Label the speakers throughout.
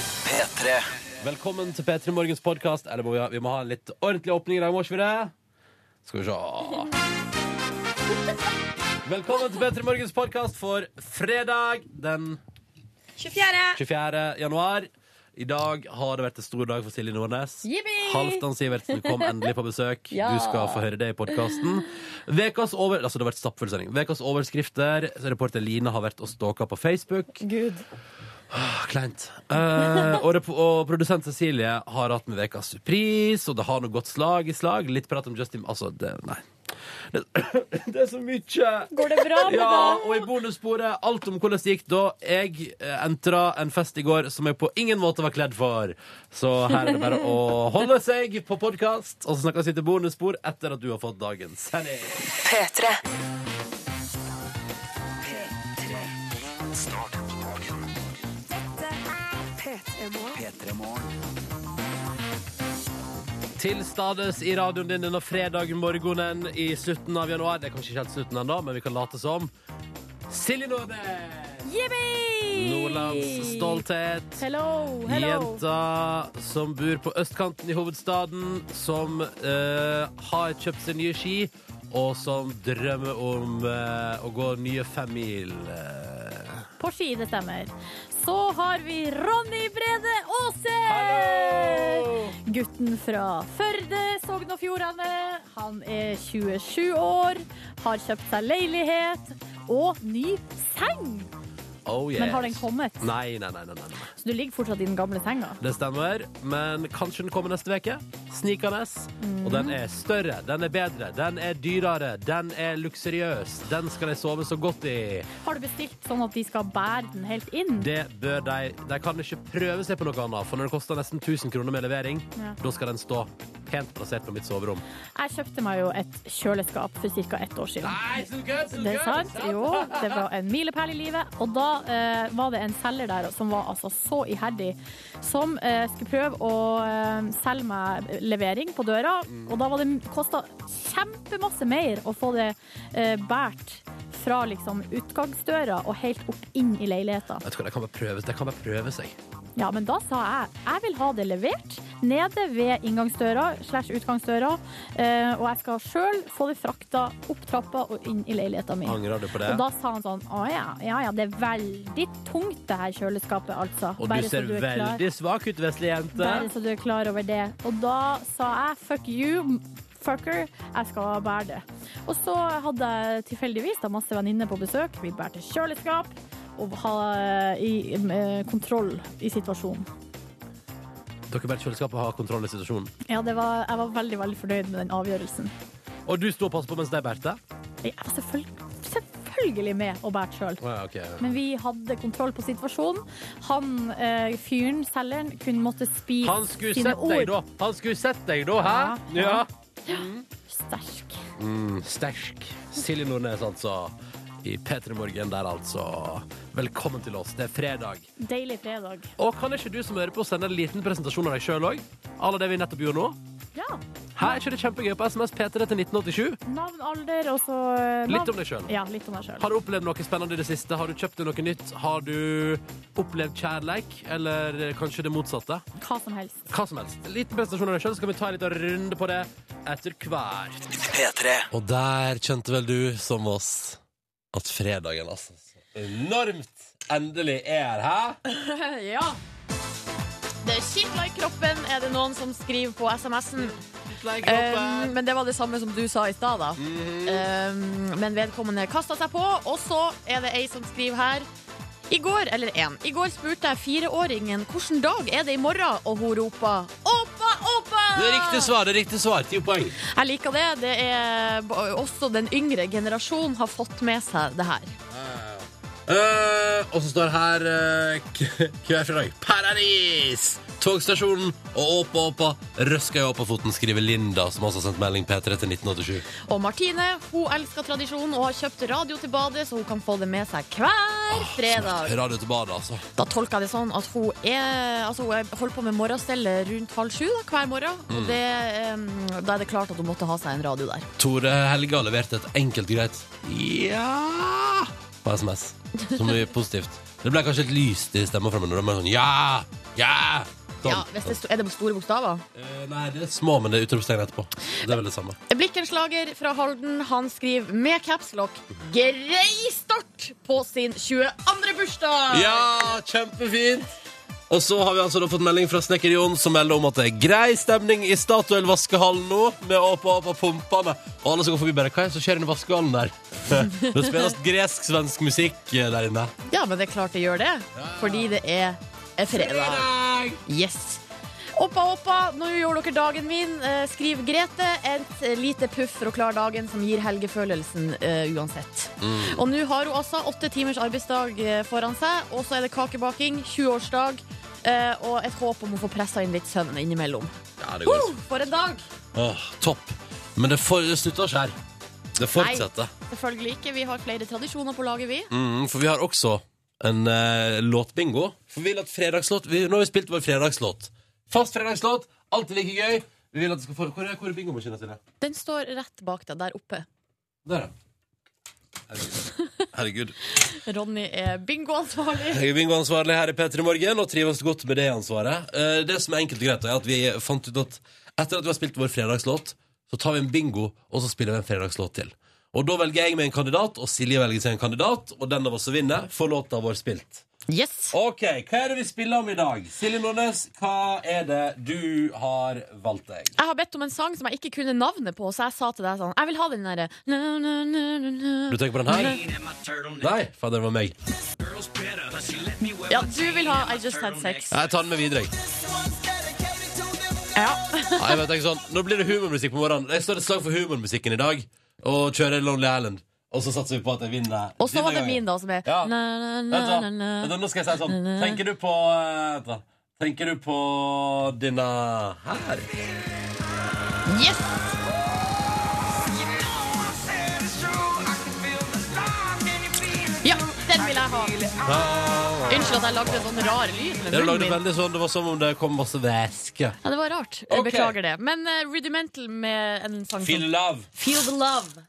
Speaker 1: P3.
Speaker 2: Velkommen til P3 Morgens podkast. Eller må vi, ha, vi må ha en litt ordentlig åpning i dag, må ikke vi det? Skal vi se Velkommen til P3 Morgens podkast for fredag den
Speaker 3: 24.
Speaker 2: 24. januar. I dag har det vært en stor dag for Silje Nordnes.
Speaker 3: Jippi!
Speaker 2: Halvdan Sivertsen kom endelig på besøk.
Speaker 3: Ja.
Speaker 2: Du skal få høre det i podkasten. Vekas over, altså det har vært stappfull sending. Vekas overskrifter. Reporter Line har vært og stalka på Facebook.
Speaker 3: Gud.
Speaker 2: Ah, Kleint. Eh, og, rep- og produsent Cecilie har hatt med Vekas pris, og det har nå gått slag i slag. Litt prat om Justin Altså, det, nei. Det, det er så mye!
Speaker 3: Går det bra med
Speaker 2: Ja,
Speaker 3: deg?
Speaker 2: og i bonussporet alt om hvordan det gikk da jeg eh, entra en fest i går som jeg på ingen måte var kledd for. Så her er det bare å holde seg på podkast, og så snakkes vi til bonusspor etter at du har fått dagens sending.
Speaker 4: P3.
Speaker 2: Til stades i radioen din denne fredag morgenen i slutten av januar. Det er kanskje ikke helt slutten ennå, men vi kan late som. Silje Nordnes!
Speaker 3: Jippi!
Speaker 2: Nordlands stolthet.
Speaker 3: Hello, Oh, hello.
Speaker 2: Jenta som bor på østkanten i hovedstaden, som eh, har kjøpt seg nye ski, og som drømmer om eh, å gå nye femmil. eh.
Speaker 3: På ski, det stemmer. Så har vi Ronny Brede Aase!
Speaker 2: Hallo!
Speaker 3: Gutten fra Førde, Sogn og Fjordane. Han er 27 år, har kjøpt seg leilighet og ny seng.
Speaker 2: Oh, yes.
Speaker 3: Men har den kommet?
Speaker 2: Nei, nei, nei. nei, nei, nei.
Speaker 3: Så du ligger fortsatt i den gamle senga?
Speaker 2: Det stemmer, men kanskje den kommer neste uke. Snikende. Og den er større, den er bedre, den er dyrere, den er luksuriøs. Den skal de sove så godt i.
Speaker 3: Har du bestilt sånn at de skal bære den helt inn?
Speaker 2: Det bør de De kan ikke prøve seg på noe annet, for når det koster nesten 1000 kroner med levering,
Speaker 3: Ja.
Speaker 2: da skal den stå pent plassert på mitt soverom.
Speaker 3: Jeg kjøpte meg jo et kjøleskap for ca. ett år siden.
Speaker 2: Nei, så gøy, så
Speaker 3: Det er sant. Jo, det var en milepæl i livet. Og da eh, var det en selger der som var altså så iherdig, som eh, skulle prøve å eh, selge meg levering på døra.
Speaker 2: Mm.
Speaker 3: Og da var det kosta kjempemasse mer å få det eh, båret fra liksom utgangsdøra og helt opp inn i leiligheta.
Speaker 2: Vet du hva, de kan bare prøve, de kan bare prøve seg.
Speaker 3: Ja, men da sa jeg jeg vil ha det levert nede ved inngangsdøra slash utgangsdøra, eh, og jeg skal sjøl få det frakta opp trappa og inn i leiligheta mi.
Speaker 2: Angrer du på det?
Speaker 3: Og da sa han sånn Å ja, ja, ja, det er veldig tungt det her kjøleskapet, altså.
Speaker 2: Og du ser
Speaker 3: er klar-
Speaker 2: veldig svak ut, vesle jente.
Speaker 3: Bare så du er klar over det. Og da sa jeg fuck you, fucker, jeg skal bære det. Og så hadde jeg tilfeldigvis da masse venninner på besøk. Vi bærte kjøleskap og ha i, eh, kontroll i situasjonen.
Speaker 2: Dere bare i kjøleskapet har kontroll i situasjonen.
Speaker 3: Ja, det var, jeg var veldig, veldig fornøyd med den avgjørelsen.
Speaker 2: Og du sto og passet på mens de bærte?
Speaker 3: Jeg var selvfølgelig, selvfølgelig med og bært sjøl.
Speaker 2: Å ja, ok.
Speaker 3: Men vi hadde kontroll på situasjonen. Han eh, fyren, selgeren, kunne måtte spise
Speaker 2: Han skulle
Speaker 3: sine
Speaker 2: sett deg,
Speaker 3: ord.
Speaker 2: da! Han skulle sett deg, da, hæ?
Speaker 3: Ja,
Speaker 2: Ja.
Speaker 3: ja. Sterk.
Speaker 2: Mm, sterk. Silje Nordnes, altså. I P3 Morgen der, altså. Velkommen til oss. Det er fredag.
Speaker 3: Deilig fredag.
Speaker 2: Og kan ikke du som hører på sende en liten presentasjon av deg sjøl òg? Alle det vi nettopp gjorde nå?
Speaker 3: Ja.
Speaker 2: Her er ikke det kjempegøy på SMS P3 til 1987.
Speaker 3: Navn, alder og så eh, navn.
Speaker 2: Litt om deg selv.
Speaker 3: Ja, litt om deg sjøl.
Speaker 2: Har du opplevd noe spennende i det siste? Har du kjøpt deg noe nytt? Har du opplevd kjærleik? Eller kanskje det motsatte?
Speaker 3: Hva som helst.
Speaker 2: Hva som helst. En liten presentasjon av deg sjøl, så kan vi ta en liten runde på det etter hvert.
Speaker 1: P3.
Speaker 2: Og der kjente vel du, som oss, at fredagen, altså så Enormt endelig er her. Hæ?
Speaker 5: Ja. Det kitler i kroppen, er det noen som skriver på SMS-en.
Speaker 2: Eh,
Speaker 5: Um, men det var det samme som du sa i stad, da.
Speaker 2: Mhm.
Speaker 5: Um, men vedkommende kasta seg på. Og så er det ei som skriver her. I går eller en, i går spurte jeg fireåringen hvilken dag er det i morgen, og hun ropa 'Åpa, åpa'!
Speaker 2: Det er riktig svar. det er riktig svar. Ti poeng.
Speaker 5: Jeg liker det. Det er b- Også den yngre generasjonen har fått med seg det her.
Speaker 2: Eh, og så står det her eh, k- hver fredag Paradis! Togstasjonen og Åpa Åpa røsker jeg opp av foten, skriver Linda, som også har sendt melding P3 til 1987.
Speaker 5: Og Martine hun elsker tradisjonen og har kjøpt radio til badet, så hun kan få det med seg hver fredag.
Speaker 2: Radio til badet, altså.
Speaker 5: Da tolker jeg det sånn at hun, er, altså hun er- holder på med morgenstellet rundt halv sju da, hver morgen.
Speaker 2: Mm.
Speaker 5: Og det, em, da er det klart at hun måtte ha seg en radio der.
Speaker 2: Tore Helge har levert et enkelt greit ja på SMS, som er positivt. Det ble kanskje litt lyst i stemma fra meg når de var sånn ja, ja, Don.
Speaker 6: Ja, hvis det sto- er det store bokstaver?
Speaker 2: Eh, nei, det er små, men det er utropstegn etterpå. Det er vel det samme.
Speaker 6: Blikkenslager fra Halden, han skriver med capslock 'Grei start' på sin 22. bursdag!
Speaker 2: Ja, kjempefint! Og så har vi altså da fått melding fra Snekker Jon som melder om at det er grei stemning i Statoil-vaskehallen nå, med åp og åp og pumpene. Og alle som går forbi bare, hva er det som skjer inne i vaskehallen der? det spilles gresk-svensk musikk eh, der inne.
Speaker 6: Ja, men det er klart det gjør det. Fordi det er, er fredag. Yes. Oppa, oppa, nå gjør dere dagen min. Eh, Skriv Grete. Et lite puff for å klare dagen som gir helgefølelsen eh, uansett. Og nå har hun altså åtte timers arbeidsdag eh, foran seg, og så er det kakebaking, 20-årsdag eh, og et håp om å få pressa inn litt søvn innimellom.
Speaker 2: Ja, det går.
Speaker 6: Uh, for en dag!
Speaker 2: Åh, topp. Men det, for, det slutter ikke her. Det fortsetter.
Speaker 6: Selvfølgelig ikke. Vi har flere tradisjoner på laget, vi.
Speaker 2: Mm, for vi har også en eh, låtbingo. For vi vil at fredagslåt vi, Nå har vi spilt vår fredagslåt. Fast fredagslåt. Alltid like gøy. Vi vil at det skal få Hvor er, hvor er bingomaskina til det?
Speaker 6: Den står rett bak deg, der oppe.
Speaker 2: Der, ja. Herregud. Herregud.
Speaker 6: Ronny er bingoansvarlig.
Speaker 2: Jeg er bingoansvarlig her i P3 Morgen og trives godt med det ansvaret. Eh, Det som er enkelt og greit, er at vi fant ut at etter at vi har spilt vår fredagslåt, så tar vi en bingo, og så spiller vi en fredagslåt til. Og da velger jeg meg en kandidat, og Silje velger seg en kandidat, og den av oss som vinner, får låta vår spilt.
Speaker 6: Yes.
Speaker 2: Ok, hva er det vi spiller om i dag? Silje Nordnes, hva er det du har valgt deg?
Speaker 6: Jeg har bedt om en sang som jeg ikke kunne navnet på, så jeg sa til deg sånn Jeg vil ha den derre na, na, na, na,
Speaker 2: Du
Speaker 6: na.
Speaker 2: tenker på den her? Nei, faen, det var meg.
Speaker 6: Ja, du vil ha I Just Had Sex.
Speaker 2: Jeg tar den med videre, jeg.
Speaker 6: Ja.
Speaker 2: Nei, men jeg tenker sånn, Nå blir det humormusikk på morgenen. Jeg står et slag for humormusikken i dag. Og kjører Lonely Island. Og så satser vi på at jeg vinner.
Speaker 6: Og så var det
Speaker 2: denne
Speaker 6: min,
Speaker 2: gangen.
Speaker 6: da, som er
Speaker 2: Ja.
Speaker 6: na, na, na,
Speaker 2: Vent, da.
Speaker 6: na, na.
Speaker 2: Vent da, Nå skal jeg si sånn. Tenker du på eh, vent da. Tenker du på denne her?
Speaker 6: Yes! Ja, den vil jeg ha. Unnskyld at jeg lagde en sånn rar lyd med
Speaker 2: Det,
Speaker 6: munnen
Speaker 2: lagde
Speaker 6: min.
Speaker 2: veldig sånn, det var som om det kom masse væske.
Speaker 6: Ja, det var rart.
Speaker 2: Ok.
Speaker 6: Beklager det. Men eh, Rudimental med en sang
Speaker 2: Feel
Speaker 6: som
Speaker 2: love.
Speaker 6: Feel the Love.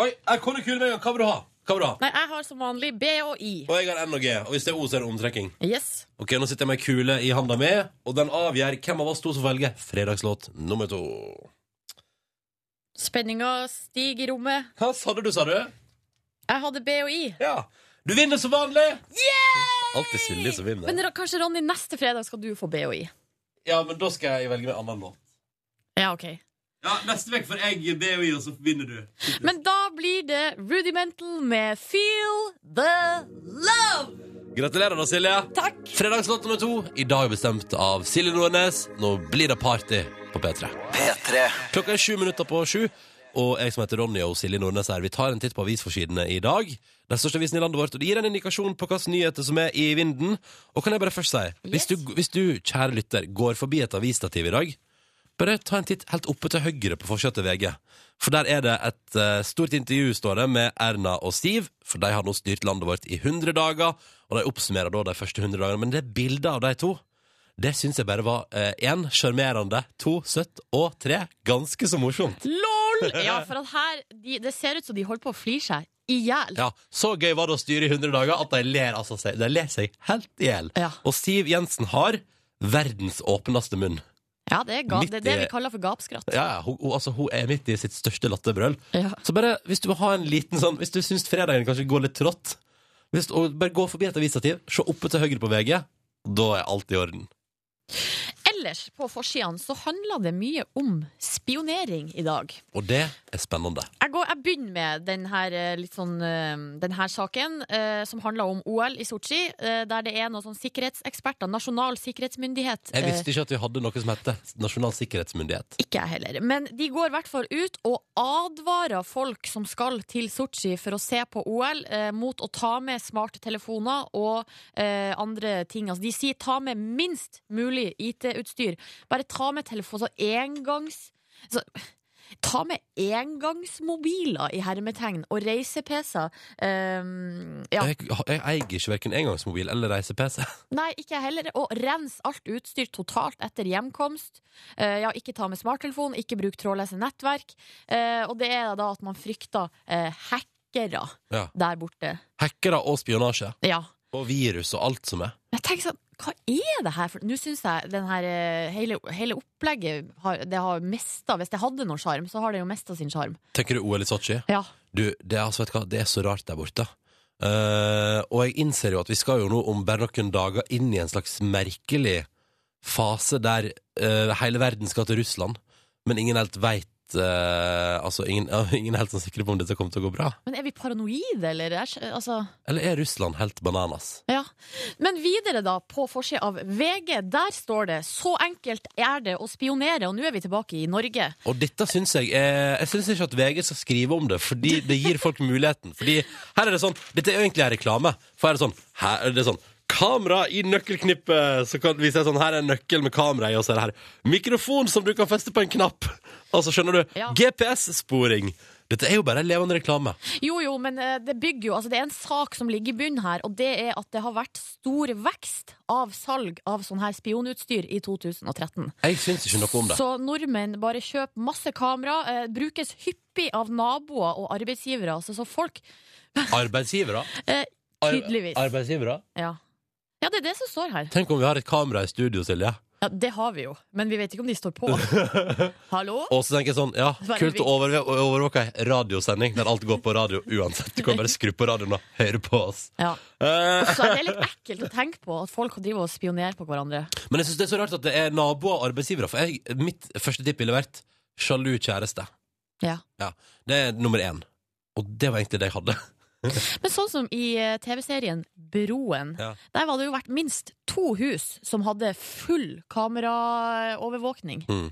Speaker 2: Oi, jeg kom kule med en gang. Hva vil du ha? Hva vil du ha?
Speaker 6: Nei, jeg har som vanlig B og I.
Speaker 2: Og jeg har N og G. Og hvis det er O, så er det omtrekking.
Speaker 6: Yes.
Speaker 2: Ok, Nå sitter jeg med ei kule i handa mi, og den avgjør hvem av oss to som velger fredagslåt nummer to.
Speaker 6: Spenninga stiger i rommet.
Speaker 2: Hva sa du, sa du?
Speaker 6: Jeg hadde B og I.
Speaker 2: Ja. Du vinner som vanlig! Alltid Silje som vinner.
Speaker 6: Men Ro- kanskje Ronny, neste fredag skal du få BHI.
Speaker 2: Ja, men da skal jeg velge meg annen låt.
Speaker 6: Ja, ok
Speaker 2: Ja, Neste uke får jeg BOI, og så vinner du.
Speaker 6: Men da blir det Rudimental med Feel the Love!
Speaker 2: Gratulerer da, Silje.
Speaker 6: Takk!
Speaker 2: Fredagslåt nummer to, i dag bestemt av Silje Nordnes. Nå blir det party på P3. Klokka er sju minutter på sju. Og jeg som heter Ronny og Silje Nordnes her, vi tar en titt på avisforsidene i dag. Den største avisen i landet vårt, og det gir en indikasjon på hvilke nyheter som er i vinden. Og kan jeg bare først si, hvis,
Speaker 6: Yes.
Speaker 2: du, hvis du, kjære lytter, går forbi et avisstativ i dag, bare ta en titt helt oppe til høyre på forsida til VG. For der er det et eh, stort intervju, står det, med Erna og Siv. For de har nå styrt landet vårt i 100 dager, og de oppsummerer da de første 100 dagene. Men det er bilder av de to. Det syns jeg bare var én sjarmerende, to søtt og tre ganske så morsomt.
Speaker 6: LOL! Ja, for at her de, Det ser ut som de holder på å flire seg i hjel.
Speaker 2: Ja, Så gøy var det å styre i 100 dager at de ler, altså, seg- de ler seg helt i hjel.
Speaker 6: Ja.
Speaker 2: Og Siv Jensen har verdens åpneste munn.
Speaker 6: Ja, det er, ga, det er
Speaker 2: Midt
Speaker 6: det
Speaker 2: i-
Speaker 6: vi kaller for gapskratt.
Speaker 2: Ja, ja, hun, hun, altså, hun er midt i sitt største latterbrøl.
Speaker 6: Ja.
Speaker 2: Så bare, hvis du vil ha en liten sånn Hvis du syns fredagen kanskje går litt trått, hvis, og bare gå forbi et avisstativ, se oppe til høyre på VG, da er alt i orden.
Speaker 6: Ellers, på forsidene, så handler det mye om spionering i dag.
Speaker 2: Og det er spennende.
Speaker 6: Jeg, går, jeg begynner med den her, eh, litt sånn, eh, den her saken, eh, som handler om OL i Sotsji. eh, der det er noen sånn sikkerhetseksperter, Nasjonal sikkerhetsmyndighet
Speaker 2: Jeg
Speaker 6: eh,
Speaker 2: visste ikke at vi hadde noe som hette Nasjonal sikkerhetsmyndighet.
Speaker 6: Ikke jeg heller. Men de går i hvert fall ut og advarer folk som skal til Sotsji for å se på OL, eh, mot å ta med smarttelefoner og eh, andre ting. Altså, de sier ta med minst mulig IT-utstyr. Bare ta med telefon, så engangs... Så, Ta med engangsmobiler i hermetegn og reise-PC-er. Um, ja.
Speaker 2: Jeg, jeg eier ikke hverken engangsmobil eller reise-PC.
Speaker 6: Nei, ikke jeg heller. Og rens alt utstyr totalt etter hjemkomst. Eh, ja, ikke ta med smarttelefon, ikke bruk trådløse nettverk. Eh, og det er da at man frykter eh, hackere
Speaker 2: Ja.
Speaker 6: der borte.
Speaker 2: Hackere og spionasje.
Speaker 6: Ja.
Speaker 2: Og virus og alt som er.
Speaker 6: Jeg tenker sånn, hva er det her for Nå syns jeg den her, eh, hele, hele opplegget har, det har mista Hvis det hadde noen sjarm, så har det jo mista sin sjarm.
Speaker 2: Tenker du OL i Sotsji?
Speaker 6: Ja.
Speaker 2: Du, det er, altså, vet du hva? det er så rart der borte. Eh, og jeg innser jo at vi skal jo nå om bare noen dager inn i en slags merkelig fase der eh, hele verden skal til Russland, men ingen helt veit eh, Altså, ingen, ja, ingen er helt sånn sikre på om dette kommer til å gå bra.
Speaker 6: Men er vi paranoide, eller? Jeg skj- Altså
Speaker 2: Eller er Russland helt bananas?
Speaker 6: Ja. Men videre, da, på forsida av VG, der står det 'Så enkelt er det å spionere', og nå er vi tilbake i Norge.
Speaker 2: Og dette syns jeg eh, Jeg syns ikke at VG skal skrive om det, fordi det gir folk muligheten. Fordi her er det sånn Dette er jo egentlig en reklame. For her er det sånn, her er det sånn Kamera i nøkkelknippet! Så kan, hvis jeg er sånn, Her er en nøkkel med kamera i, og så er det her mikrofon som du kan feste på en knapp! Altså, skjønner du?
Speaker 6: Ja.
Speaker 2: GPS-sporing! Dette er jo bare en levende reklame.
Speaker 6: Jo jo, men eh, det bygger jo Altså, det er en sak som ligger i bunnen her, og det er at det har vært stor vekst av salg av sånn her spionutstyr i 2013.
Speaker 2: Jeg syns ikke noe om det.
Speaker 6: Så nordmenn bare kjøper masse kamera, eh, brukes hyppig av naboer og arbeidsgivere. Altså, så folk
Speaker 2: Arbeidsgivere?
Speaker 6: eh,
Speaker 2: Ar-
Speaker 6: Tydeligvis.
Speaker 2: Arbeidsgivere?
Speaker 6: ja. ja, det er det som står her.
Speaker 2: Tenk om vi har et kamera i studio, Silje.
Speaker 6: Ja, Det har vi jo, men vi vet ikke om de står på. Hallo?
Speaker 2: Og så tenker jeg sånn, ja,
Speaker 6: Veldig
Speaker 2: kult å overve- å overvåke ei radiosending der alt går på radio uansett. Du kan bare skru på radioen og høre på oss.
Speaker 6: Ja.
Speaker 2: Eh,
Speaker 6: Så det er litt ekkelt å tenke på at folk driver og spionerer på hverandre.
Speaker 2: men jeg synes det er så rart at det er naboer og arbeidsgivere. For jeg, mitt første tipp ville vært sjalu kjæreste.
Speaker 6: Ja.
Speaker 2: Ja, Det er nummer én. Og det var egentlig det jeg hadde.
Speaker 6: Men sånn som i eh, TV-serien Broen,
Speaker 2: Ja.
Speaker 6: der var det jo vært minst to hus som hadde full kameraovervåkning. Det
Speaker 2: Mm.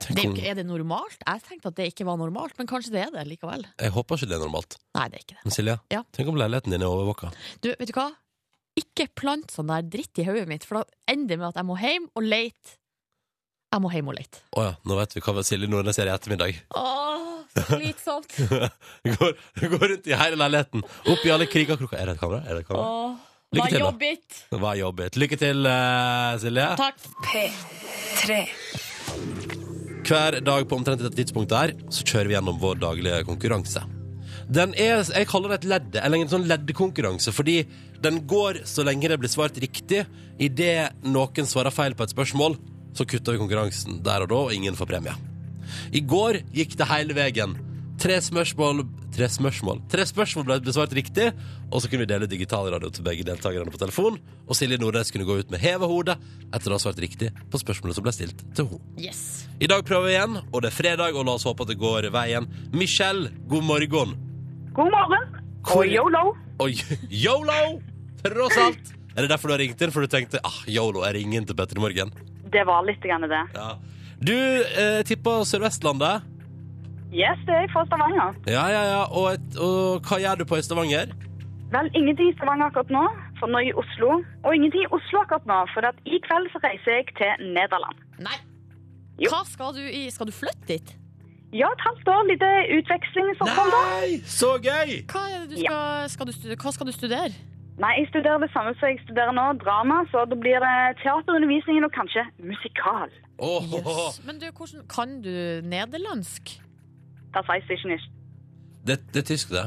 Speaker 2: Tenk
Speaker 6: er, jo
Speaker 2: om,
Speaker 6: ikke, er det normalt? Jeg tenkte at det ikke var normalt, men kanskje det er det likevel.
Speaker 2: jeg håper ikke det er normalt.
Speaker 6: Nei, det er ikke det.
Speaker 2: Men Silje,
Speaker 6: Ja.
Speaker 2: tenk om leiligheten din er overvåka.
Speaker 6: Du, vet du hva? Ikke plant sånn der dritt i hodet mitt, for da ender det med at jeg må hjem og leite. Jeg må hjem og leite.
Speaker 2: Å ja, nå vet vi hva Silje Nordnes gjør i ettermiddag.
Speaker 6: Åh, så slitsomt.
Speaker 2: Går, går rundt i hele leiligheten, opp i alle krigakroker. Er det et kamera? Er det et kamera?
Speaker 6: Åh,
Speaker 2: Lykke
Speaker 6: var
Speaker 2: til, da.
Speaker 6: jobbigt.
Speaker 2: Det var jobbet. Lykke til, eh, Silje.
Speaker 6: Takk.
Speaker 7: P3.
Speaker 2: Hver dag på omtrent dette tidspunktet her Så kjører vi gjennom vår daglige konkurranse Den er, jeg kaller det et ledde Eller en sånn leddekonkurranse Fordi den går så lenge det blir svart riktig I det noen svarer feil på et spørsmål Så kutter vi konkurransen der og da Og ingen får premie I går gikk det hele veien Tre spørsmål Tre spørsmål Tre spørsmål ble besvart riktig Og så kunne vi dele digital radio til begge deltakerne på telefon Og Silje Nordnes kunne gå ut med heve hodet Etter å ha svart riktig på spørsmålet som ble stilt til henne
Speaker 6: Yes.
Speaker 2: i dag prøver vi igjen, og det er fredag, og la oss håpe at det går veien. Michelle, god morgen.
Speaker 8: God morgen.
Speaker 2: Hvor-
Speaker 8: Og yolo.
Speaker 2: Og yolo! Tross alt. Er det derfor du har ringt inn? For du tenkte ah, yolo, jeg ringer inn til Petter i morgen.
Speaker 8: Det var litt grann det.
Speaker 2: Ja. Du eh, tippa Sør-Vestlandet.
Speaker 8: Yes, det er jeg fra Stavanger.
Speaker 2: Ja, ja, ja. Og, et, og hva gjør du på i Stavanger?
Speaker 8: Vel, ingenting i Stavanger akkurat nå, for nå er jeg i Oslo. Og ingenting i Oslo akkurat nå, for at i kveld så reiser jeg til Nederland.
Speaker 6: Nei.
Speaker 8: Jo.
Speaker 6: Hva skal du i? Skal du flytte dit?
Speaker 8: Ja, et halvt år, litt utveksling som kom da.
Speaker 2: Nei, så gøy!
Speaker 6: Hva, er det du skal, skal du studere? Hva skal du studere?
Speaker 8: Nei, jeg studerer det samme som jeg studerer nå, drama, så da blir det teaterundervisningen og kanskje musikal.
Speaker 2: Åh,
Speaker 6: Jøss. Men du, hvordan kan du nederlandsk?
Speaker 8: Da sier jeg ikke nicht.
Speaker 2: det, det er tysk, det.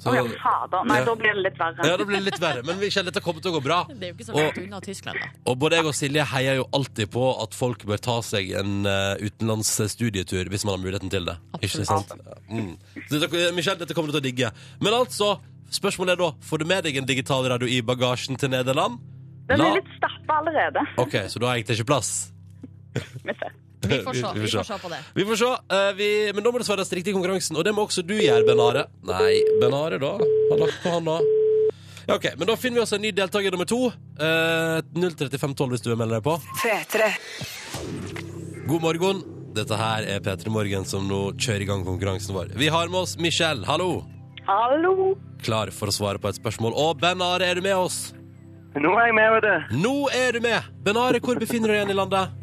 Speaker 2: Så,
Speaker 8: Å ja, fader. Nei,
Speaker 2: Ja.
Speaker 8: da blir det litt verre.
Speaker 2: ja, det blir litt verre. Men Michelle, dette kommer til å gå bra.
Speaker 6: Det er jo ikke så
Speaker 2: Og-
Speaker 6: langt unna Tyskland, da.
Speaker 2: Og både jeg og Silje heier jo alltid på at folk bør ta seg en eh, utenlands studietur hvis man har muligheten til det. Ikke sant? Ja, Mm. Så Dette, Michelle, dette kommer du til å digge. Men altså, spørsmålet er da, får du med deg en digital radio i bagasjen til Nederland?
Speaker 8: Den
Speaker 2: La-
Speaker 8: er litt stappa allerede.
Speaker 2: Ok, så du har egentlig ikke plass.
Speaker 8: Vi ser.
Speaker 6: Vi får se, vi får se på det.
Speaker 2: Vi får se. Eh, vi, men da må det svares riktig i konkurransen, og det må også du gjøre, Benare. Nei, Benare, da. Har lagt på han, da. Ja, ok, Men da finner vi oss en ny deltaker nummer to. Eh, 03512 hvis du vil melde deg på.
Speaker 7: P3.
Speaker 2: God morgen. Dette her er P3 Morgen som nå kjører i gang konkurransen vår. Vi har med oss Michelle, hallo!
Speaker 8: Hallo.
Speaker 2: Klar for å svare på et spørsmål. Og Ben Are, er du med oss?
Speaker 9: Nå er jeg med, vet du.
Speaker 2: Nå er du med! Ben Are, hvor befinner du deg igjen i landet?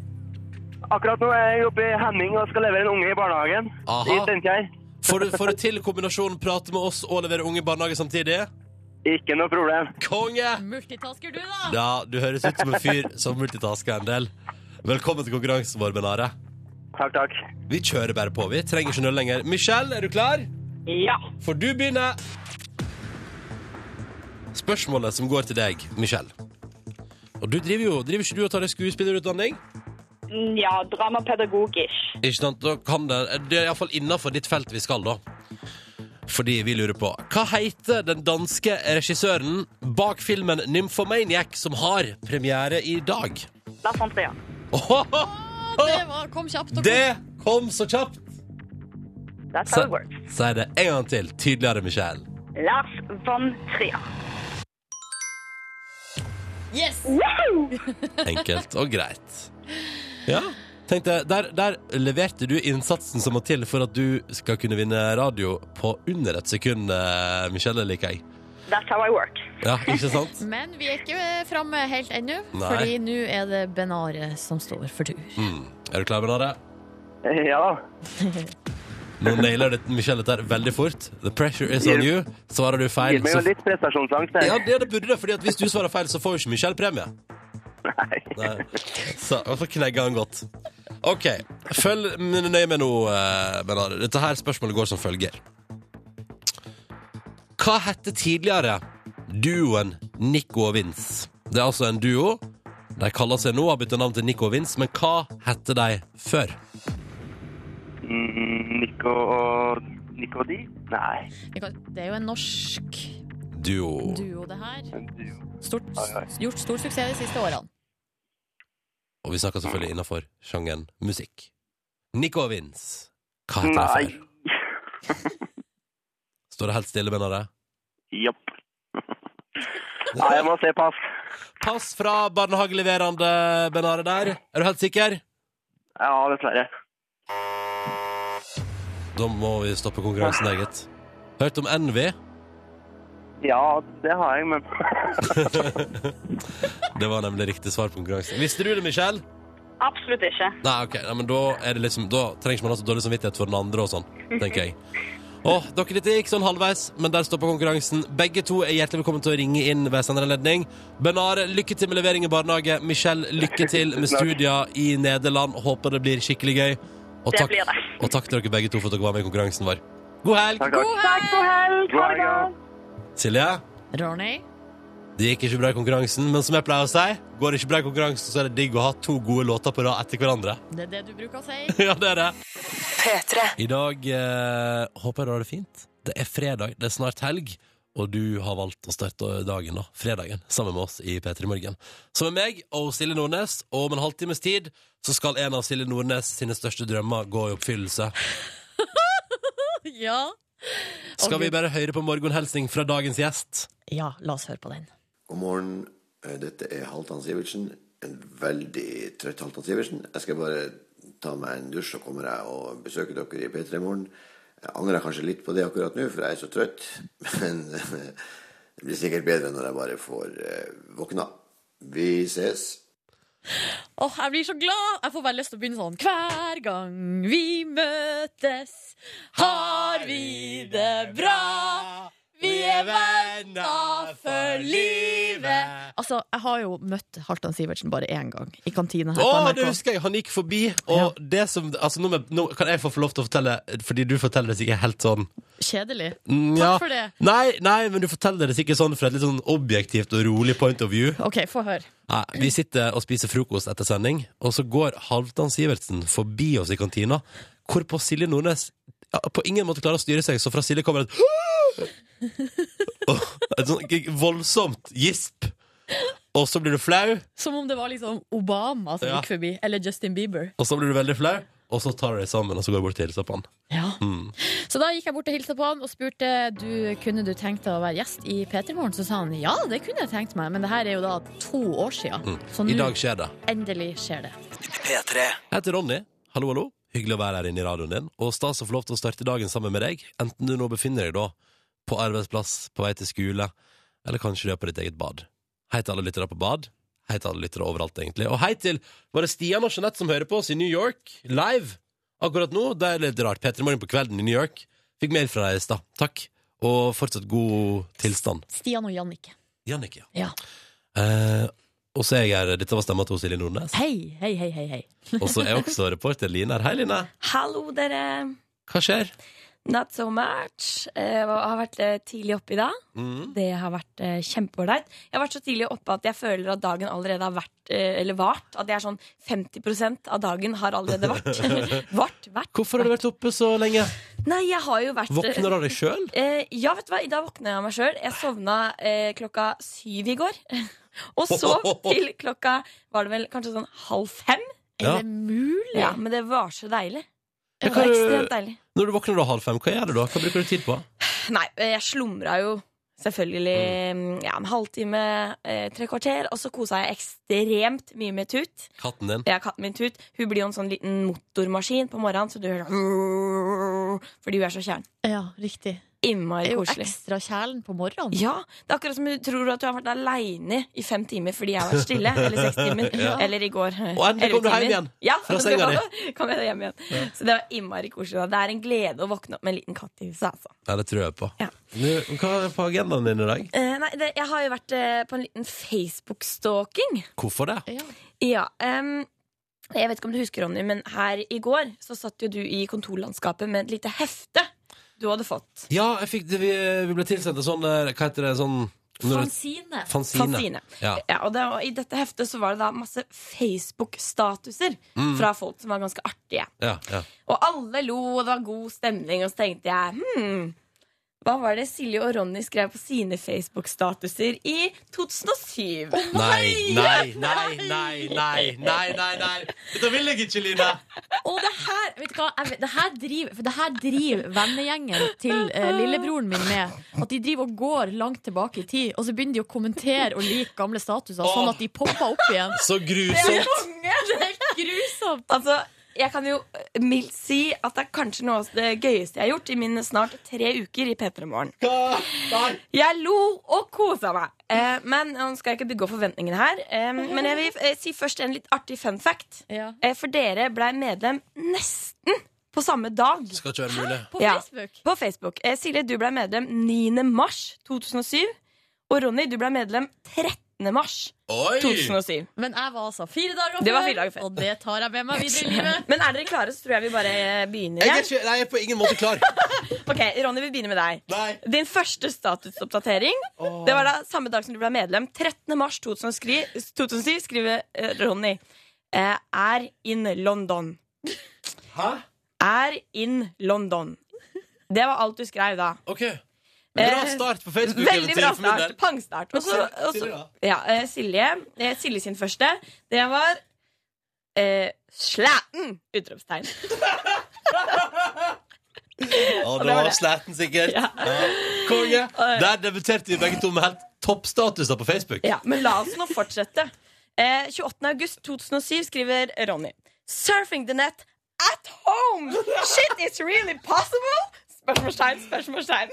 Speaker 9: Akkurat nå er jeg oppe i Henning og skal levere en unge i barnehagen.
Speaker 2: Aha.
Speaker 9: I Steinkjer.
Speaker 2: Får du, får du til kombinasjonen prate med oss og levere unge i barnehage samtidig?
Speaker 9: Ikke noe problem.
Speaker 2: Konge!
Speaker 6: Multitasker du, da?
Speaker 2: Ja, du høres ut som en fyr som multitasker en del. Velkommen til konkurransen vår, Ben Are.
Speaker 9: Takk, takk.
Speaker 2: Vi kjører bare på, vi. Trenger ikke nøl lenger. Michelle, er du klar?
Speaker 8: Ja.
Speaker 2: For du begynner. Spørsmålet som går til deg, Michelle. Og du driver jo, driver ikke du og tar deg skuespillerutdanning?
Speaker 8: Mm, Ja, dramapedagogisk.
Speaker 2: Ikke sant? Da kan det, det er iallfall innafor ditt felt vi skal, da. Fordi vi lurer på Hva heter den danske regissøren bak filmen 'Nymphomaniac', som har premiere i dag?
Speaker 8: Lars von Trier.
Speaker 2: Åhåhå!
Speaker 6: Det var, kom kjapt og
Speaker 2: Det kom så kjapt!
Speaker 8: That's how
Speaker 2: Så-
Speaker 8: it works.
Speaker 2: Sier det en gang til, tydeligere, Michelle.
Speaker 8: Lars von Trier.
Speaker 6: godt. Yes!
Speaker 2: Enkelt og greit. Ja. Tenkte, der, der leverte du innsatsen som må til for at du skal kunne vinne radio på under et sekund, eh, Michelle, liker jeg.
Speaker 8: That's how I work.
Speaker 2: Ja, ikke sant?
Speaker 6: Men vi er ikke eh, framme helt ennå,
Speaker 2: Nei.
Speaker 6: fordi nå er det Benare som står for tur.
Speaker 2: Mm. Er du klar, Benare?
Speaker 9: Ja da.
Speaker 2: Nå nailer det Michelle dette her veldig fort. The pressure is on you. Svarer du feil,
Speaker 9: Gir meg jo litt prestasjonsangst. jeg.
Speaker 2: Ja, det, det burde det, fordi at hvis du svarer feil, så får jo ikke Michelle premie.
Speaker 9: Nei.
Speaker 2: Nei. Så og så knegger han godt. OK. Følg m- nøye med nå, eh, Bernard. Dette her spørsmålet går som følger. Hva hette tidligere duoen Nico og Vince? Det er altså en duo. De kaller seg nå har byttet navn til Nico og Vince, men hva hette de før?
Speaker 9: Mm, Nico og Nico og de? Nei.
Speaker 6: Vi kan- Det er jo en norsk
Speaker 2: Duo.
Speaker 6: duo, det her.
Speaker 9: Men du-
Speaker 6: Stort,
Speaker 9: Oi, oi.
Speaker 6: gjort stor suksess de siste årene.
Speaker 2: Og vi snakker selvfølgelig innafor sjangeren musikk. Nico og Vince. Hva heter de
Speaker 9: Nei.
Speaker 2: før? Står det helt stille, Bernard?
Speaker 9: Jopp. Nei, jeg må se pass.
Speaker 2: Pass fra barnehageleverende Benare der. Er du helt sikker?
Speaker 9: Ja, dessverre.
Speaker 2: Da må vi stoppe konkurransen, der, gitt. Hørt om Envy?
Speaker 9: Ja, det har jeg, men
Speaker 2: Det var nemlig riktig svar på konkurransen. Visste du det, Michelle?
Speaker 8: Absolutt ikke.
Speaker 2: Nei, ok. Nei, men da, er det liksom, da trenger man altså dårlig samvittighet for den andre og sånn, tenker jeg. Åh, dere dette gikk sånn halvveis, men der stopper konkurransen. Begge to er hjertelig velkommen til å ringe inn ved senere anledning. Benare, lykke til med levering i barnehage. Michelle, lykke til med studier i Nederland. Håper det blir skikkelig gøy. Og
Speaker 8: Det
Speaker 2: takk,
Speaker 8: blir det.
Speaker 2: og takk til dere begge to for at dere var med i konkurransen vår. God helg!
Speaker 9: takk, takk.
Speaker 8: Takk for helg. Ha det godt.
Speaker 2: Silje?
Speaker 6: Ronny?
Speaker 2: Det gikk ikke bra i konkurransen, men som jeg pleier å si, går det ikke bra i konkurransen, så er det digg å ha to gode låter på rad etter hverandre.
Speaker 6: Det er det du bruker å si.
Speaker 2: ja, det er det.
Speaker 7: P3.
Speaker 2: I dag eh, håper jeg du har det fint. Det er fredag, det er snart helg, og du har valgt å starte dagen, da, fredagen, sammen med oss i P3 Morgen. Så med meg og Silje Nordnes, og om en halvtimes tid, så skal en av Silje Nordnes sine største drømmer gå i oppfyllelse.
Speaker 6: Ja.
Speaker 2: Skal vi bare høre på morgenhelsing fra dagens gjest?
Speaker 6: Ja, la oss høre på den.
Speaker 10: God morgen. Eh, Dette er Halvdan Sivertsen. En veldig trøtt Halvdan Sivertsen. Jeg skal bare ta meg en dusj, så kommer jeg og besøker dere i P3 i morgen. Jeg angrer kanskje litt på det akkurat nå, for jeg er så trøtt. Men eh, det blir sikkert bedre når jeg bare får eh, våkna. Vi ses.
Speaker 6: Åh, jeg blir så glad! Jeg får bare lyst til å begynne sånn. Hver gang vi møtes, har vi det bra. Vi er venner for livet. Altså, jeg har jo møtt Halvdan Sivertsen bare én gang, i kantina her
Speaker 2: Å,
Speaker 6: på
Speaker 2: det
Speaker 6: NRK.
Speaker 2: husker jeg! Han gikk forbi, og det som altså, nå, med, nå kan jeg få få lov til å fortelle, fordi du forteller det sikkert helt sånn
Speaker 6: Kjedelig.
Speaker 2: mm,
Speaker 6: Takk
Speaker 2: ja.
Speaker 6: for det.
Speaker 2: Nei, nei, men du forteller det sikkert sånn fra et litt sånn objektivt og rolig point of view.
Speaker 6: OK, få høre.
Speaker 2: Nei, vi sitter og spiser frokost etter sending, og så går Halvdan Sivertsen forbi oss i kantina, hvorpå Silje Nordnes ja, på ingen måte klarer å styre seg, så fra Silje kommer et Og Et sånn g- voldsomt gisp. Og så blir du flau,
Speaker 6: Som om det var liksom Obama som
Speaker 2: Ja.
Speaker 6: gikk forbi, eller Justin Bieber.
Speaker 2: og så blir du veldig flau, og så tar du deg sammen og så går du bort til og hilser på han.
Speaker 6: Ja. Mm. Så da gikk jeg bort og hilste på han og spurte du, kunne du tenkt deg å være gjest i P3morgen. Så sa han ja, det kunne jeg tenkt meg, men det her er jo da to år siden. Så
Speaker 2: Mm. I
Speaker 6: nå
Speaker 2: dag skjer det.
Speaker 6: endelig skjer det.
Speaker 2: Jeg heter Ronny. Hallo, hallo. Hyggelig å være her inne i radioen din. Og stas å få lov til å starte dagen sammen med deg, enten du nå befinner deg da på arbeidsplass, på vei til skole, eller kanskje du er på ditt eget bad. Hei til alle lyttere på bad. Hei til alle lyttere overalt, egentlig. Og hei til bare Stian og Jeanette som hører på oss i New York, live akkurat nå. Det er litt rart. P3 Morgen på kvelden i New York. Fikk mail fra deg i stad. Takk. Og fortsatt god tilstand.
Speaker 6: Stian og Jannicke.
Speaker 2: Jannicke.
Speaker 6: Ja.
Speaker 2: Eh, og så er jeg her. Dette var stemma til Silje Nordnes.
Speaker 6: Hei, hei, hei, hei. hei.
Speaker 2: Og så er også reporter Line her. Hei, Line.
Speaker 11: Hallo, dere.
Speaker 2: Hva skjer?
Speaker 11: Not so much. Eh, og har vært eh, tidlig oppe i dag.
Speaker 2: Mm.
Speaker 11: Det har vært eh, kjempeålreit. Jeg har vært så tidlig oppe at jeg føler at dagen allerede har vært, eh, eller vart. At jeg er sånn 50 av dagen har allerede vært. vart, vært.
Speaker 2: Hvorfor har du vært oppe så lenge?
Speaker 11: Nei, jeg har jo vært
Speaker 2: Våkner av deg sjøl?
Speaker 11: Eh, ja, vet du hva, i dag våkna jeg av meg sjøl. Jeg sovna eh, klokka syv i går. Og sov til klokka var det vel kanskje sånn halv fem.
Speaker 2: Ja.
Speaker 6: Er det mulig?
Speaker 11: Ja, Men det var så deilig.
Speaker 2: Ja, hva
Speaker 11: Det
Speaker 2: er-
Speaker 11: var ekstremt deilig.
Speaker 2: Når du våkner da halv fem, hva gjør du da? Hva bruker du tid på?
Speaker 11: Nei, eh, jeg slumra jo selvfølgelig mm, ja, en halvtime, eh, tre kvarter. Og så kosa jeg ekstremt mye med Tut.
Speaker 2: Katten din?
Speaker 11: Ja, katten min Tut Hun blir jo en sånn liten motormaskin på morgenen, så du hører sånn Fordi hun er så kjern.
Speaker 6: Ja, riktig.
Speaker 11: Innmari
Speaker 6: Er jo
Speaker 11: koselig.
Speaker 6: ekstra kjælen på morgenen.
Speaker 11: Ja, det er akkurat som du tror at du har vært aleine i fem timer fordi jeg har vært stille. Eller seks timer. Eller i går.
Speaker 2: Og endelig kom du hjem igjen
Speaker 11: Ja,
Speaker 2: fra senga
Speaker 11: Kom jeg hjem igjen. Så det var innmari koselig. da. Det er en glede å våkne opp med en liten katt i huset. Altså.
Speaker 2: Ja, det tror jeg på.
Speaker 11: Ja.
Speaker 2: Nå, hva er på agendaen din i dag?
Speaker 11: Eh, nei, det, jeg har jo vært eh, på en liten Facebook-stalking.
Speaker 2: Hvorfor det?
Speaker 6: Ja.
Speaker 11: Ja, em, jeg vet ikke om du husker, Ronny, men her i går så satt jo du i kontorlandskapet med et lite hefte du hadde fått.
Speaker 2: Ja, jeg fikk det, vi, vi ble tilsendt en sånn eh, Hva heter det? Sånn når det-
Speaker 6: Fanzine.
Speaker 2: Fanzine.
Speaker 11: Fanzine.
Speaker 2: Ja.
Speaker 11: Ja, og, det, og I dette heftet så var det da masse Facebook-statuser fra folk som var ganske artige.
Speaker 2: Ja, ja.
Speaker 11: Og alle lo, og det var god stemning, og så tenkte jeg hmm, hva var det Silje og Ronny skrev på sine Facebook-statuser i 2007?
Speaker 2: Nei, nei, nei, nei, nei, nei, nei, nei. Dette vil jeg ikke, Line.
Speaker 6: Og det her, vet du hva, jeg vet, det her driver, for det her driver vennegjengen til eh, lillebroren min med. At de driver og går langt tilbake i tid, og så begynner de å kommentere og like gamle statuser, sånn at de popper opp igjen.
Speaker 2: Så grusomt.
Speaker 6: Grusomt!
Speaker 11: Altså, jeg kan jo eh, mildt si at det er kanskje noe av det gøyeste jeg har gjort i mine snart tre uker i P3 Morgen. Jeg lo og kosa meg. Eh, men nå skal jeg ikke bygge opp forventningene her. Eh, men jeg vil eh, si først en litt artig fun fact.
Speaker 6: Ja.
Speaker 11: Eh, for dere blei medlem nesten på samme dag.
Speaker 2: Skal ikke være mulig.
Speaker 6: På
Speaker 11: Ja.
Speaker 6: Facebook.
Speaker 11: På Facebook. Eh, Silje, du blei medlem 9. mars 2007. Og Ronny, du blei medlem 13. mars
Speaker 2: Oi!
Speaker 11: 2007.
Speaker 6: Men jeg var altså fire dager
Speaker 11: Det var fire dager før.
Speaker 6: og det tar jeg med meg videre i livet.
Speaker 11: Men er dere klare, så tror jeg vi bare eh, begynner
Speaker 2: Jeg er,
Speaker 11: igjen.
Speaker 2: ikke, nei, jeg er på ingen måte klar.
Speaker 11: Ok, Ronny, vi begynner med deg.
Speaker 2: Nei.
Speaker 11: Din første statusoppdatering Det var da samme dag som du ble medlem. 13. mars 2007, 2007 skriver eh, Ronny eh, Er in London.
Speaker 2: Hæ?
Speaker 11: Er in London. Det var alt du skrev da.
Speaker 2: OK. Bra start på Facebook.
Speaker 11: Eh, Veldig bra
Speaker 2: eventyr for min
Speaker 11: start.
Speaker 2: del.
Speaker 11: Pangstart. Og så- og
Speaker 2: Silje,
Speaker 11: så-
Speaker 2: da?
Speaker 11: ja, eh, Silje. Eh, Silje sin første. Det var eh, Slæten! Utropstegn.
Speaker 2: Å,
Speaker 11: det
Speaker 2: det
Speaker 11: var
Speaker 2: var
Speaker 11: det.
Speaker 2: sliten, sikkert. Ja. Konge. Der debuterte vi begge to med helt toppstatuser på Facebook.
Speaker 11: Ja, men la oss nå fortsette. Eh, 28. august 2007 skriver Ronny Surfing the net at home! Shit is really possible! Spørsmålstegn, spørsmålstegn.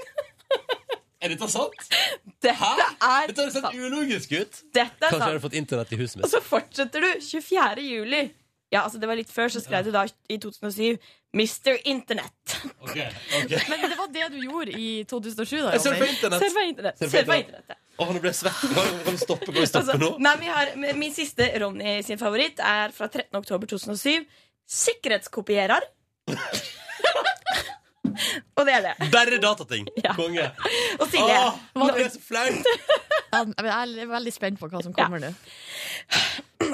Speaker 2: Er dette sant?
Speaker 11: Dette er
Speaker 2: Dette høres helt
Speaker 11: sant.
Speaker 2: ulogisk ut.
Speaker 11: Dette er
Speaker 2: Kanskje jeg har
Speaker 11: sant. Altså,
Speaker 2: fått internett i huset
Speaker 11: Og
Speaker 2: mitt.
Speaker 11: så fortsetter du 24. juli. Ja, altså Det var litt før, så skrev du da i 2007 Mr. Internett.
Speaker 2: Okay, okay.
Speaker 6: Men det var det du gjorde i 2007, da,
Speaker 2: Jeg surfer på
Speaker 6: Ronny.
Speaker 2: internett.
Speaker 11: Surfa internett.
Speaker 2: Surfa
Speaker 11: Surfa
Speaker 2: internett.
Speaker 11: internett. ja.
Speaker 2: Å, nå ble jeg svett. Kan vi- kan vi stoppe, kan vi stoppe
Speaker 11: Altså,
Speaker 2: nå?
Speaker 11: nei, vi har, min siste Ronny sin favoritt er fra 13. oktober 2007. Sikkerhetskopierer. og det er det.
Speaker 2: Bare datating.
Speaker 11: Ja.
Speaker 2: Konge.
Speaker 11: Og Silje,
Speaker 2: Åh, nå ble jeg så flaut.
Speaker 6: Ja, men Jeg er veldig spent på hva som kommer nå.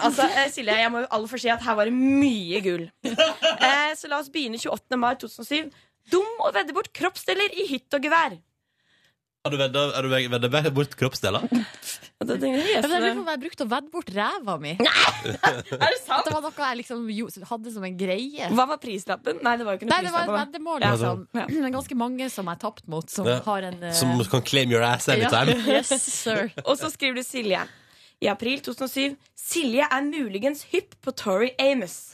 Speaker 11: altså, eh, Silje, jeg må jo aller først si at her var det mye gull. Eh, så la oss begynne 28. mai 2007. Dum å vedde bort kroppsdeler i hytt og gevær.
Speaker 2: Har du vedda- Har du vedda vedda bort kroppsdeler?
Speaker 11: Og da tenker jeg,
Speaker 6: Ja, men jeg lurer på
Speaker 11: jøss,
Speaker 6: om jeg brukte å vedde bort ræva mi.
Speaker 11: Er det
Speaker 6: At
Speaker 11: sant?
Speaker 6: det var noe jeg liksom jo, hadde som en greie.
Speaker 11: Hva var prislappen? Nei, det var jo ikke noe
Speaker 6: Nei, det var et
Speaker 11: prislapp på det.
Speaker 6: veddemål,
Speaker 11: Ja.
Speaker 6: liksom.
Speaker 11: Ja.
Speaker 6: Det er ganske mange som jeg tapte mot, som
Speaker 2: Ja.
Speaker 6: har en eh,
Speaker 2: Som kan claim your ass anytime?
Speaker 6: Ja, yes, sir.
Speaker 11: Og så skriver du Silje. I april 2007. Silje er muligens hypp på Tori Amos.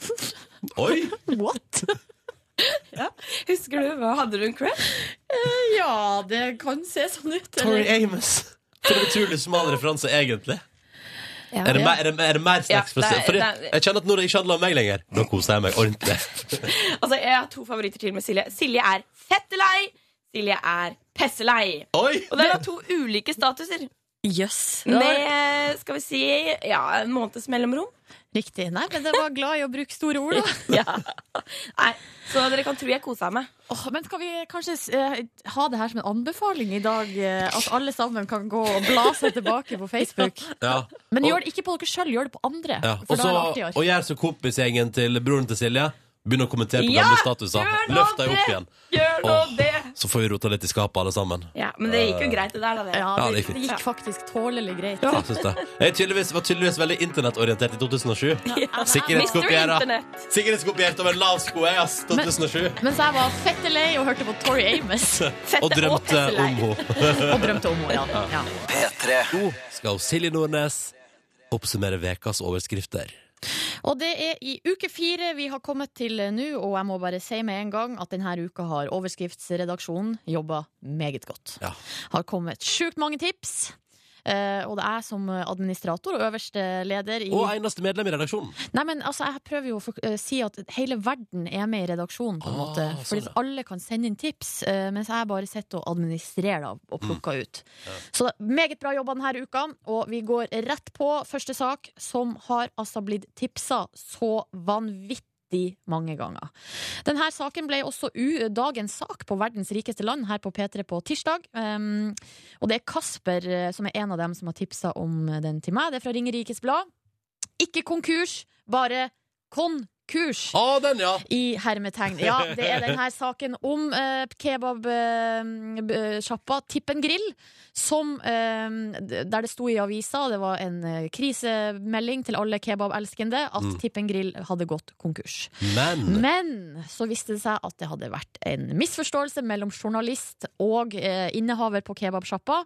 Speaker 2: Oi!
Speaker 6: What?
Speaker 11: Husker du, hva hadde du en crush? Eh,
Speaker 6: Ja, det kan se sånn ut.
Speaker 2: Tori Amos. For en utrolig smal referanse, egentlig.
Speaker 6: Ja.
Speaker 2: Er det, mer- er det, er det mer snacks?
Speaker 11: Ja,
Speaker 2: for-
Speaker 11: det er-
Speaker 2: Fordi
Speaker 11: det er-
Speaker 2: jeg kjenner at når det ikke handler om meg lenger, da koser jeg meg ordentlig.
Speaker 11: Altså, Jeg har to favoritter til med Silje. Silje er fettelei. Silje er pesselei.
Speaker 2: Oi!
Speaker 11: Og det er da to ulike statuser.
Speaker 6: Jøss.
Speaker 11: Med eh, skal vi si ja, en måneds mellomrom.
Speaker 6: Riktig. Nei, men jeg var glad i å bruke store ord, da.
Speaker 11: Nei, Så dere kan tro jeg kosa meg.
Speaker 6: Åh, men skal vi kanskje eh, ha det her som en anbefaling i dag? eh, at alle sammen kan gå og bla seg tilbake på Facebook.
Speaker 2: Ja.
Speaker 6: Men
Speaker 2: Og-
Speaker 6: gjør det ikke på dere sjøl, gjør det på andre.
Speaker 2: Ja.
Speaker 6: For
Speaker 2: Og,
Speaker 6: da er det
Speaker 2: så,
Speaker 6: artigere.
Speaker 2: og gjør så kompisgjengen til broren til Silje. Begynn å kommentere på
Speaker 11: Ja,
Speaker 2: gamle statuser.
Speaker 11: gjør nå
Speaker 2: Løft deg opp
Speaker 11: det!
Speaker 2: igjen.
Speaker 11: Gjør nå
Speaker 2: Åh.
Speaker 11: det!
Speaker 2: Så får vi rota litt i skapet, alle sammen.
Speaker 11: Ja, Men det gikk jo greit, det der. da det.
Speaker 6: Ja,
Speaker 2: Ja,
Speaker 6: det,
Speaker 2: det er fint.
Speaker 6: det gikk faktisk tålelig greit.
Speaker 2: Ja, syns det. Jeg er tydeligvis, var tydeligvis veldig internettorientert i 2007.
Speaker 11: Mister du
Speaker 2: Sikkerhetskopiert
Speaker 11: internett?
Speaker 2: Sikkerhetskopiert over en lav sko, jeg, ass. 2007.
Speaker 6: Mens jeg var fettelei og hørte på Tori Amos
Speaker 2: Og drømte
Speaker 6: fesselei.
Speaker 2: om henne.
Speaker 6: og drømte om henne. Ja. Ja.
Speaker 2: Nå skal Silje Nordnes oppsummere vekas overskrifter.
Speaker 6: Og det er i uke fire vi har kommet til nå, og jeg må bare si med en gang at denne uka har overskriftsredaksjonen jobba meget godt.
Speaker 2: Ja.
Speaker 6: Har kommet sjukt mange tips. eh, og det er jeg som administrator og øverste leder i
Speaker 2: Og eneste medlem i redaksjonen.
Speaker 6: Nei, men altså, jeg prøver jo å fork- eh, si at hele verden er med i redaksjonen, på en
Speaker 2: Ah,
Speaker 6: måte.
Speaker 2: sånn,
Speaker 6: Fordi
Speaker 2: ja.
Speaker 6: at alle kan sende inn tips, eh, mens jeg bare sitter og administrerer da, og
Speaker 2: Mm.
Speaker 6: plukker ut. Så det er meget bra jobba denne uka, og vi går rett på første sak, som har altså blitt tipsa så vanvittig. Mange ganger. Denne saken ble også u dagens sak på verdens rikeste land her på P3 på tirsdag. Um, og det er Kasper eh, som er en av dem som har tipsa om den til meg. Det er fra Ringerikes Blad. Ikke konkurs, bare konkurs.
Speaker 2: Å, den, ja!
Speaker 6: I hermetegn. Ja, det er denne saken om eh, uh, kebabsjappa Tippen Grill, som eh, d- Der det sto i avisa, det var en eh, krisemelding til alle kebabelskende, at
Speaker 2: Mm.
Speaker 6: Tippen Grill hadde gått konkurs.
Speaker 2: Men
Speaker 6: Men så viste det seg at det hadde vært en misforståelse mellom journalist og eh, innehaver på kebabsjappa.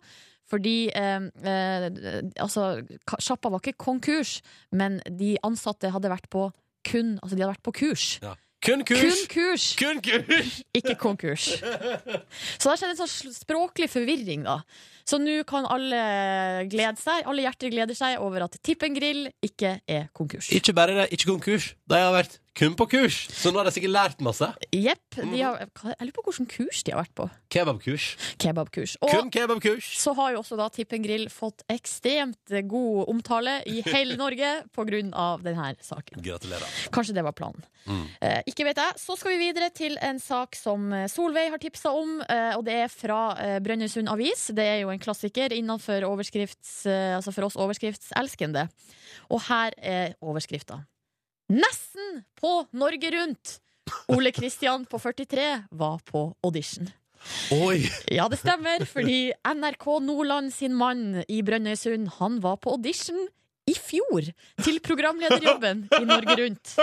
Speaker 6: Fordi eh, eh, altså, ka- sjappa var ikke konkurs, men de ansatte hadde vært på kun Altså, de hadde vært på kurs.
Speaker 2: kun
Speaker 6: Kun
Speaker 2: kurs!
Speaker 6: kurs,
Speaker 2: Kun kurs!
Speaker 6: ikke konkurs. Så der skjedde en sånn sl- språklig forvirring, da. Så nå kan alle glede seg, alle hjerter gleder seg over at Tippen Grill ikke er konkurs.
Speaker 2: Ikke bare det, ikke konkurs. De har vært kun på kurs, så nå har de sikkert lært masse.
Speaker 6: Jepp. de har- Jeg lurer på hvilken kurs de har vært på.
Speaker 2: Kebabkurs.
Speaker 6: Kebabkurs. Og
Speaker 2: Kun kebabkurs.
Speaker 6: så har jo også da Tippen Grill fått ekstremt god omtale i hele Norge pga. denne saken.
Speaker 2: Gratulerer.
Speaker 6: Kanskje det var planen. Eh, ikke vet jeg. Så skal vi videre til en sak som eh, Solveig har tipsa om, eh, og det er fra eh, Brønnøysund Avis. Det er jo en klassiker innenfor overskrifts, eh, altså for oss overskriftselskende. Og her er overskrifta. Nesten på Norge Rundt! Ole Kristian på 43 var på audition.
Speaker 2: Oi!
Speaker 6: Ja, det stemmer, fordi NRK Nordland sin mann i Brønnøysund, han var på audition i fjor til programlederjobben i Norge Rundt.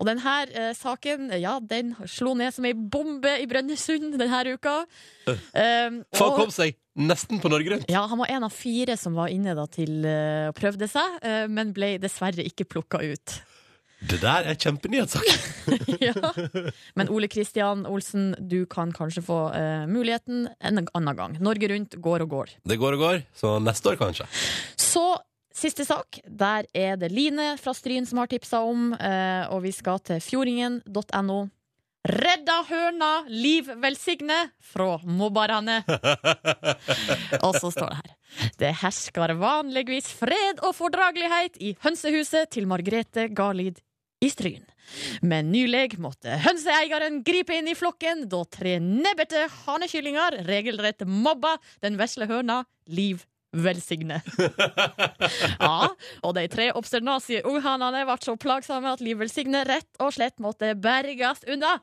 Speaker 6: Og denne saken, ja, den slo ned som ei bombe i Brønnøysund denne uka. Um,
Speaker 2: Folk
Speaker 6: og-
Speaker 2: kom seg nesten på Norge Rundt.
Speaker 6: ja, han var en av fire som var inne da til eh, og prøvde seg, eh, men ble dessverre ikke plukka ut.
Speaker 2: Det der er kjempenyhetssak.
Speaker 6: ja. Men Ole Kristian Olsen, du kan kanskje få eh, muligheten en annen gang. Norge Rundt går og går.
Speaker 2: Det går og går, så neste år kanskje.
Speaker 6: Så siste sak. Der er det Line fra Stryn som har tipsa om, eh, og vi skal til fjordingen.no. Redda høna, liv velsigne, fra mobbarane. og så står det her. Det hersker vanligvis fred og fordragelighet i hønsehuset til Margrethe Garlid i Stryn. Men nylig måtte hønseeieren gripe inn i flokken da tre nebbete hanekyllinger regelrett mobba den vesle høna Liv velsigne. ja, og de tre obsternasie unghanene ble så plagsomme at Liv velsigne rett og slett måtte berges unna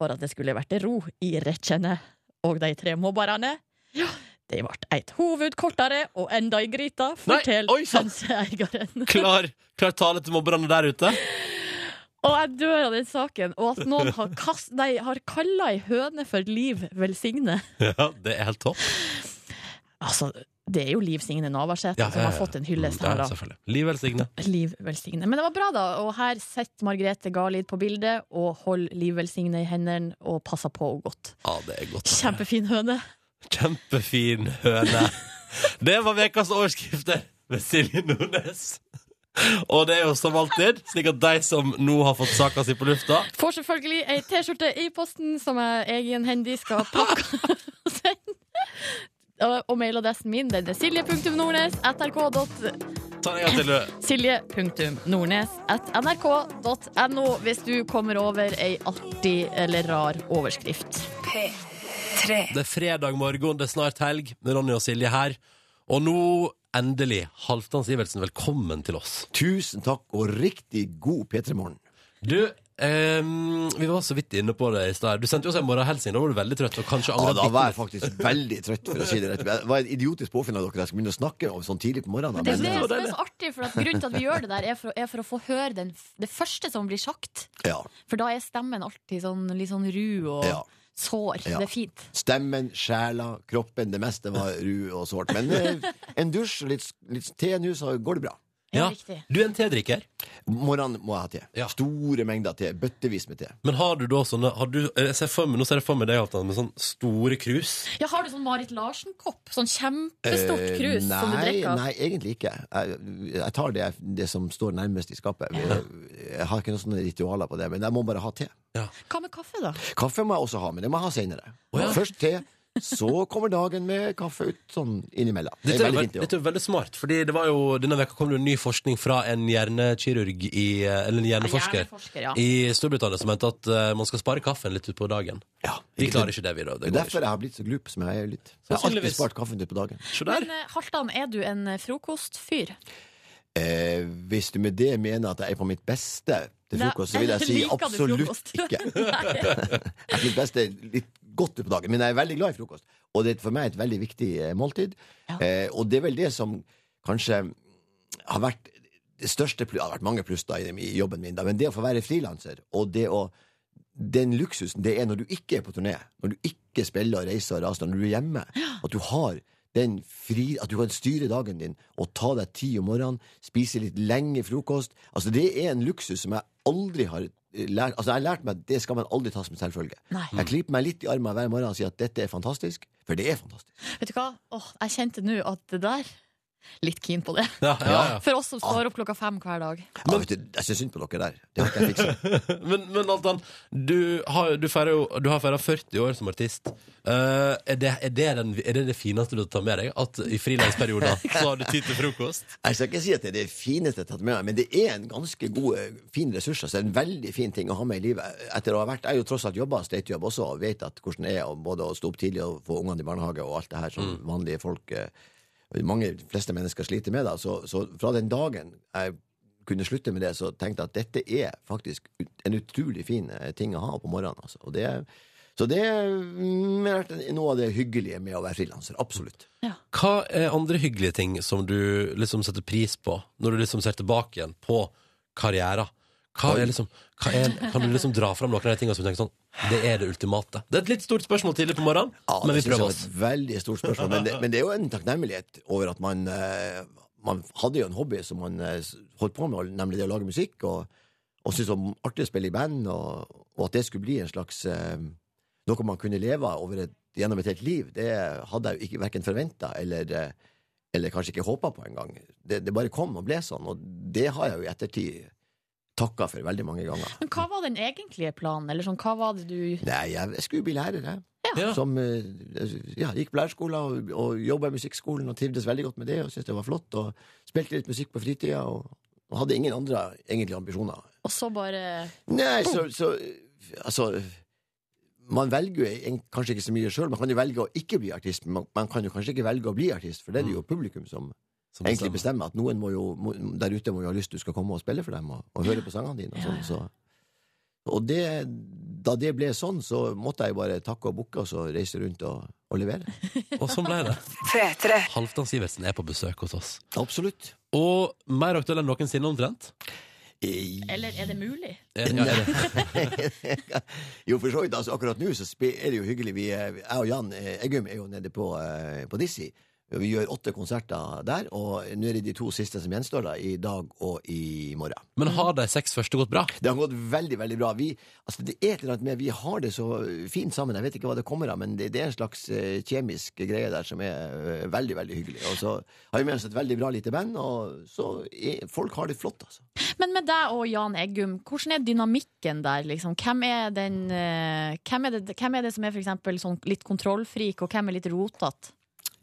Speaker 6: for at det skulle vært ro i rettskjennet. Og de tre mobberne ja, de ble et hoved kortere og enda i gryta,
Speaker 2: Nei,
Speaker 6: forteller
Speaker 2: oi, sant.
Speaker 6: hønseeieren.
Speaker 2: Klar, klar tale til mobberne der ute.
Speaker 6: Og jeg dør av den saken. Og at noen har, kast, nei, har kalla ei høne for Liv Velsigne.
Speaker 2: Ja, det er helt topp.
Speaker 6: Altså, det er jo Liv Signe Navarsete
Speaker 2: Altså,
Speaker 6: som har fått en hyllest
Speaker 2: Ja, Mm,
Speaker 6: her, da.
Speaker 2: selvfølgelig. Liv velsigne.
Speaker 6: Liv Velsigne. Men det var bra, da. Og her sitter Margrethe Garlid på bildet og holder Liv Velsigne i hendene og passer på henne godt.
Speaker 2: Ja, det er godt.
Speaker 6: Kjempefin høne.
Speaker 2: Kjempefin høne. Det var ukas overskrifter ved Silje Nordnes. Og det er jo som alltid, slik at de som nå har fått saka si på lufta
Speaker 6: Får selvfølgelig ei T-skjorte i posten som jeg egenhendig skal pakke og sende. Og, og mailadressen min den er silje.nordnes
Speaker 2: Ta en gang til, du.
Speaker 6: nrk.no hvis du kommer over ei artig eller rar overskrift.
Speaker 7: P3.
Speaker 2: Det er fredag morgen, det er snart helg. Med Ronny og Silje her. Og nå, endelig, Halvdan Sivertsen, velkommen til oss.
Speaker 12: Tusen takk, og riktig god P3-morgen.
Speaker 2: Du, ehm, vi var så vidt inne på det i stad. Du sendte jo oss en morgenhilsen. Da var du veldig trøtt og kanskje
Speaker 12: Ja,
Speaker 2: angret
Speaker 12: da
Speaker 2: litt.
Speaker 12: var jeg faktisk veldig trøtt, for å si det rett. Det var en idiotisk påfinn av dere. Jeg skulle begynne å snakke om sånn tidlig på
Speaker 6: Det
Speaker 12: morgenen.
Speaker 6: er det
Speaker 12: Men,
Speaker 6: som er så artig, for at grunnen til at vi gjør det der, er for, er for å få høre den, det første som blir sagt.
Speaker 12: ja,
Speaker 6: For da er stemmen alltid sånn, litt sånn ru og
Speaker 12: Ja.
Speaker 6: sår.
Speaker 12: Ja.
Speaker 6: Det er fint.
Speaker 12: stemmen, sjela, kroppen, det meste var ru og sårt. Men eh, en dusj og litt, litt te nå, så går det bra.
Speaker 6: Ja,
Speaker 2: Ja.
Speaker 6: riktig.
Speaker 2: Du er en tedrikker.
Speaker 12: Morgenen må jeg ha te.
Speaker 2: Ja.
Speaker 12: Store mengder te. Bøttevis med te.
Speaker 2: Men har du da sånne har du, jeg ser for meg, Nå ser jeg for meg deg, Halvdan, med sånn store krus.
Speaker 6: Ja, har du sånn Marit Larsen-kopp? Sånn kjempestort
Speaker 12: Eh,
Speaker 6: krus som du
Speaker 12: nei,
Speaker 6: drikker av?
Speaker 12: Nei, egentlig ikke. Jeg, jeg tar det, jeg- det som står nærmest i skapet. Jeg, jeg har ikke noen sånne ritualer på det, men jeg må bare ha te.
Speaker 6: Hva med kaffe, da?
Speaker 12: Kaffe må jeg også ha, men det må jeg ha senere. Først te, så kommer dagen med kaffe ut sånn innimellom. Det
Speaker 2: Dette
Speaker 12: er
Speaker 2: er,
Speaker 12: veldig
Speaker 2: veld,
Speaker 12: fint, det
Speaker 2: dette er veldig smart, fordi det var jo, denne veka kom det jo ny forskning fra en hjernekirurg i, eh, eller en hjerneforsker,
Speaker 6: Hjerneforsker, ja.
Speaker 2: i Storbritannia som mente at eh, man skal spare kaffen litt utpå dagen.
Speaker 12: Ja,
Speaker 2: Vi klarer ikke det, vi, da.
Speaker 12: Det
Speaker 2: Det
Speaker 12: er
Speaker 2: går
Speaker 12: derfor
Speaker 2: ikke.
Speaker 12: jeg har blitt så glup som jeg er blitt. Jeg har alltid
Speaker 2: Sannsynligvis.
Speaker 12: spart kaffen ut på dagen.
Speaker 2: Se der.
Speaker 6: Men eh, Halvdan, er du en eh, frokostfyr?
Speaker 12: Eh, hvis du med det mener at jeg er på mitt beste til
Speaker 6: Nei,
Speaker 12: frokost, så vil jeg si
Speaker 6: liker du
Speaker 12: absolutt
Speaker 6: frokost?
Speaker 12: ikke.
Speaker 6: Nei.
Speaker 12: Jeg synes best det er litt godt ut på dagen, men jeg er veldig glad i frokost. Og det er for meg et veldig viktig eh, måltid. Eh, og det er vel det som kanskje har vært det største plu- Det har vært mange pluss da i i jobben min, da, men det å få være frilanser og det å den luksusen det er når du ikke er på turné, når du ikke spiller og reiser og raser, når du er hjemme, at du har den fri, at du kan styre dagen din og ta deg tid om morgenen, spise litt lenge frokost Altså, det er en luksus som jeg aldri har eh, lært Altså, jeg har lært meg at det skal man aldri ta som selvfølge.
Speaker 6: Nei.
Speaker 12: Jeg klyper meg litt i armen hver morgen og sier at dette er fantastisk, for det er fantastisk.
Speaker 6: Vet du hva? Åh, jeg kjente nå at det der Litt keen på det.
Speaker 2: Ja, ja, ja.
Speaker 6: For oss som står opp klokka fem hver dag.
Speaker 12: Ja, vet du, jeg syns synd på dere der. Det har ikke jeg fiksa.
Speaker 2: Men, men Altan, du har, du, feirer jo, du har feira 40 år som artist. Eh, er, det, er, det den, er det det fineste du tar med deg? At i frilansperioden så har du tid til frokost?
Speaker 12: Jeg skal ikke si at det er det fineste jeg har tatt med meg, men det er en ganske god, eh, fin ressurs. Altså en veldig fin ting å ha med i livet. Etter å ha vært, Jeg har jo tross alt jobba støytejobb også, og vet at hvordan det er å både å stå opp tidlig og få ungene i barnehage og alt det her som vanlige folk eh, mange de fleste mennesker sliter med. Da. Så, så fra den dagen jeg kunne slutte med det, så tenkte jeg at dette er faktisk ut- en utrolig fin eh, ting å ha på morgenen. Altså. Og det, så det mm, har vært noe av det hyggelige med å være frilanser. Absolutt.
Speaker 2: Hva er andre hyggelige ting som du liksom setter pris på, når du liksom ser tilbake igjen på karriera? Hva er liksom, hva er, kan du liksom dra fram noen av de tingene som du tenker sånn Det er det ultimate. Det er et litt stort spørsmål tidlig på morgenen,
Speaker 12: Ja,
Speaker 2: men
Speaker 12: det
Speaker 2: vi
Speaker 12: synes jeg
Speaker 2: prøver
Speaker 12: var
Speaker 2: oss.
Speaker 12: et veldig stort spørsmål. Men det, men det er jo en takknemlighet over at man eh, Man hadde jo en hobby som man eh, s- holdt på med, nemlig det å lage musikk, og, og syntes det var artig å spille i band, og, og at det skulle bli en slags eh, Noe man kunne leve av over et, gjennom et helt liv, det hadde jeg jo ikke verken forventa eller eh, eller kanskje ikke håpa på engang. Det, det bare kom og ble sånn, og det har jeg jo i ettertid takka for veldig mange ganger.
Speaker 6: Men hva var den egentlige planen? Eller sånn, hva var det du
Speaker 12: Nei, jeg, jeg skulle bli lærer, jeg.
Speaker 2: Ja.
Speaker 12: Som eh, ja, gikk på lærerskolen og, og jobba i musikkskolen og trivdes veldig godt med det og syntes det var flott. Og spilte litt musikk på fritida og, og hadde ingen andre egentlig ambisjoner.
Speaker 6: Og så bare
Speaker 12: Nei, så, så Altså man velger jo en- kanskje ikke så mye sjøl. Man kan jo velge å ikke bli artist, men man- man kan jo kanskje ikke velge å bli artist, for det er det jo
Speaker 6: Mm.
Speaker 12: publikum som
Speaker 2: Som
Speaker 12: egentlig
Speaker 2: bestemmer.
Speaker 12: bestemmer. At noen må jo, må, der ute må jo ha lyst til du skal komme og spille for dem og, og høre på sangene dine. Og, sånn, så. og det, da det ble sånn, så måtte jeg jo bare takke og bukke og så reise rundt og, og levere.
Speaker 2: Og sånn ble det.
Speaker 7: P3.
Speaker 2: Halvdan Sivertsen er på besøk hos oss.
Speaker 12: Absolutt.
Speaker 2: Og mer aktuell enn noensinne, omtrent.
Speaker 12: Eh,
Speaker 6: Eller er det mulig?
Speaker 2: Er, ja, er det.
Speaker 12: jo, for så vidt. Altså, akkurat nå så spe- er det jo hyggelig. Vi, eh, jeg og Jan eh, Eggum er jo nede på, eh, på Dizzie. Vi gjør åtte konserter der, og nå er det de to siste som gjenstår, da, i dag og i morgen.
Speaker 2: Men har de seks første gått bra?
Speaker 12: Det har gått veldig, veldig bra. Vi, altså det er et eller annet med, vi har det så fint sammen. Jeg vet ikke hva det kommer av, men det, det er en slags eh, kjemisk greie der som er eh, veldig veldig hyggelig. Og så har vi med oss et veldig bra lite band, og så er, folk har det flott, altså.
Speaker 6: Men med deg og Jan Eggum, hvordan er dynamikken der? Liksom? Hvem, er den, eh, hvem, er det, hvem er det som er for eksempel sånn litt kontrollfrik, og hvem er litt rotete?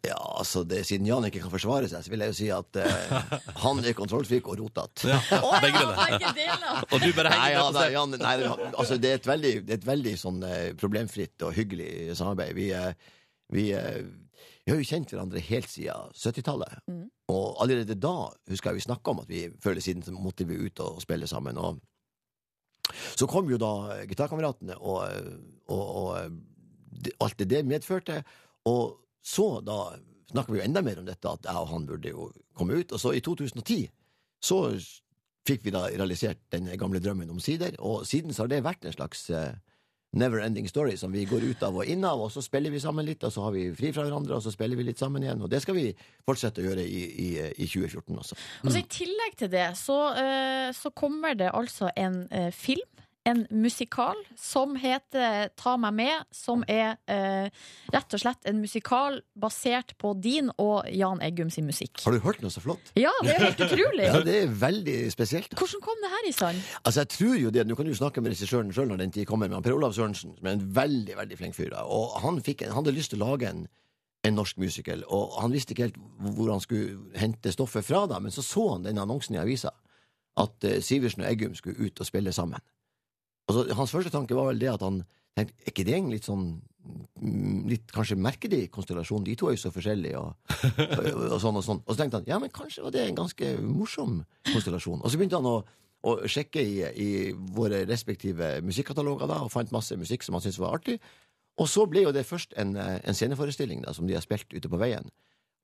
Speaker 12: Ja, altså det, Siden Jan ikke kan forsvare seg, så vil jeg jo si at eh, han er kontrollfrik og rotete.
Speaker 2: Begge deler. Og du bare
Speaker 12: Nei,
Speaker 2: henger
Speaker 12: ja,
Speaker 2: deg på
Speaker 12: nei,
Speaker 2: seg.
Speaker 12: Jan, nei, han- altså, det er et veldig, det er et veldig sånn, eh, problemfritt og hyggelig samarbeid. Vi, eh, vi, eh, vi har jo kjent hverandre helt siden 70-tallet.
Speaker 2: Mm.
Speaker 12: Og allerede da husker jeg vi snakka om at vi før eller siden så måtte vi ut og spille sammen. Og så kom jo da gitarkameratene, og, eh, og, og det- alt det det medførte. Og så da snakka vi jo enda mer om dette, at jeg og han burde jo komme ut. Og så i 2010 så fikk vi da realisert den gamle drømmen omsider, og siden så har det vært en slags eh, never-ending story som vi går ut av og inn av, og så spiller vi sammen litt, og så har vi fri fra hverandre, og så spiller vi litt sammen igjen, og det skal vi fortsette å gjøre i, i, i 2014 også.
Speaker 3: Og så I tillegg til det så, eh, så kommer det altså en eh, film. En musikal som heter Ta meg med, som er eh, rett og slett en musikal basert på din og Jan Eggum sin musikk.
Speaker 12: Har du hørt noe så flott?
Speaker 3: Ja, det er jo helt utrolig!
Speaker 12: Ja, det er veldig spesielt.
Speaker 3: Hvordan kom det her i stand?
Speaker 12: Altså, jeg tror jo det, Nå kan du jo snakke med regissøren sjøl når den tid kommer, men Per Olav Sørensen, som er en veldig veldig flink fyr, da, og han, fikk, en- han hadde lyst til å lage en, en norsk musical, og han visste ikke helt hvor han skulle hente stoffet fra, da, men så så han den annonsen i avisa, at eh, Sivertsen og Eggum skulle ut og spille sammen. Og så, hans første tanke var vel det at han tenkte er ikke det en litt sånn mm, litt kanskje merkelig konstellasjon, de to er jo så forskjellige, og, og, og sånn og sånn. Og så tenkte han ja, men kanskje var det en ganske morsom konstellasjon. Og så begynte han å, å sjekke i, i våre respektive musikkataloger da, og fant masse musikk som han syntes var artig. Og så ble jo det først en, eh, en sceneforestilling da, som de har spilt ute på veien,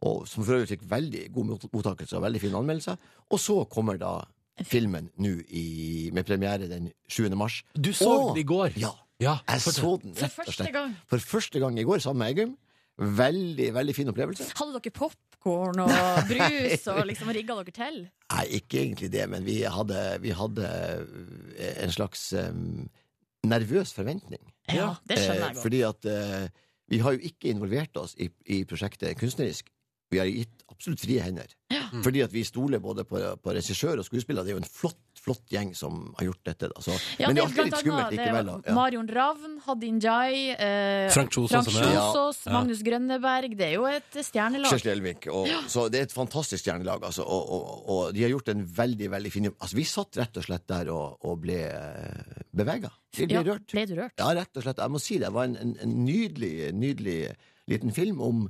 Speaker 12: og som for øvrig fikk veldig god mot- mottakelse og veldig fine anmeldelser. Og så kommer da filmen nå i- med premiere den 7. mars.
Speaker 2: Du så
Speaker 12: Og-
Speaker 2: den i går.
Speaker 12: Ja.
Speaker 2: Ja,
Speaker 12: Jeg
Speaker 2: fortell.
Speaker 12: så den
Speaker 3: For
Speaker 12: rett og
Speaker 3: første
Speaker 12: slett.
Speaker 3: gang.
Speaker 12: For første gang i går sammen med Eggum. Veldig veldig fin opplevelse.
Speaker 3: Hadde dere popkorn og brus og liksom rigga dere til?
Speaker 12: Nei, ikke egentlig det, men vi hadde, vi hadde eh, en slags em, nervøs forventning.
Speaker 3: Ja, det skjønner jeg
Speaker 12: Eh,
Speaker 3: godt.
Speaker 12: Fordi at eh, vi har jo ikke involvert oss i, i prosjektet kunstnerisk. Vi har gitt absolutt frie hender. Fordi at vi stoler både på, på regissør og skuespiller. Det er jo en flott, flott gjeng som har gjort dette. Da. Så,
Speaker 3: Ja,
Speaker 12: men det
Speaker 3: blant
Speaker 12: er alltid litt
Speaker 3: annet-
Speaker 12: skummelt
Speaker 3: det er
Speaker 12: likevel. Da. Ja.
Speaker 3: Marion Ravn, Hadin Jai, eh,
Speaker 2: Frank Kjosås,
Speaker 3: Frank
Speaker 2: som er-
Speaker 3: Kjosås,
Speaker 2: Ja.
Speaker 3: Magnus Grønneberg. Det er jo et stjernelag.
Speaker 12: Kjersti Elvik. Og, Så det er et fantastisk stjernelag, altså. Og, og, og de har gjort en veldig, veldig fin jobb. Altså, vi satt rett og slett der og, og ble bevega. Vi ble
Speaker 3: Ja,
Speaker 12: rørt.
Speaker 3: ble du rørt?
Speaker 12: Ja, rett og slett. Jeg må si det. Det var en, en, en nydelig, nydelig liten film om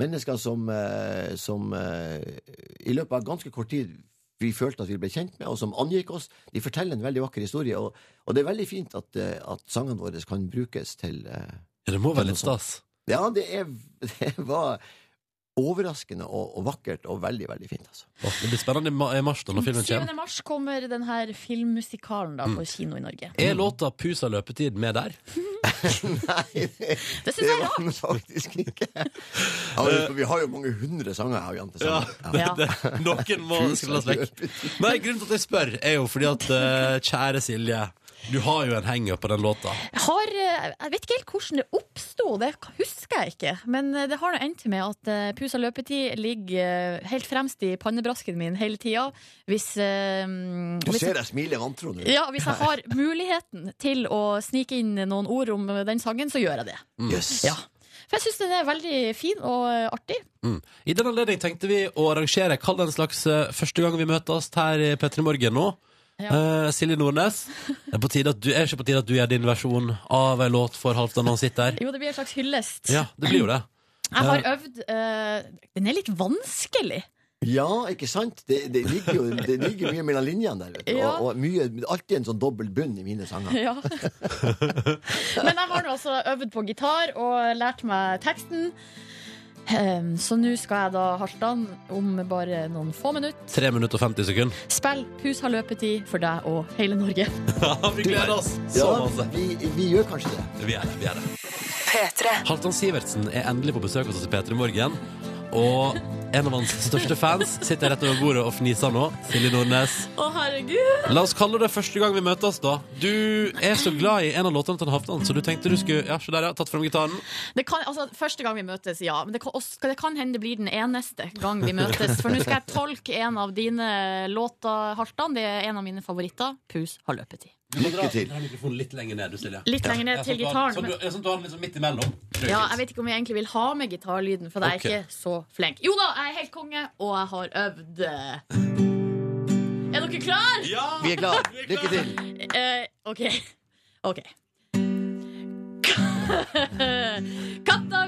Speaker 12: mennesker som, eh, som eh, i løpet av ganske kort tid vi følte at vi ble kjent med, og som angikk oss. De forteller en veldig vakker historie, og, og det er veldig fint at, eh, at sangene våre kan brukes til eh,
Speaker 2: Ja, det må være litt stas.
Speaker 12: Ja, det, er, det var overraskende og, og vakkert og veldig, veldig fint, altså.
Speaker 2: Å, Det blir spennende i ma- i mars da, når filmen
Speaker 3: 7.
Speaker 2: kommer.
Speaker 3: mars kommer den her filmmusikalen da, på kino i Norge.
Speaker 2: Er låta 'Pusa løpetid' med der?
Speaker 12: Nei, det,
Speaker 3: Det synes
Speaker 12: det
Speaker 3: jeg er
Speaker 12: var den faktisk ikke. Ja, men vi har jo mange hundre sanger her, Jan, til sammen. Ja.
Speaker 3: Ja.
Speaker 2: Noen må
Speaker 12: Pusa
Speaker 2: skrelles vekk. Nei, grunnen til at jeg spør, er jo fordi at eh, kjære Silje, du har jo en henger på den låta.
Speaker 3: Jeg Har, eh, jeg vet ikke helt hvordan det oppsto, det husker jeg ikke. Men eh, det har nå endt med at eh, Pusa løpetid ligger eh, helt fremst i pannebrasken min hele tida. Hvis, eh,
Speaker 12: Du
Speaker 3: hvis
Speaker 12: ser jeg smiler vantro nå.
Speaker 3: Ja, hvis jeg har muligheten til å snike inn noen ord om eh, den sangen, så gjør jeg det.
Speaker 12: Yes.
Speaker 3: Ja. For jeg syns den er veldig fin og eh, artig.
Speaker 2: Mm. I den anledning tenkte vi å arrangere Kall det en slags eh, første gang vi møtes her i P3 Morgen nå. Eh, Silje Nordnes, det er, på tide at du, er ikke på tide at du gjør din versjon av en låt for Halvdan når han sitter her?
Speaker 3: Jo, det blir en slags hyllest.
Speaker 2: Ja, det blir jo det.
Speaker 3: Jeg har øvd eh, Den er litt vanskelig.
Speaker 12: Ja, ikke sant? Det, det, ligger jo, det ligger mye mellom linjene der. Vet du.
Speaker 3: Ja.
Speaker 12: Og, og mye, alltid en sånn dobbel bunn i mine sanger.
Speaker 3: Ja. Men jeg har nå altså øvd på gitar og lært meg teksten. Ehm, så nå skal jeg da, Halvdan, om bare noen få minutter,
Speaker 2: 3 minutter og 50 sekunder.
Speaker 3: spille 'Pus har løpetid' for deg og hele Norge.
Speaker 2: Ja, vi gleder oss så
Speaker 12: Ja,
Speaker 2: masse.
Speaker 12: vi, vi gjør kanskje det.
Speaker 2: Vi er det. vi er det
Speaker 13: P3.
Speaker 2: Halvdan Sivertsen er endelig på besøk hos oss i P3 Morgen. Og en av hans største fans sitter rett over bordet og fniser nå. Silje Nordnes.
Speaker 3: Å, herregud!
Speaker 2: La oss kalle det første gang vi møtes, da. Du er så glad i en av låtene til Halvdan, så du tenkte du skulle Ja, se der, ja. Tatt fram gitaren.
Speaker 3: Det kan, altså, første gang vi møtes, ja. Men det kan, også, det kan hende det blir den eneste gang vi møtes. For nå skal jeg tolke en av dine låter, Halvdan. Det er en av mine favoritter. 'Pus har løpetid'.
Speaker 12: Lykke til.
Speaker 2: Dra mikrofonen litt lenger ned, du, Silje.
Speaker 3: Litt lenger ned
Speaker 2: Ja,
Speaker 3: til
Speaker 2: sånn at du har-
Speaker 3: gitaren,
Speaker 2: Sånn
Speaker 3: men-
Speaker 2: at du- ja, sånn at du har den liksom midt imellom. Det er jo
Speaker 3: Ja,
Speaker 2: fint.
Speaker 3: jeg vet ikke om jeg egentlig vil ha med gitarlyden, for jeg
Speaker 2: Ok.
Speaker 3: er ikke så flink. Jo da, jeg er helt konge, og jeg har øvd. Er dere klar?
Speaker 12: Vi er klare. Lykke til.
Speaker 3: Eh, OK. OK. katta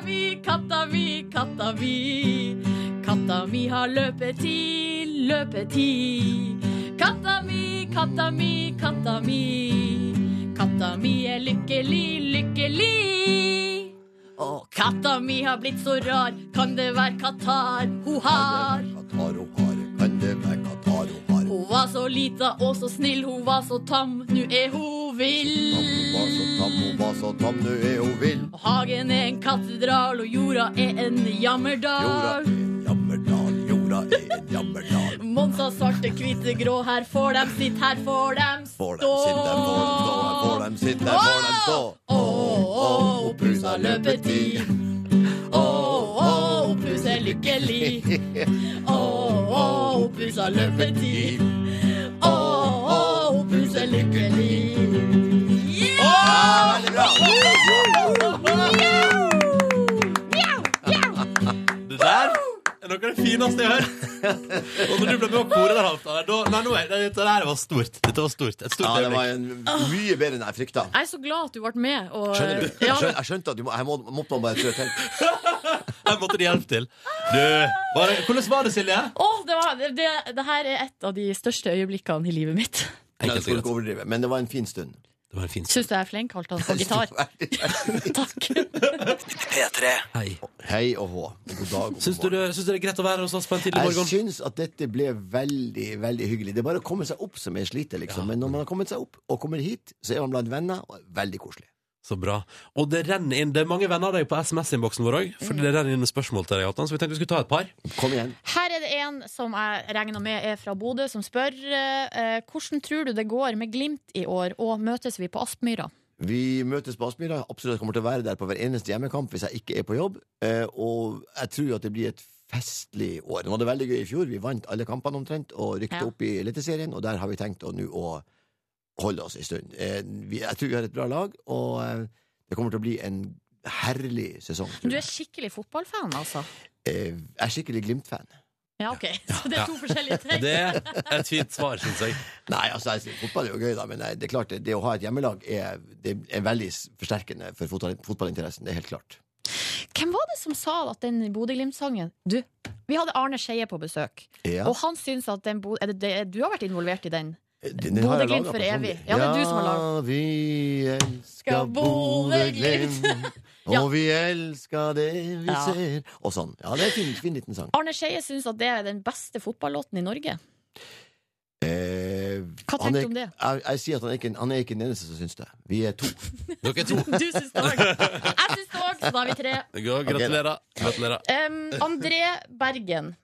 Speaker 3: mi, katta mi, katta mi. Katta mi har løpetid, løpetid. Katta mi, katta mi, katta mi. Katta mi er lykkelig, lykkelig. Og katta mi har blitt så rar, kan det være Qatar hun har?
Speaker 12: Kataro hare, kan det være Kataro hare?
Speaker 3: Hun var så lita og så snill, hun var så tam, nu er hun
Speaker 12: Hun var så
Speaker 3: vill.
Speaker 12: tam, hun var så tam, nå er hun vill.
Speaker 3: Og hagen er en katedral, og jorda er en
Speaker 12: Jorda
Speaker 3: jammerdal.
Speaker 12: er en jammerdal, jorda er en jammerdal.
Speaker 3: Monsa svarte, hvite, grå, her får dem sitt, her får dem stå.
Speaker 12: Får dem sitt, der får dem stå, her får dem sitt, der får dem stå.
Speaker 3: Å, å, oppussa løpetid. Å, å, oppuss er lykkelig. Å, å, oppussa løpetid. Å, å, oppuss er lykkelig.
Speaker 12: Ja, veldig bra.
Speaker 2: Det der er noe av det fineste jeg har hørt. Og når du ble med og kore der, Halvdan da, Nei, nå er, dette der var stort. Dette var stort. Et stort
Speaker 12: Ja, det var
Speaker 2: øyeblikk.
Speaker 12: en mye bedre enn jeg frykta.
Speaker 3: Jeg er så glad at du ble med. Og,
Speaker 12: Skjønner du? Jeg skjønte, jeg skjønte at du må, jeg må, måtte bare trø til.
Speaker 2: Her måtte de hjelpe til. Du, var det, hvordan var det, Silje?
Speaker 3: Åh, det, var, det, det her er et av de største øyeblikkene i livet mitt.
Speaker 12: Nei, jeg skulle ikke overdrive, men det var en fin stund.
Speaker 2: Det var en fin
Speaker 3: Syns du jeg er flink, Halvdan, på gitar? Takk.
Speaker 1: P3.
Speaker 2: Hei.
Speaker 12: Hei og hå. God dag og god
Speaker 2: Syns du,
Speaker 12: morgen.
Speaker 2: det- syns du det er greit å være hos oss på en tidlig
Speaker 12: Jeg
Speaker 2: morgen?
Speaker 12: syns at dette ble veldig veldig hyggelig. Det er bare å komme seg opp som er sliter, liksom. Men når man har kommet seg opp og kommer hit, så er man blant venner. og er Veldig koselig.
Speaker 2: Så bra. Og det renner inn. Det er mange venner av deg på SMS-innboksen vår òg, for det renner inn spørsmål til deg, Halvdan, så vi tenkte vi skulle ta et par.
Speaker 12: Kom igjen.
Speaker 3: Her er det en som jeg regner med er fra Bodø, som spør eh, hvordan tror du det går med Glimt i år, og møtes vi på Aspmyra?
Speaker 12: Vi møtes på Aspmyra. Absolutt kommer til å være der på hver eneste hjemmekamp hvis jeg ikke er på jobb. Eh, og jeg tror at det blir et festlig år. Nå var det veldig gøy i fjor. Vi vant alle kampene omtrent og rykte
Speaker 3: Ja.
Speaker 12: opp i Eliteserien, og der har vi tenkt å nå å holde oss en stund. Eh, vi, jeg tror vi har et bra lag, og eh, det kommer til å bli en herlig sesong.
Speaker 3: Du
Speaker 12: tror jeg.
Speaker 3: er skikkelig fotballfan, altså?
Speaker 12: Eh, jeg er skikkelig Glimt-fan.
Speaker 3: Ja, OK. Så det er to forskjellige ting.
Speaker 2: Det er et fint svar, syns jeg.
Speaker 12: Nei, altså, jeg, fotball er jo gøy, da, men eh, det er klart, det, det å ha et hjemmelag er, det er veldig s- forsterkende for fotball, fotballinteressen. Det er helt klart.
Speaker 3: Hvem var det som sa at den Bodø-Glimt-sangen Du, vi hadde Arne Skeie på besøk,
Speaker 12: Ja.
Speaker 3: og han syns at den Bodø... er det- det- Du har vært involvert i den?
Speaker 12: Den- den har jeg
Speaker 3: Bodø-Glimt
Speaker 12: laget
Speaker 3: for
Speaker 12: personlig.
Speaker 3: evig. Ja, det er du som har laget.
Speaker 12: Ja, vi elsker
Speaker 3: Skal
Speaker 12: Bodø-Glimt,
Speaker 3: Ja.
Speaker 12: og vi elsker det vi
Speaker 3: Ja.
Speaker 12: ser Og sånn. Ja, det er en fin, fin liten sang.
Speaker 3: Arne Skeie syns at det er den beste fotballåten i Norge.
Speaker 12: Eh,
Speaker 3: Hva
Speaker 12: han
Speaker 3: tenker
Speaker 12: er-
Speaker 3: du om det?
Speaker 12: Jeg, jeg sier at han er, ikke, en- han er ikke den eneste som syns det. Vi er to.
Speaker 2: Dere to.
Speaker 3: Du syns det òg. Jeg syns det òg, så da er vi tre.
Speaker 2: Gratulerer. Gratulerer.
Speaker 3: Um, André Bergen.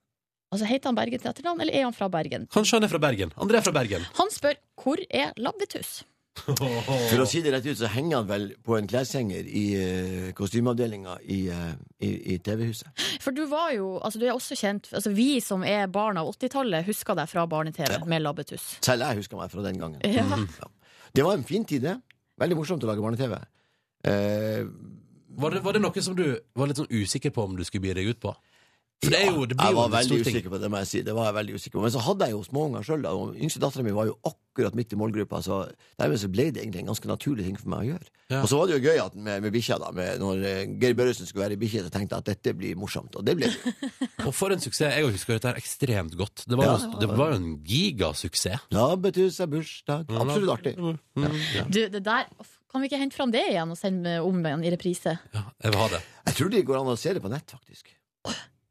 Speaker 3: Altså Heter han Bergen til etternavn, eller er han fra Bergen?
Speaker 2: Kanskje han er fra Bergen. André er fra Bergen.
Speaker 3: Han spør hvor er Labbetuss?
Speaker 12: For å si det rett ut, så henger han vel på en kleshenger i uh, kostymeavdelinga i, eh, i, i TV-huset.
Speaker 3: For du var jo, altså du er også kjent altså Vi som er barn av 80-tallet, husker deg fra barne-TV med Labbetuss.
Speaker 12: Selv jeg husker meg fra den gangen. Mm.
Speaker 3: Ja.
Speaker 12: Det var en fin tid, det. Veldig morsomt å lage barne-TV. Eh,
Speaker 2: Var det, var det noe som du var litt sånn usikker på om du skulle bli deg ut på? For det er jo, det blir
Speaker 12: jeg
Speaker 2: jo
Speaker 12: var
Speaker 2: en
Speaker 12: veldig
Speaker 2: stor ting.
Speaker 12: usikker på det, må jeg si. Det var jeg veldig usikker på. Men så hadde jeg jo småunger sjøl, da. Og yngste dattera mi var jo akkurat midt i målgruppa, så dermed så ble det egentlig en ganske naturlig ting for meg å gjøre.
Speaker 2: Ja.
Speaker 12: Og så var det jo gøy at med, med bikkja, da. Med, når eh, Geir Børresen skulle være bikkje, så tenkte jeg at dette blir morsomt. Og det ble det. jo.
Speaker 2: Og for en suksess. Jeg husker dette her ekstremt godt. Det var,
Speaker 12: Ja,
Speaker 2: jo,
Speaker 12: det var-
Speaker 2: det var jo en gigasuksess.
Speaker 12: Labbetuss er bursdag.
Speaker 2: Mm.
Speaker 12: Absolutt artig.
Speaker 3: Mm. Du, det der Kan vi ikke hente fram det igjen og sende om igjen i reprise?
Speaker 2: Ja, jeg vil ha det.
Speaker 12: Jeg tror det går an å se det på nett, faktisk.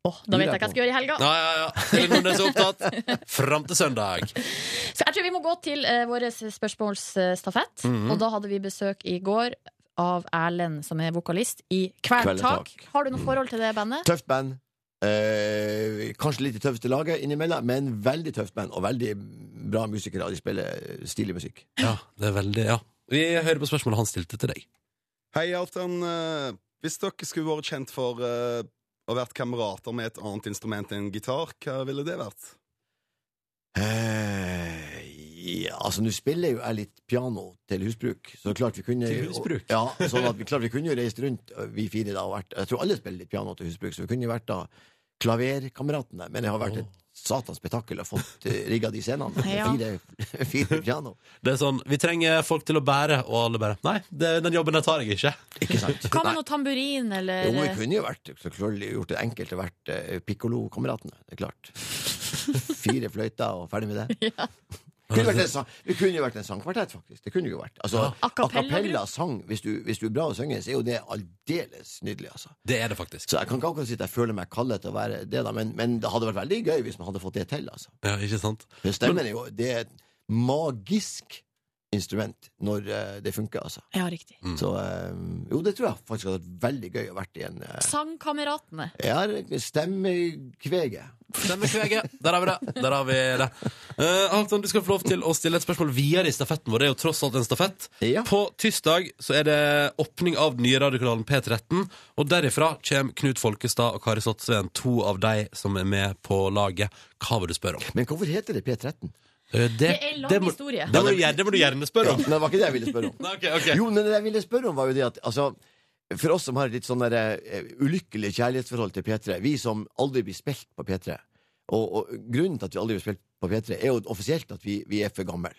Speaker 3: Åh, da vet jeg hva jeg skal gjøre i helga.
Speaker 2: Ja, ja, ja. Silje Nordnes er opptatt. Fram til søndag.
Speaker 3: Så jeg tror vi må gå til uh, vår spørsmålsstafett.
Speaker 12: Mm.
Speaker 3: Og da hadde vi besøk i går av Erlend, som er vokalist i Kvelertak.
Speaker 12: Kvelertak.
Speaker 3: Har du
Speaker 11: Mm.
Speaker 3: noe forhold til det bandet?
Speaker 12: Tøft band. Eh, kanskje litt i tøffeste laget innimellom, men veldig tøft band. Og veldig bra musikere. De spiller eh, stilig musikk.
Speaker 2: Ja, det er veldig, ja. Vi hører på spørsmålet han stilte til deg.
Speaker 11: Hei, Halvdan. Eh, Hvis dere skulle vært kjent for eh, å vært kamerater med et annet instrument enn gitar, hva ville det vært?
Speaker 12: Eh, Ja, altså Nå spiller jo jeg litt piano til husbruk, så klart vi kunne
Speaker 2: Til husbruk?
Speaker 12: Ja, sånn at vi, klart vi kunne jo reist rundt, ø, vi fire da, og vært Jeg tror alle spiller litt piano til husbruk, så vi kunne jo vært da klaverkameratene. Men det har vært et satans spetakkel å få rigga de scenene.
Speaker 2: Ja.
Speaker 12: Fire, fire piano.
Speaker 2: Det er sånn, Vi trenger folk til å bære, og alle bare Nei, det, den jobben der tar jeg ikke.
Speaker 12: Ikke sant?
Speaker 3: Hva med noe tamburin, eller eh?
Speaker 12: Jo, vi kunne jo vært så klart gjort det enkelt og vært eh, pikkolo-kameratene. Det er klart. Fire fløyter og ferdig med det. Kunne vært en, sang- vi kunne jo vært en sangkvartett, faktisk. Det kunne vi jo vært. Altså,
Speaker 2: Ja.
Speaker 12: a
Speaker 2: Acapella-gruppe.
Speaker 12: cappella sang, hvis du, hvis du er bra å synge, så er jo det aldeles nydelig, altså.
Speaker 2: Det er det faktisk.
Speaker 12: Så jeg kan ikke akkurat si at jeg føler meg kallet til å være det, da, men, men det hadde vært veldig gøy hvis man hadde fått det til, altså.
Speaker 2: Ja, ikke sant?
Speaker 12: Men stemmen er jo Det er et magisk instrument når eh, det funker, altså.
Speaker 3: Ja, riktig.
Speaker 12: Så eh, jo, det tror jeg faktisk hadde vært veldig gøy å vært i en eh,
Speaker 3: Sangkameratene.
Speaker 12: jeg har stemmekveget.
Speaker 2: Stemmekveget. Der har vi det. Der har vi det. Eh, Halvdan, du skal få lov til å stille et spørsmål videre i stafetten vår. Det er jo tross alt en stafett. På tirsdag så er det åpning av den nye radiokanalen P13, og derifra kommer Knut Folkestad og Kari Slottsveen, to av de som er med på laget. Hva vil du spørre om?
Speaker 12: Men hvorfor heter det P13?
Speaker 2: Eh, Det,
Speaker 3: Det er lang
Speaker 2: må,
Speaker 3: historie.
Speaker 2: Det må, du gjerne- det må du gjerne spørre om.
Speaker 12: Ja, men det var ikke det jeg ville spørre om.
Speaker 2: Nei,
Speaker 12: Jo, men det jeg ville spørre om, var jo det at altså, For oss som har et litt sånn der, eh, ulykkelig kjærlighetsforhold til P3, vi som aldri blir spilt på P3 og, og grunnen til at vi aldri blir spilt på P3, er jo offisielt at vi, vi er for gamle.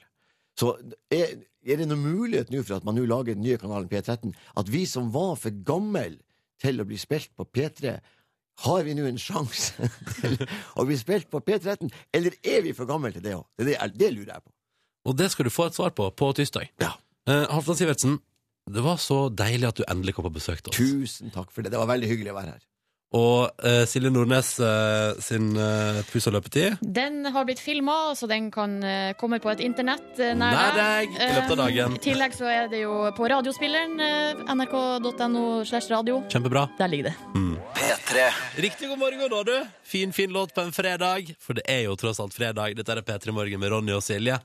Speaker 12: Så er, er det noen mulighet nå for at man nå lager den nye kanalen P13, at vi som var for gamle til å bli spilt på P3, har vi nå en sjanse til å bli spilt på P13, eller er vi for gamle til det òg? Det, er det, jeg- det lurer jeg på.
Speaker 2: Og det skal du få et svar på på tirsdag. Eh, Halvdan Sivertsen, det var så deilig at du endelig kom på besøk til oss.
Speaker 12: Tusen takk for det. Det var veldig hyggelig å være her.
Speaker 2: Og eh, Silje Nordnes eh, sin uh, puss og løpetid.
Speaker 3: Den har blitt filma, så den kan eh, komme på et internett eh, nær
Speaker 2: Nær deg i løpet av
Speaker 3: Eh,
Speaker 2: dagen.
Speaker 3: I tillegg så er det jo på radiospilleren, eh, nrk.no slash radio.
Speaker 2: Kjempebra.
Speaker 3: Der ligger det.
Speaker 2: P3. Riktig god morgen, da, du. Fin, fin låt på en fredag. For det er jo tross alt fredag. Dette er P3 Morgen med Ronny og Silje.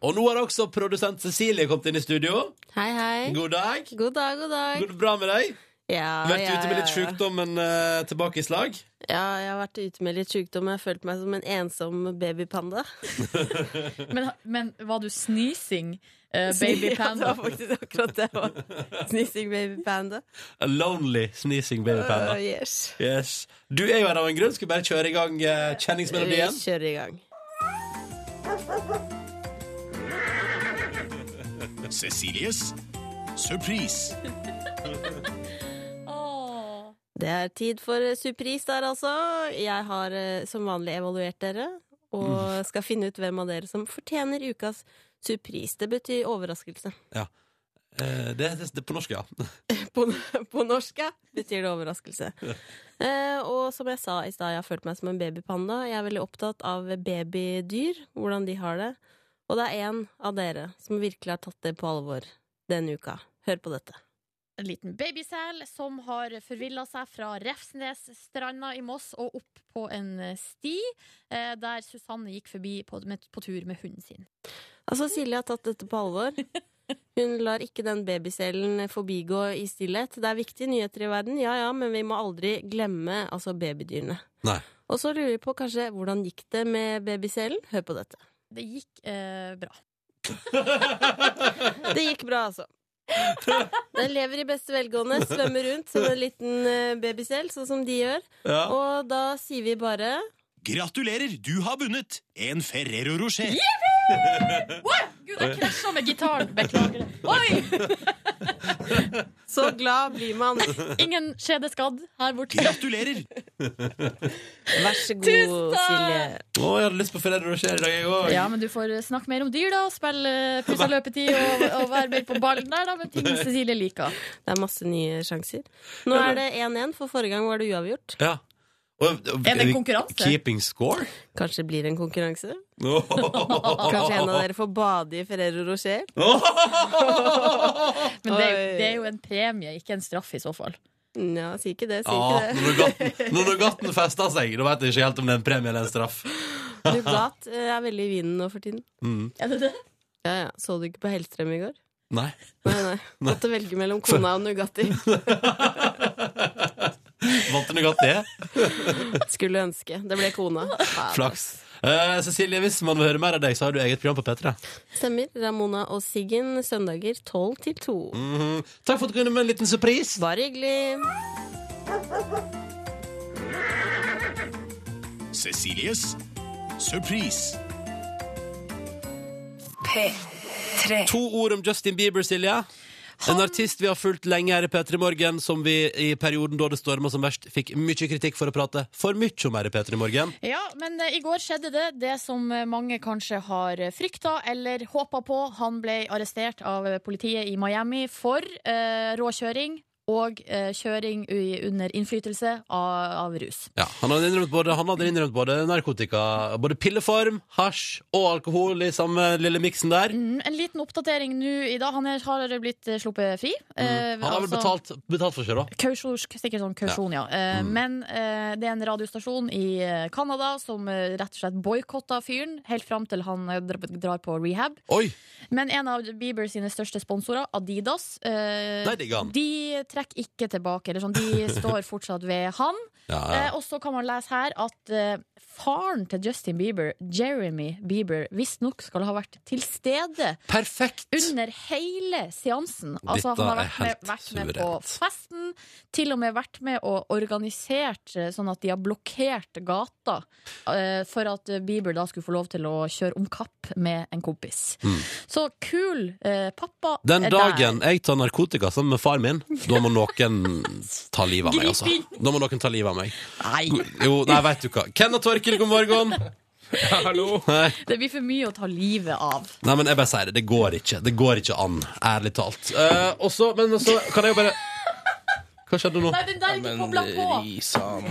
Speaker 2: Og nå har også produsent Cecilie kommet inn i studio.
Speaker 11: Hei, hei.
Speaker 2: God dag.
Speaker 11: God dag, god dag.
Speaker 2: Går det bra med deg?
Speaker 11: Ja,
Speaker 2: Vært
Speaker 11: ja,
Speaker 2: ute med litt
Speaker 11: ja, ja.
Speaker 2: sjukdom, men eh, tilbake i slag?
Speaker 11: Ja, jeg har vært ute med litt sjukdom. Jeg har følt meg som en ensom babypanda.
Speaker 3: Men, men var du snising, eh,
Speaker 11: Ja,
Speaker 3: baby
Speaker 11: det
Speaker 3: panda?
Speaker 11: var faktisk akkurat det jeg var. Snissing babypanda.
Speaker 2: A lonely sneezing baby panda.
Speaker 11: Uh, yes.
Speaker 2: Yes. Du er jo her av en grunn. Skal vi bare kjøre i gang eh,
Speaker 11: Vi
Speaker 2: kjenningsmelodien?
Speaker 11: kjører i gang.
Speaker 1: Cecilies surprise.
Speaker 11: Det er tid for eh, surpris der, altså. Jeg har eh, som vanlig evaluert dere, og skal finne ut hvem av dere som fortjener ukas surpris. Det betyr overraskelse.
Speaker 2: Ja. Eh, det, det, det er på norsk, ja.
Speaker 11: På, på norsk ja, betyr det overraskelse. Eh, og som jeg sa i stad, jeg har følt meg som en babypanda. Jeg er veldig opptatt av babydyr, hvordan de har det. Og det er én av dere som virkelig har tatt det på alvor denne uka. Hør på dette.
Speaker 3: En liten babysel som har forvilla seg fra Refsnesstranda i Moss og opp på en sti, eh, der Susanne gikk forbi på, med, på tur med hunden sin.
Speaker 11: Altså, Silje har tatt dette på alvor. Hun lar ikke den babycellen forbigå i stillhet. Det er viktige nyheter i verden, ja ja, men vi må aldri glemme altså babydyrene.
Speaker 2: Nei.
Speaker 11: Og så lurer vi på kanskje hvordan gikk det med babycellen? Hør på dette.
Speaker 3: Det gikk eh, bra.
Speaker 11: Det gikk bra, altså. Den lever i beste velgående, svømmer rundt som en liten eh, babycell, sånn som de gjør.
Speaker 1: Ja.
Speaker 11: Og da sier vi bare
Speaker 1: Gratulerer, du har vunnet en Ferrero Rocher.
Speaker 3: Gud, jeg krasja med gitaren! Beklager det. Oi!
Speaker 11: Så glad blir man.
Speaker 3: Ingen skjedeskadd her borte.
Speaker 1: Gratulerer!
Speaker 11: Vær så god,
Speaker 3: Tusen takk!
Speaker 11: Silje.
Speaker 2: Å, jeg hadde lyst på Ferrero Rocher i dag, jeg òg.
Speaker 3: Ja, men du får eh, snakke mer om dyr, da. og Spille eh, puss og løpetid og, og være mer på ballen der, da, med ting Cecilie liker.
Speaker 11: Det er masse nye sjanser. Nå er det 1-1, for forrige gang var det uavgjort.
Speaker 2: Ja. Og, og,
Speaker 11: Er det en konkurranse?
Speaker 2: Keeping score?
Speaker 11: Kanskje det blir en konkurranse? Kanskje
Speaker 2: Kanskje
Speaker 11: en av dere får bade i Ferrero Rocher?
Speaker 3: Men det, er jo- det er jo en premie, ikke en straff i så fall.
Speaker 11: Ja, si ikke det, si
Speaker 2: Ja, når
Speaker 11: ikke det.
Speaker 2: nougatten- når nougatten fester seg, da vet jeg ikke helt om det er en premie eller en straff.
Speaker 11: Nougat eh, er veldig i vinden nå for tiden.
Speaker 2: Mm.
Speaker 3: Er det det?
Speaker 11: Ja, ja. Så du ikke på Hellstrøm i går?
Speaker 2: Nei.
Speaker 11: Nei, nei. Måtte velge mellom kona og Nugatti.
Speaker 2: Valgte Nugatti?
Speaker 11: Skulle ønske. Det ble kona. Ja,
Speaker 2: Flaks. Eh, Cecilie, hvis man vil høre mer av deg, så har du eget program på P3.
Speaker 14: Stemmer. Ramona og Siggen søndager 12 til 2.
Speaker 11: Mm.
Speaker 2: Mhm. Takk for at du kunne med en liten surprise.
Speaker 14: Bare hyggelig.
Speaker 1: Cecilies surprise.
Speaker 2: P3. To ord om Justin Bieber, Silje. En artist vi har fulgt lenge her i P3 Morgen, som vi i perioden da det storma som verst, fikk mye kritikk for å prate for mye om her i P3 Morgen.
Speaker 3: Ja, men eh, i går skjedde det, det som eh, mange kanskje har eh, frykta eller håpa på. Han ble arrestert av eh, politiet i Miami for eh, råkjøring og eh, kjøring i- under innflytelse av, av rus.
Speaker 2: Ja, han hadde innrømt både, han hadde innrømt både narkotika, både pilleform, hasj og alkohol i samme lille miksen der.
Speaker 3: Mm, En liten oppdatering nå i dag. Han er, har blitt eh, sluppet fri. Eh,
Speaker 2: Mm. Han har vel
Speaker 3: altså-
Speaker 2: betalt, betalt for seg, da.
Speaker 3: Kausjon, sikkert sånn kausjon, ja.
Speaker 2: Ja.
Speaker 3: Eh,
Speaker 2: Mm.
Speaker 3: Men eh, det er en radiostasjon i eh, Canada som eh, rett og slett boikotta fyren helt fram til han eh, dra- drar på rehab.
Speaker 2: Oi.
Speaker 3: Men en av Bieber sine største sponsorer, Adidas, eh,
Speaker 2: Der digger han.
Speaker 3: de trekker ikke tilbake. Eller sånn, de står fortsatt ved han.
Speaker 2: Ja, ja.
Speaker 3: Eh, og så kan man lese her at eh, faren til Justin Bieber, Jeremy Bieber, visstnok skal ha vært til stede under hele seansen. Altså,
Speaker 15: Dette
Speaker 3: han har
Speaker 15: er
Speaker 3: vært med,
Speaker 15: helt
Speaker 3: vært med på festen, til og med vært med og organisert eh, sånn at de har blokkert gata eh, for at eh, Bieber da skulle få lov til å kjøre om kapp med en kompis. Så kul eh, pappa
Speaker 2: Den
Speaker 3: er
Speaker 2: dagen jeg tar narkotika sammen med far min, da må noen ta livet av meg, altså.
Speaker 3: Grip
Speaker 2: Da må noen ta livet av meg. Nei. Jo, nei, veit du hva. Ken og Torkil, god morgen. Hallo. Nei.
Speaker 3: der. Det blir for mye å ta livet av.
Speaker 2: nei, men jeg bare sier det. Det går ikke. Det går ikke an, ærlig talt. Eh, og så, men så kan jeg jo bare Hva skjedde nå?
Speaker 3: Nei, den der er ikke koblet
Speaker 2: eh,
Speaker 3: på.
Speaker 2: Risan.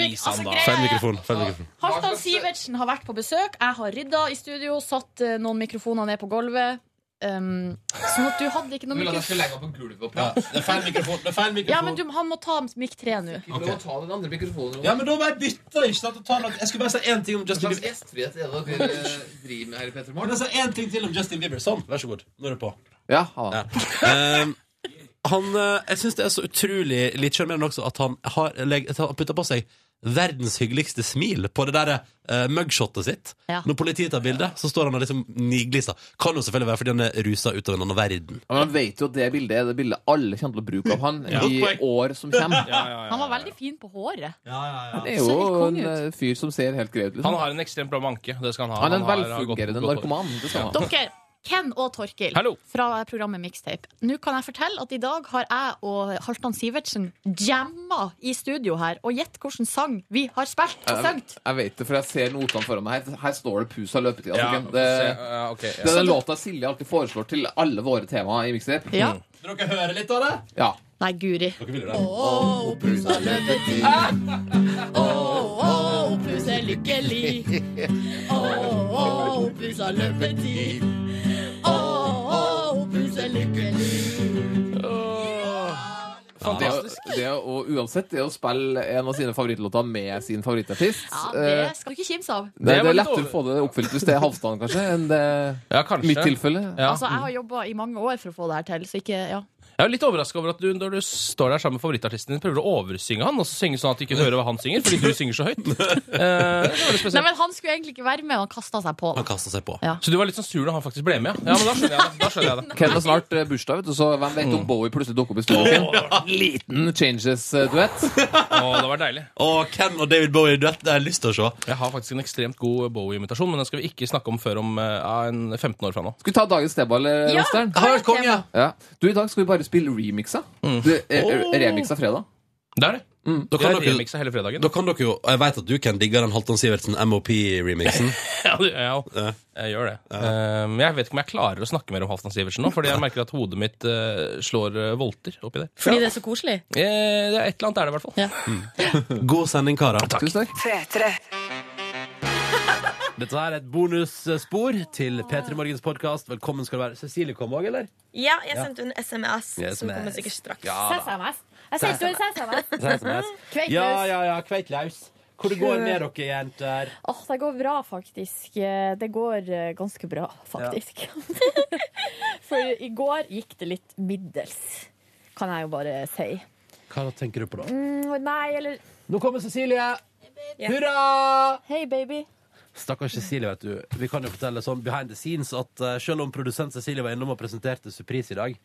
Speaker 3: Risan, da.
Speaker 2: Feil mikrofon. Feil mikrofon.
Speaker 3: Halvdan Sivertsen har vært på besøk. Jeg har rydda i studio, satt eh, noen mikrofoner ned på gulvet. Um, sånn at du hadde ikke noe mikrofon.
Speaker 11: på gulvet og
Speaker 2: Ja, det er feil mikrofon. Det er feil mikrofon.
Speaker 3: Ja, men du, han må ta mic 3 nå.
Speaker 2: Ok. Ja, men da må jeg bytte. Ikke sant? og ta noe- Jeg skulle bare si én ting om Justin Bieber.
Speaker 11: eh,
Speaker 2: Men jeg sa én ting til om Justin Bieber. Sånn, vær så god. Nå er du på.
Speaker 11: Ja,
Speaker 2: Ja. Um, han, eh, jeg syns det er så utrolig litt sjarmerende også at han har leg- at han putta på seg verdens hyggeligste smil på det der eh, mugshotet sitt.
Speaker 3: Ja.
Speaker 2: Når politiet tar bilde, så står han og liksom niglisa. Kan jo selvfølgelig være fordi han er rusa ut av en annen verden.
Speaker 11: Men han vet jo at det bildet er det bildet alle kommer til å bruke av han
Speaker 2: Ja.
Speaker 11: i
Speaker 2: Godt
Speaker 11: år som kommer.
Speaker 3: Han var veldig fin på håret.
Speaker 11: Han er jo en eh, fyr som ser helt greit ut. liksom.
Speaker 6: Han har en ekstremt bra manke. Det skal han ha.
Speaker 11: Han er en
Speaker 6: har- eh, har
Speaker 11: velfungerende
Speaker 6: gått- gått
Speaker 11: narkoman,
Speaker 6: over.
Speaker 11: det skal han ha.
Speaker 3: Dere, Ken og Torkil
Speaker 6: Hallo.
Speaker 3: fra programmet Mixtape. Nå kan jeg fortelle at i dag har jeg og Halvdan Sivertsen jamma i studio her. Og gjett hvilken sang vi har spilt og
Speaker 2: Eh,
Speaker 11: Jeg,
Speaker 3: sunget.
Speaker 11: jeg vet det, for jeg ser notene foran meg. Her, her står det pus av løpetida.
Speaker 6: Ja,
Speaker 11: folkens.
Speaker 6: se,
Speaker 11: det,
Speaker 6: ja, ok, ja.
Speaker 11: det er den låta Silje alltid foreslår til alle våre temaer i Mixtape.
Speaker 3: Ja.
Speaker 2: Vil dere høre litt av det?
Speaker 11: Ja.
Speaker 3: Nei, guri.
Speaker 11: Å, pus av løpetid.
Speaker 3: Å, Opus er lykkelig. Å, Opus har løpetid. Å, Opus er lykkelig.
Speaker 11: Fantastisk. Det, det, å- uansett, det å spille en av sine favorittlåter med sin favorittartist
Speaker 3: Ja,
Speaker 11: eh,
Speaker 3: det skal du ikke kimse av.
Speaker 11: Det, det
Speaker 6: var
Speaker 11: er
Speaker 6: litt
Speaker 11: lettere å få det oppfylt hvis det er Halvdan, kanskje, enn det mitt tilfelle.
Speaker 3: Altså, jeg har jobba i mange år for å få det her til, så ikke ja.
Speaker 6: Jeg er litt overraska over at du når du står der sammen med favorittartisten din, prøver å oversynge han, og så synge sånn at du ikke hører hva han synger, fordi du synger så høyt. Eh, det var litt
Speaker 3: Nei,
Speaker 6: spesielt.
Speaker 3: men Han skulle egentlig ikke være med, og han kasta seg på.
Speaker 2: Han kasta seg på.
Speaker 6: Så du var litt sånn sur da han faktisk ble med, ja? Ja, men da skjønner jeg det. Da skjønner jeg det.
Speaker 11: Ken har snart eh, bursdag, vet du, så hvem vet
Speaker 6: Mm.
Speaker 11: om Bowie plutselig dukker opp i studioet sin? Liten eh, Changes-duett.
Speaker 6: Å, det var deilig.
Speaker 2: Og Ken og David Bowie i duett, det har jeg lyst til å se.
Speaker 6: Jeg har faktisk en ekstremt god Bowie-imitasjon, men den skal vi ikke snakke om før om eh, ja, en 15 år fra nå.
Speaker 11: Skal vi ta dagens steball,
Speaker 6: Ja,
Speaker 11: Rosteren?
Speaker 6: det er et konge, ja.
Speaker 11: ja. Du, i dag skal vi bare spille remixa.
Speaker 2: Mm.
Speaker 11: Du, eh, Remixa fredag.
Speaker 6: Det er det.
Speaker 2: Da kan
Speaker 6: Jeg
Speaker 2: dere-
Speaker 6: remixer hele fredagen.
Speaker 2: Da kan dere jo, og Jeg vet at du kan digge den Halvdan Sivertsen MOP-remixen.
Speaker 6: Ja, du, jeg, òg. jeg gjør det. Um, jeg vet ikke om jeg klarer å snakke mer om Halvdan Sivertsen nå, fordi jeg merker at hodet mitt eh, slår eh, volter oppi der.
Speaker 3: Fordi det er så koselig.
Speaker 6: Eh, det er Et eller annet er det i hvert fall.
Speaker 2: God sending, karer.
Speaker 11: Tusen takk.
Speaker 2: Dette her er et bonusspor til P3 Morgens podkast. Velkommen skal du være. Cecilie kom òg, eller?
Speaker 16: Ja, jeg
Speaker 2: Ja.
Speaker 16: sendte en SMS,
Speaker 2: Yes,
Speaker 16: som kommer
Speaker 2: SMS.
Speaker 16: sikkert straks.
Speaker 2: Ja da.
Speaker 16: Jeg
Speaker 2: sendte
Speaker 16: en SMS.
Speaker 2: Ja, ja, ja. Kveitlaus. Hvor det går med dere, jenter?
Speaker 17: Åh, det går bra, faktisk. Eh, Det går eh, ganske bra, faktisk. For i går gikk det litt middels, kan jeg jo bare si.
Speaker 2: Hva tenker du på da?
Speaker 17: Mm, nei, eller
Speaker 2: Nå kommer Cecilie! Hurra!
Speaker 3: Hei, baby.
Speaker 2: Stakkars Cecilie, vet du. Vi kan jo fortelle sånn behind the scenes at eh, selv om produsent Cecilie var innom og presenterte surprise i dag,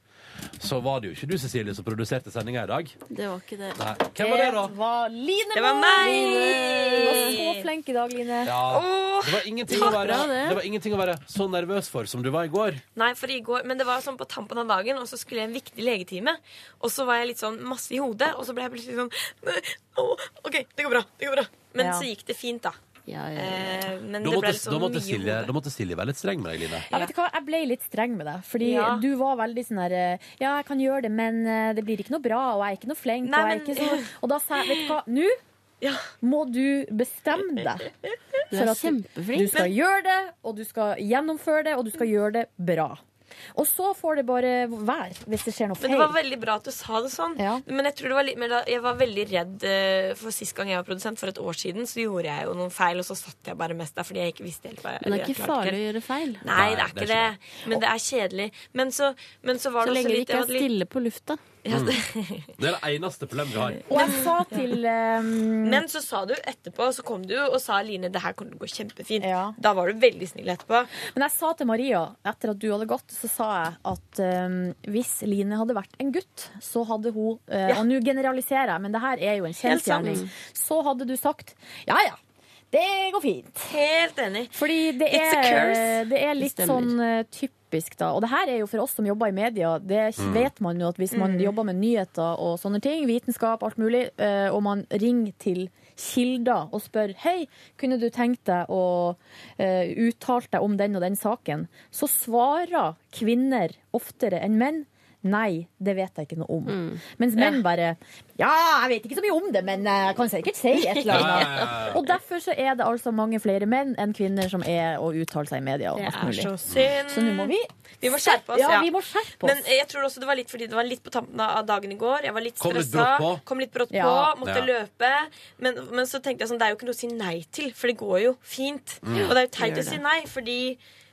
Speaker 2: så var det jo ikke du, Cecilie, som produserte sendinga i dag.
Speaker 6: Det var ikke det.
Speaker 2: Nei. Hvem var det, da?
Speaker 3: var Line
Speaker 6: Det var
Speaker 3: Moe.
Speaker 6: meg!
Speaker 3: Du var så flink i dag, Line.
Speaker 2: Ja. Det var ingenting å
Speaker 11: takk,
Speaker 2: være,
Speaker 11: bra det.
Speaker 2: det var ingenting å være så nervøs for som du var i går.
Speaker 11: Nei, for i går, men det var sånn på tampen av dagen, og så skulle jeg en viktig legetime. Og så var jeg litt sånn masse i hodet, og så ble jeg plutselig sånn «Nei, å, OK, det går bra. det går bra. Men
Speaker 6: Ja.
Speaker 11: så gikk det fint, da. Eh, men
Speaker 2: Da
Speaker 11: det
Speaker 2: måtte,
Speaker 11: ble
Speaker 2: da,
Speaker 11: litt sånn
Speaker 2: måtte
Speaker 11: mye
Speaker 2: Silje, da måtte Silje være litt streng med deg, Line.
Speaker 3: Ja, vet du hva? Jeg ble litt streng med deg, fordi
Speaker 11: Ja.
Speaker 3: du var veldig sånn her eh, Ja, jeg kan gjøre det, men eh, det blir ikke noe bra, og jeg er ikke noe flink.
Speaker 11: Nei,
Speaker 3: og, jeg er
Speaker 11: men-
Speaker 3: ikke så... og da sa jeg, vet du hva, nå må du bestemme deg.
Speaker 6: Du
Speaker 3: for
Speaker 6: er
Speaker 3: at
Speaker 6: kjempeflink.
Speaker 3: Du skal
Speaker 6: Men-
Speaker 3: gjøre det, og du skal gjennomføre det, og du skal gjøre det bra. Og så får det bare være hvis det skjer noe
Speaker 11: Men
Speaker 3: feil.
Speaker 11: det var veldig bra at du sa det sånn. Men jeg tror det var litt mer da, Jeg var veldig redd eh, for sist gang jeg var produsent, for et år siden, så gjorde jeg jo noen feil, og så satt jeg bare mest der fordi jeg ikke visste helt hva jeg
Speaker 6: Men det er ikke
Speaker 11: jeg klarte
Speaker 6: farlig å gjøre feil.
Speaker 11: Nei, det er ikke det. Men det er kjedelig. Men så, men så var
Speaker 6: Så
Speaker 11: det
Speaker 6: lenge
Speaker 11: også
Speaker 6: det
Speaker 11: litt
Speaker 6: ikke er stille på lufta.
Speaker 11: Ja, det,
Speaker 2: Det er det eneste problemet vi har.
Speaker 3: Og jeg sa til eh, Mm.
Speaker 11: Men så sa du etterpå, så kom du og sa Line, det her kommer til å gå kjempefint. Da var du veldig snill etterpå.
Speaker 3: Men jeg sa til Maria, etter at du hadde gått, så sa jeg at eh, hvis Line hadde vært en gutt, så hadde hun eh,
Speaker 11: Ja.
Speaker 3: Og nå generaliserer jeg, men det her er jo en
Speaker 11: Helt sant.
Speaker 3: kjensgjerning. Så hadde du sagt ja, ja. Det går fint.
Speaker 11: Helt enig.
Speaker 3: Fordi det
Speaker 11: It's a
Speaker 3: er,
Speaker 11: curse.
Speaker 3: det er
Speaker 11: Det
Speaker 3: litt
Speaker 11: stemmer.
Speaker 3: sånn eh, typisk, da. Og det her er jo for oss som jobber i media, det
Speaker 11: Mm.
Speaker 3: vet man jo at hvis man
Speaker 11: Mm.
Speaker 3: jobber med nyheter og sånne ting, vitenskap, alt mulig, eh, og man ringer til kilder og spør hei, kunne du tenkt deg å eh, uttale deg om den og den saken, så svarer kvinner oftere enn menn. Nei, det vet jeg ikke noe om.
Speaker 11: Mm.
Speaker 3: Mens menn bare Ja, jeg vet ikke så mye om det, men eh, jeg kan sikkert si et eller
Speaker 18: Ja,
Speaker 3: annet.
Speaker 18: ja, ja,
Speaker 2: Eh,
Speaker 18: ja.
Speaker 3: Og derfor så er det altså mange flere menn enn kvinner som er å uttale seg i media. Og
Speaker 11: Det
Speaker 3: alt
Speaker 11: er
Speaker 3: mulig.
Speaker 11: så synd.
Speaker 3: Så nå må vi
Speaker 11: Vi må skjerpe oss.
Speaker 3: Ja, vi må skjerpe oss.
Speaker 11: Men jeg tror også det var litt fordi det var litt på tampen av dagen i går. Jeg var litt
Speaker 3: Kom litt
Speaker 11: stressa.
Speaker 3: brått på.
Speaker 11: Kom litt brått på.
Speaker 3: Ja.
Speaker 11: Måtte
Speaker 3: Ja.
Speaker 11: løpe. Men, men så tenkte jeg sånn, det er jo ikke noe å si nei til, for det går jo fint.
Speaker 3: Mm.
Speaker 11: Og det er jo
Speaker 3: Gjør
Speaker 11: teit å
Speaker 3: det.
Speaker 11: si nei, fordi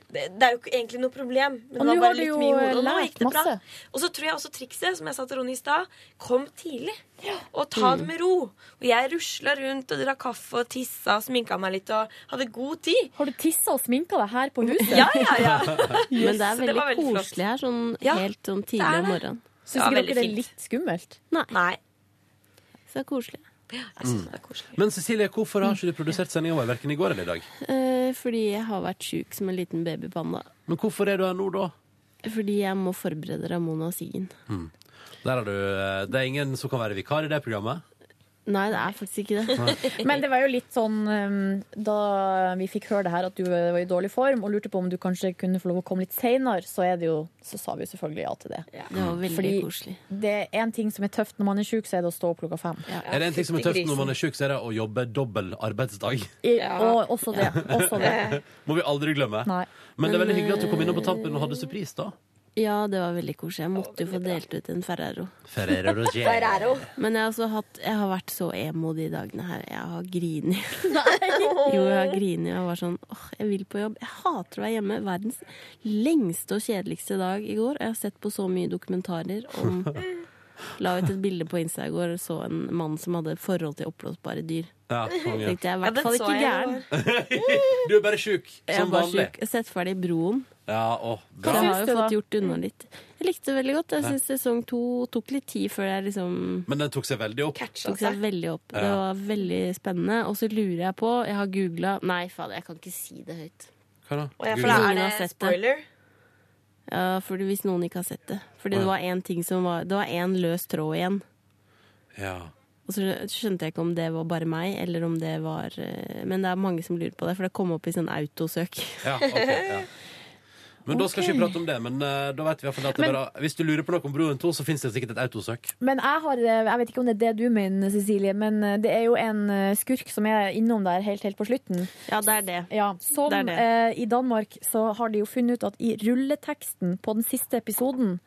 Speaker 11: det, det er jo ikke egentlig noe problem. Men
Speaker 3: Og
Speaker 11: det
Speaker 3: nå
Speaker 11: var
Speaker 3: har
Speaker 11: bare
Speaker 3: du
Speaker 11: litt
Speaker 3: jo
Speaker 11: mye i hodet. Og nå
Speaker 3: lært
Speaker 11: gikk det bra.
Speaker 3: masse.
Speaker 11: Og så tror jeg også trikset, som jeg sa til Ronny i stad, kom tidlig. Og ta
Speaker 3: Mm.
Speaker 11: det med ro. Og jeg rusla rundt og drakk kaffe og tissa og sminka meg litt og hadde god tid.
Speaker 3: Har du tissa og sminka deg her på huset?
Speaker 11: Ja, ja, ja.
Speaker 6: Men det er
Speaker 11: Så det
Speaker 6: veldig,
Speaker 11: var veldig flott.
Speaker 6: koselig her, sånn helt sånn
Speaker 11: det
Speaker 6: tidlig
Speaker 11: er
Speaker 6: om
Speaker 11: det.
Speaker 6: morgenen.
Speaker 3: Syns ikke dere det er litt skummelt?
Speaker 6: Nei.
Speaker 3: Så det er koselig.
Speaker 2: Mm. Men Cecilie, hvorfor har ikke du produsert sendinga vår verken i går eller i dag?
Speaker 6: Eh, fordi jeg har vært sjuk som en liten babypanda.
Speaker 2: Men hvorfor er du her nå, da?
Speaker 6: Fordi jeg må forberede Ramona og Siggen.
Speaker 2: Mm. Der har du, eh, det er ingen som kan være vikar i det programmet.
Speaker 6: Nei, det er faktisk ikke det.
Speaker 3: Men det var jo litt sånn um, da vi fikk høre det her at du eh, var i dårlig form og lurte på om du kanskje kunne få lov å komme litt seinere, så, er det jo, så sa vi jo selvfølgelig ja til det.
Speaker 6: Det var veldig
Speaker 3: Fordi
Speaker 6: koselig.
Speaker 3: det er en ting som er tøft når man er sjuk, så er det å stå opp klokka fem.
Speaker 2: Er det en ting som er tøft når man er sjuk, så er det å jobbe dobbel arbeidsdag.
Speaker 3: I- Og også det. Også det.
Speaker 2: Må vi aldri glemme.
Speaker 3: Nei.
Speaker 2: Men det er veldig
Speaker 6: Men,
Speaker 2: hyggelig at du kom innom på tampen og hadde surprise, da.
Speaker 6: Ja, det var veldig koselig. Jeg måtte jo få delt ut en Ferrero.
Speaker 2: Ferrero Rocher. Ferrero.
Speaker 6: Men jeg har, også hatt, jeg har vært så emo de dagene her. Jeg har grinet. Jo, jeg har grinet og var sånn åh, jeg vil på jobb. Jeg hater å være hjemme. Verdens lengste og kjedeligste dag i går. Og jeg har sett på så mye dokumentarer om La ut et bilde på Insta i går og så en mann som hadde forhold til oppblåsbare dyr.
Speaker 2: Ja, konge.
Speaker 6: Tenkte jeg i
Speaker 2: Ja,
Speaker 6: hvert
Speaker 2: den
Speaker 6: fall
Speaker 2: så
Speaker 6: ikke
Speaker 2: jeg i
Speaker 6: gæren.
Speaker 2: Du er bare sjuk,
Speaker 6: Jeg
Speaker 2: som
Speaker 6: var
Speaker 2: vanlig.
Speaker 6: sjuk. Sett ferdig Broen.
Speaker 2: Ja, å,
Speaker 6: Så
Speaker 2: bra.
Speaker 6: jeg har jo fått gjort
Speaker 2: Mm.
Speaker 6: unna litt. Jeg likte det veldig godt. Jeg
Speaker 2: Ja.
Speaker 6: syns sesong to tok litt tid før jeg liksom
Speaker 2: Men den tok seg veldig opp.
Speaker 6: tok seg veldig opp. Det
Speaker 2: Ja.
Speaker 6: var veldig spennende. Og så lurer jeg på Jeg har googla Nei, fader, jeg kan ikke si det høyt.
Speaker 2: Hva da?
Speaker 6: Og jeg-
Speaker 11: For da
Speaker 6: Ingen
Speaker 11: er
Speaker 6: har
Speaker 11: det
Speaker 6: sett det.
Speaker 11: spoiler.
Speaker 6: Ja, fordi hvis noen ikke har sett det. Fordi
Speaker 2: Ja.
Speaker 6: det var én ting som var Det var én løs tråd igjen.
Speaker 2: Ja.
Speaker 6: Og så skjønte jeg ikke om det var bare meg, eller om det var eh, Men det er mange som lurer på det, for det kom opp i sånn autosøk.
Speaker 2: Ja, ok, ja. Men da skal
Speaker 6: Ok.
Speaker 2: ikke vi prate om det. Men eh, da vet vi i hvert fall at det
Speaker 3: Men-
Speaker 2: bare, hvis du lurer på noe om Broen 2, så finnes det sikkert et autosøk.
Speaker 3: Men jeg har, eh, jeg vet ikke om det er det du mener, Cecilie, men eh, det er jo en skurk som er innom der helt, helt på slutten.
Speaker 6: Ja, det er det.
Speaker 3: som
Speaker 6: Det er det.
Speaker 3: Eh, i Danmark så har de jo funnet ut at i rulleteksten på den siste episoden,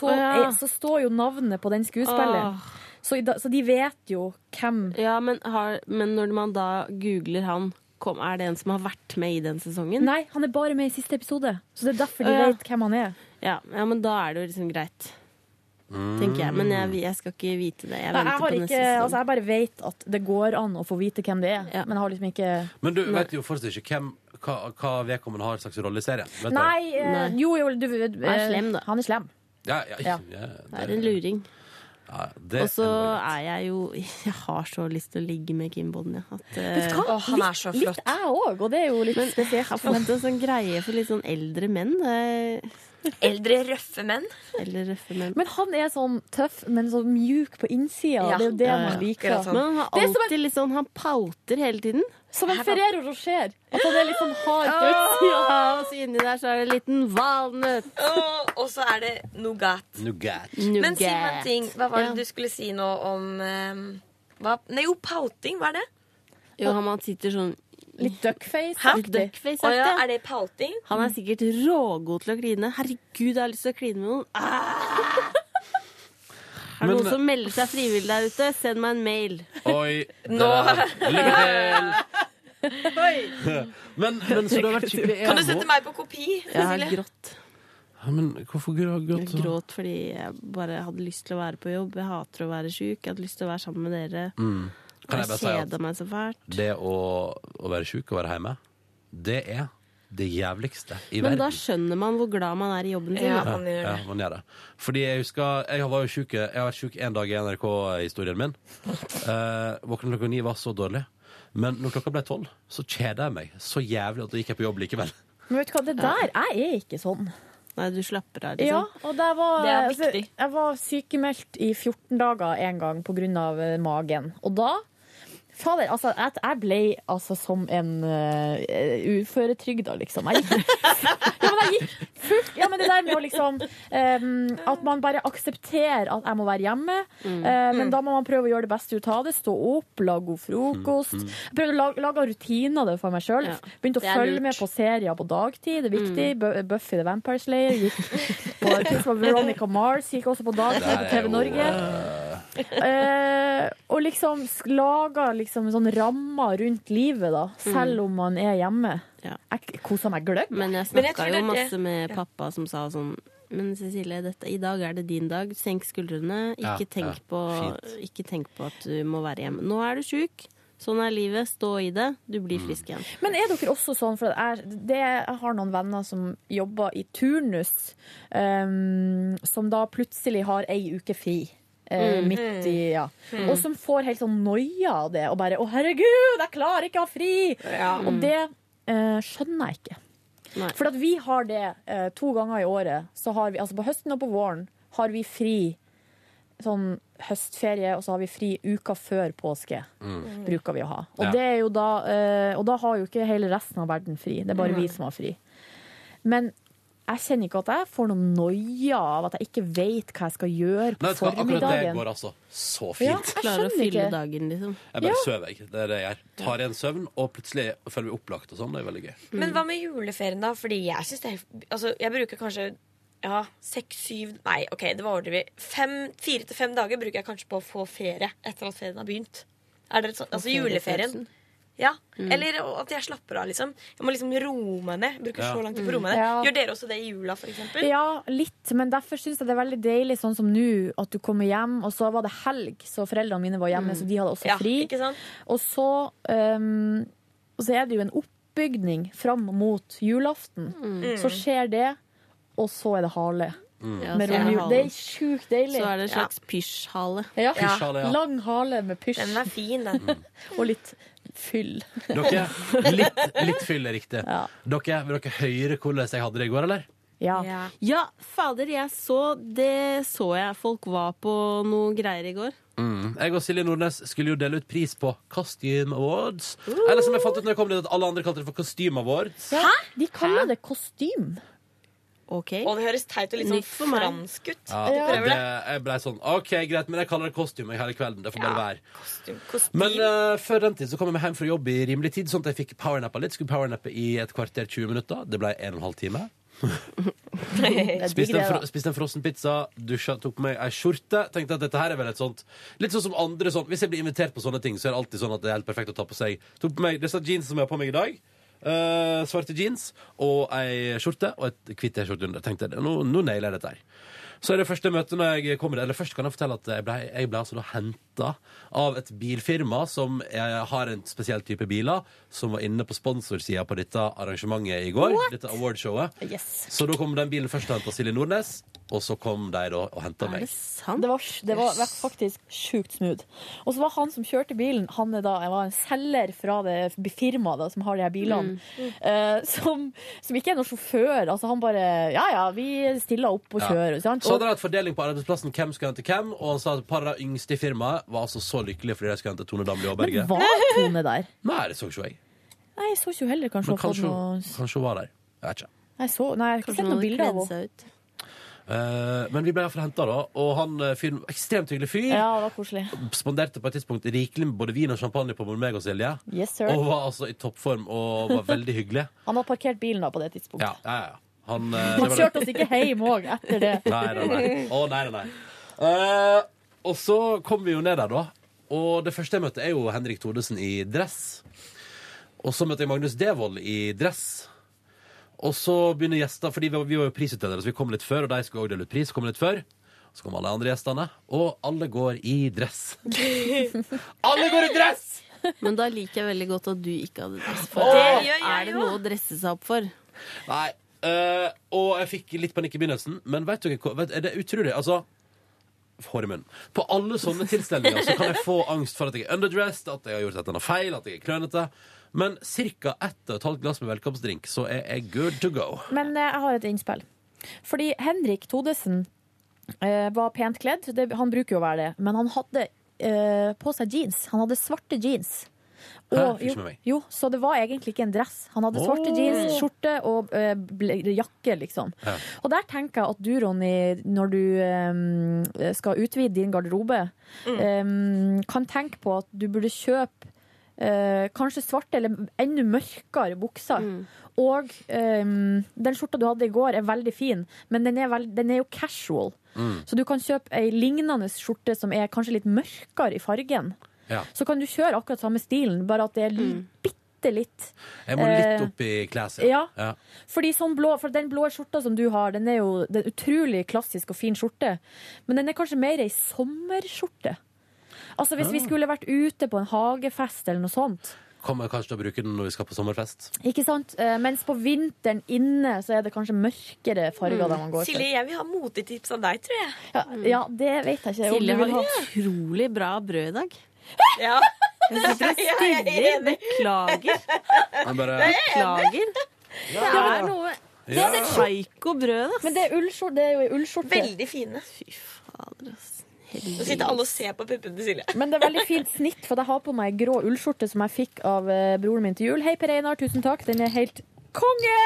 Speaker 3: så,
Speaker 6: Å, ja.
Speaker 3: er, så står jo navnet på den skuespilleren.
Speaker 6: Åh.
Speaker 3: Så, i da, så de vet jo hvem
Speaker 6: Ja, men, har, men når man da googler han, kom, er det en som har vært med i den sesongen?
Speaker 3: Nei, han er bare med i siste episode, så det er derfor de
Speaker 6: Å, ja.
Speaker 3: vet hvem han er.
Speaker 6: Ja, ja, men da er det jo liksom greit. tenker jeg. Men jeg, jeg skal ikke vite det. Jeg
Speaker 3: Nei, jeg,
Speaker 6: venter
Speaker 3: har
Speaker 6: på
Speaker 3: ikke,
Speaker 6: neste sesong.
Speaker 3: altså, jeg bare vet at det går an å få vite hvem det er, men jeg har liksom ikke
Speaker 2: Men du vet jo fortsatt ikke hvem, hva, hva vedkommende har slags rolle i serien. Vet du?
Speaker 3: Nei, eh, jo, jo, du,
Speaker 6: Han er slem, da.
Speaker 3: Han er slem.
Speaker 2: Ja, ja, ja,
Speaker 6: Ja. Det er en luring.
Speaker 2: ja, det,
Speaker 6: Og så er jeg jo Jeg har så lyst til å ligge med Kim Bodnia. At, eh,
Speaker 3: Vet du hva? Litt- Litt jeg òg, og det er jo litt
Speaker 6: Jeg har fått en sånn greie for litt sånn eldre menn. eh,
Speaker 11: Eldre, røffe menn?
Speaker 6: Eldre, røffe menn.
Speaker 3: Men han er sånn tøff, men så mjuk på innsida.
Speaker 6: Ja,
Speaker 3: det er jo det
Speaker 6: ja,
Speaker 3: man
Speaker 6: ja.
Speaker 3: liker.
Speaker 6: Akkurat sånn. Men han har
Speaker 3: Det er som en-
Speaker 6: alltid litt sånn Han pouter hele tiden.
Speaker 3: Som en Ferrero Rocher. At han er liksom hard på utsida.
Speaker 6: Åh, Og så inni der så er det en liten valnøtt.
Speaker 11: Og, og så er det nougat.
Speaker 2: Nougat.
Speaker 11: Men si meg en ting. Hva var
Speaker 6: Ja.
Speaker 11: det du skulle si nå om eh, hva? Nei, jo, pouting. Hva er det?
Speaker 6: Jo, han, han sitter sånn
Speaker 3: Litt duckface.
Speaker 11: Hæ?
Speaker 6: Duckface,
Speaker 11: Å ja,
Speaker 6: aktig.
Speaker 11: er det pouting?
Speaker 6: Han er sikkert rågod til å kline. Herregud, jeg har lyst til å kline med noen. Ah! Er
Speaker 2: Men-
Speaker 6: det
Speaker 2: eh,
Speaker 6: noen som melder seg frivillig der ute? Send meg en mail.
Speaker 2: Oi. det
Speaker 6: Nå.
Speaker 2: der. Lykke til!
Speaker 11: Oi.
Speaker 2: Men, men så du har vært skikkelig
Speaker 11: Kan du
Speaker 2: emo?
Speaker 11: sette meg på kopi?
Speaker 6: Jeg har
Speaker 11: Cecilie?
Speaker 6: grått.
Speaker 2: Ja, men hvorfor gr- gråt
Speaker 6: Jeg gråt fordi jeg bare hadde lyst til å være på jobb. Jeg hater å være sjuk. Jeg hadde lyst til å være sammen med dere.
Speaker 2: Mm.
Speaker 6: Og
Speaker 2: Kan jeg
Speaker 6: jeg
Speaker 2: bare si at
Speaker 6: kjeda meg så fælt.
Speaker 2: det å, å være sjuk og være hjemme, det er det jævligste i
Speaker 6: Men da
Speaker 2: verden.
Speaker 6: skjønner man hvor glad man er i jobben sin. da.
Speaker 2: ja, man gjør det. Fordi jeg husker Jeg var jo syk, jeg har vært sjuk en dag i NRK-historien min. Uh, Våkna klokka ni, var så dårlig. Men når klokka ble tolv, så kjeda jeg meg så jævlig at da gikk jeg på jobb likevel.
Speaker 3: Men vet du hva, det der Jeg er ikke sånn.
Speaker 6: Nei, du slapper av,
Speaker 3: Ja,
Speaker 6: liksom.
Speaker 3: og der var,
Speaker 6: Det er
Speaker 3: altså, jeg var sykemeldt i 14 dager en gang pga. eh, magen. Og da Fader, altså, jeg, jeg ble altså som en uh, uføretrygda, liksom. Jeg gikk, ja, men jeg gikk fullt Ja, men det der med å liksom em, At man bare aksepterer at jeg må være hjemme.
Speaker 6: Mm.
Speaker 3: eh, men
Speaker 6: Mm.
Speaker 3: da må man prøve å gjøre det beste ut av det. Stå opp, lage god frokost.
Speaker 6: Mm.
Speaker 3: Jeg prøvde å lage, lage rutiner der for meg sjøl.
Speaker 6: Ja.
Speaker 3: Begynte å
Speaker 6: Det er
Speaker 3: følge
Speaker 6: lurt. Mm.
Speaker 3: med på serier på dagtid. Det er viktig. Bu- Buffy the Vampire Slayer gikk på, på Veronica Mars gikk også på dagtid på TV Norge. Eh, og liksom sk- laga liksom sånn rammer rundt livet, da. Selv
Speaker 6: Mm.
Speaker 3: om man er hjemme. Jeg kosa meg gløgg.
Speaker 6: Men jeg
Speaker 3: Men jeg
Speaker 6: snakka
Speaker 3: tror
Speaker 6: jo
Speaker 3: det-
Speaker 6: masse med
Speaker 3: ja.
Speaker 6: pappa som sa sånn Men Cecilie, dette, i dag er det din dag. Senk skuldrene.
Speaker 3: Ja,
Speaker 6: Ikke, tenk
Speaker 3: ja,
Speaker 6: På, ikke tenk på at du må være hjemme. Nå er du sjuk. Sånn er livet. Stå i det. Du
Speaker 2: Mm.
Speaker 6: blir frisk igjen.
Speaker 3: Men er dere også sånn, for jeg, det, jeg har noen venner som jobber i turnus, ehm, som da plutselig har ei uke fri. eh,
Speaker 6: Mm.
Speaker 3: Midt i, ja.
Speaker 6: Mm.
Speaker 3: Og som får helt sånn noia av det, og bare 'Å, herregud, jeg klarer ikke å ha fri!' Og det eh, skjønner jeg ikke. For at vi har det eh, to ganger i året. Så har vi, altså på høsten og på våren har vi fri sånn høstferie, og så har vi fri uka før påske.
Speaker 6: Mm.
Speaker 3: Bruker vi å ha. Og,
Speaker 6: Ja.
Speaker 3: det er jo da, eh, og da har jo ikke hele resten av verden fri. Det er bare
Speaker 6: Nei.
Speaker 3: vi som har fri. Men jeg kjenner ikke at jeg får noen noia av at jeg ikke vet hva jeg skal gjøre på
Speaker 2: Nei, vet du hva, akkurat det
Speaker 3: formiddagen.
Speaker 2: går altså så
Speaker 3: Ja,
Speaker 2: fint.
Speaker 3: jeg Klarer å skjønner fylle ikke.
Speaker 6: dagen, liksom.
Speaker 2: Jeg bare
Speaker 11: Ja.
Speaker 2: sover, jeg. Det er det jeg gjør. Tar igjen søvn, og plutselig føler vi opplagt og sånn. Det er veldig gøy.
Speaker 6: Mm.
Speaker 11: Men hva med juleferien, da? Fordi jeg syns det er Altså, jeg bruker kanskje ja, seks, syv Nei, OK, det var overdrevet. Fem- Fire til fem dager bruker jeg kanskje på å få ferie etter at ferien har begynt. Er det sånn, altså juleferien.
Speaker 6: feriefølelsen.
Speaker 11: Ja.
Speaker 6: Mm.
Speaker 11: Eller at jeg slapper av, liksom. Jeg må liksom roe meg ned. Jeg Bruker
Speaker 3: Ja.
Speaker 11: så lang tid på å
Speaker 3: Mm.
Speaker 11: roe meg ned.
Speaker 3: Ja.
Speaker 11: Gjør dere også det i jula, for eksempel?
Speaker 3: Ja, litt, men derfor syns jeg det er veldig deilig sånn som nå, at du kommer hjem, og så var det helg, så foreldrene mine var hjemme,
Speaker 11: Mm.
Speaker 3: så de hadde også
Speaker 11: Ja,
Speaker 3: fri.
Speaker 11: ikke sant?
Speaker 3: Og så, ehm, og så er det jo en oppbygning fram mot julaften.
Speaker 6: Mm.
Speaker 3: Så skjer det, og så er det hale.
Speaker 6: Mm. Ja,
Speaker 3: Med
Speaker 6: så er det
Speaker 3: romjul.
Speaker 6: hale.
Speaker 3: Det er sjukt deilig.
Speaker 6: Så er det en slags pysjhale.
Speaker 3: Ja.
Speaker 2: Pysjhale, ja.
Speaker 3: Lang hale med pysj.
Speaker 11: Den er fin, den.
Speaker 3: og litt fyll.
Speaker 2: Dere, litt, litt fyll er riktig. Dere, Vil dere høre hvordan jeg hadde det i går, eller?
Speaker 3: Ja.
Speaker 6: ja. fader, jeg så Det så jeg folk var på noe greier i går.
Speaker 2: Jeg og Silje Nordnes skulle jo dele ut pris på Costume Awards. Eller som jeg fant ut når jeg kom dit, at alle andre kalte det for Costume Awards.
Speaker 3: Hæ? De kaller det kostym.
Speaker 11: Og det høres teit og litt sånn fransk ut.
Speaker 2: Ja,
Speaker 11: Du prøver
Speaker 2: og det,
Speaker 11: det.
Speaker 2: jeg ble sånn OK, greit, men jeg kaller det kostyme hele kvelden. Det får bare være.
Speaker 11: Kostyme.
Speaker 2: Men eh, før den tid så kom jeg meg hjem fra jobb i rimelig tid, sånn at jeg fikk powernappa litt. Skulle powernappe i et kvarter 20 minutter. Det ble en og en halv time. Spiste en, fro spiste en frossen pizza, dusja, tok på meg ei skjorte. Tenkte at dette her er vel et sånt Litt sånn som andre sånn Hvis jeg blir invitert på sånne ting, så er det alltid sånn at det er helt perfekt å ta på seg. Tok på meg disse jeansene som jeg har på meg i dag. eh, svarte jeans og ei skjorte og et hvitt T-skjorte under. Tenkte jeg, nå, nå nailer jeg dette her. Så er det første møtet når jeg kommer Eller først kan jeg fortelle at jeg ble, jeg ble altså da henta av et bilfirma som eh, har en spesiell type biler, som var inne på sponsorsida på dette arrangementet i går.
Speaker 19: What?
Speaker 2: Dette awardshowet. Så da kom den bilen først og henta Silje Nordnes, og så kom de da og henta meg.
Speaker 3: Det var, det var faktisk sjukt smooth. Og så var han som kjørte bilen, han er da, jeg var en selger fra det firmaet da, som har de her bilene,
Speaker 19: Mm.
Speaker 3: eh, som, som ikke er noen sjåfør. Altså, han bare Ja ja, vi stiller opp og
Speaker 2: Ja.
Speaker 3: kjører. Sant?
Speaker 2: Så hadde
Speaker 3: Og,
Speaker 2: de hatt fordeling på arbeidsplassen hvem skulle hente hvem, og han sa at et par av de yngste i firmaet var altså så lykkelige fordi de skulle hente Tone Damli Aaberge.
Speaker 3: men var Tone der?
Speaker 2: Nei, det så ikke jeg.
Speaker 3: Nei, jeg så ikke hun heller, kanskje.
Speaker 2: Men
Speaker 3: hun har fått
Speaker 2: kanskje,
Speaker 3: noe-
Speaker 2: kanskje hun var der. Jeg vet ikke.
Speaker 3: Nei, så, nei, jeg har ikke
Speaker 6: Kanskje
Speaker 3: sett
Speaker 6: noen
Speaker 3: noen bilder av
Speaker 6: kledde
Speaker 3: henne.
Speaker 2: Eh, men vi ble iallfall henta, da. Og han eh, fyren ekstremt hyggelig fyr.
Speaker 3: Ja, det var koselig.
Speaker 2: Sponderte på et tidspunkt rikelig med både vin og champagne på både meg og Silje.
Speaker 3: Yes, sir.
Speaker 2: og var altså i toppform og var veldig hyggelig.
Speaker 3: Han hadde parkert bilen da på det tidspunktet.
Speaker 2: Ja, ja, ja. Han, eh, det
Speaker 3: Han
Speaker 2: var det-
Speaker 3: kjørte oss ikke hjem òg etter det.
Speaker 2: Nei, nei, nei. Å, nei, nei, nei. Eh, og så kom vi jo ned der, da. Og det første jeg møtte, er jo Henrik Thodesen i dress. Og så møtte jeg Magnus Devold i dress. Og så begynner gjester, fordi vi var, vi var jo prisutdelere, så vi kom litt før. Og de skulle også dele ut pris, kom litt før. Så kom alle andre gjestene, og alle går i dress. Alle går i dress!
Speaker 6: Men da liker jeg veldig godt at du ikke hadde dress.
Speaker 2: Åh!
Speaker 6: For
Speaker 2: Det gjør jeg
Speaker 6: er det noe å dresse seg opp for?
Speaker 2: Nei. eh, og jeg fikk litt panikk i begynnelsen, men vet dere hva? Vet, er det utrolig? Altså Hår i munnen. På alle sånne tilstelninger så kan jeg få angst for at jeg er underdressed, at jeg har gjort et eller annet feil, at jeg er klønete. Men ca. ett og et halvt glass med velkomstdrink, så er jeg good to go.
Speaker 3: Men eh, jeg har et innspill. Fordi Henrik Todesen eh, var pent kledd. Det, han bruker jo å være det. Men han hadde eh, på seg jeans. Han hadde svarte jeans.
Speaker 19: Hæ? Fikk ikke med
Speaker 3: jo,
Speaker 19: meg.
Speaker 3: jo, så det var egentlig ikke en dress. Han hadde svarte
Speaker 19: Åh.
Speaker 3: jeans, skjorte og eh, ble- jakke, liksom.
Speaker 19: Ja.
Speaker 3: Og der tenker jeg at du, Ronny, når du eh, skal utvide din garderobe, eh, kan tenke på at du burde kjøpe eh, kanskje svarte eller enda mørkere bukser. Og eh, den skjorta du hadde i går er veldig fin, men den er, veld, den er jo casual.
Speaker 19: Mm.
Speaker 3: Så du kan kjøpe ei lignende skjorte som er kanskje litt mørkere i fargen.
Speaker 2: Ja.
Speaker 3: Så kan du kjøre akkurat samme stilen, bare at det er bitte litt.
Speaker 2: Jeg må litt
Speaker 3: eh,
Speaker 2: opp i klesset.
Speaker 3: ja. Fordi sånn blå, for Den blå skjorta som du har, den er jo det er en utrolig klassisk og fin skjorte. Men den er kanskje mer ei sommerskjorte. Altså Hvis vi
Speaker 2: Ah.
Speaker 3: skulle vært ute på en hagefest eller noe sånt.
Speaker 2: Kommer jeg kanskje til å bruke den når vi skal på sommerfest.
Speaker 3: Ikke sant? Eh, Mens på vinteren inne så er det kanskje mørkere
Speaker 6: Mm.
Speaker 3: farger der man går for.
Speaker 11: Silje, jeg vil ha motetips av deg, tror jeg.
Speaker 3: Ja, ja, det vet jeg ikke. om
Speaker 6: Silje
Speaker 3: du vil
Speaker 6: har
Speaker 3: ha.
Speaker 6: utrolig bra brød i dag.
Speaker 11: Ja.
Speaker 6: Jeg sitter og
Speaker 11: Ja, jeg er
Speaker 6: stirrer.
Speaker 11: enig.
Speaker 6: Beklager.
Speaker 2: Men bare
Speaker 6: Beklager. Det er noe
Speaker 2: Det er det
Speaker 6: psyko-brød, ass.
Speaker 3: Men det er, ullskjor- det er jo ei ullskjorte.
Speaker 11: Veldig fine. Fy fader, ass. Nå sitter alle og ser på puppene til Silje.
Speaker 3: Men det er veldig fint snitt, for jeg har på meg ei grå ullskjorte som jeg fikk av eh, broren min til jul. Hei, Per Einar, tusen takk. Den er helt konge!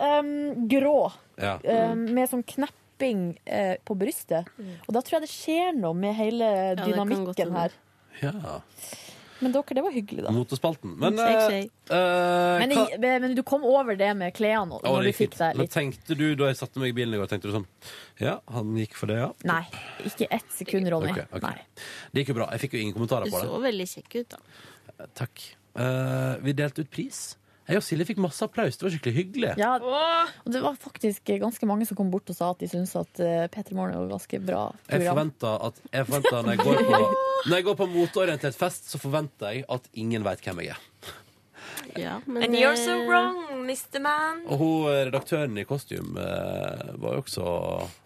Speaker 3: Um, grå.
Speaker 19: Ja.
Speaker 6: Mm.
Speaker 3: Um, med sånn knepping eh, på brystet. Og da tror jeg det skjer noe med hele
Speaker 6: det kan godt
Speaker 3: dynamikken
Speaker 6: hende.
Speaker 3: her.
Speaker 2: Ja.
Speaker 3: Men dere, det var hyggelig, da.
Speaker 2: Motespalten. Men,
Speaker 3: Shake,
Speaker 2: eh, eh,
Speaker 3: Men,
Speaker 2: hva-
Speaker 3: i- men du kom over det med klærne
Speaker 2: Å, det
Speaker 3: når du
Speaker 2: gikk
Speaker 3: fikk
Speaker 2: fint.
Speaker 3: deg
Speaker 2: Men
Speaker 3: litt.
Speaker 2: tenkte du, da jeg satte meg i bilen i går, tenkte du sånn Ja, han gikk for det, ja.
Speaker 3: Nei, ikke ett sekund, Ronny.
Speaker 2: Ok, ok. Det gikk jo bra. Jeg fikk jo ingen kommentarer
Speaker 6: Du
Speaker 2: på det.
Speaker 6: så veldig kjekk ut, da.
Speaker 2: Takk. Eh, vi delte ut pris. Jeg og Silje fikk masse applaus. Det var skikkelig hyggelig.
Speaker 3: Ja, og det var faktisk ganske mange som kom bort og sa at de syntes at eh, P3 Morgen var et ganske bra
Speaker 2: Jeg
Speaker 3: program.
Speaker 2: forventa at jeg forventa når, jeg går på, når jeg går på moteorientert fest, så forventer jeg at ingen veit hvem jeg er.
Speaker 6: men
Speaker 11: And you're so
Speaker 6: eh,
Speaker 11: wrong, Mr. Man.
Speaker 2: Og hun eh, redaktøren i kostyme eh, var jo også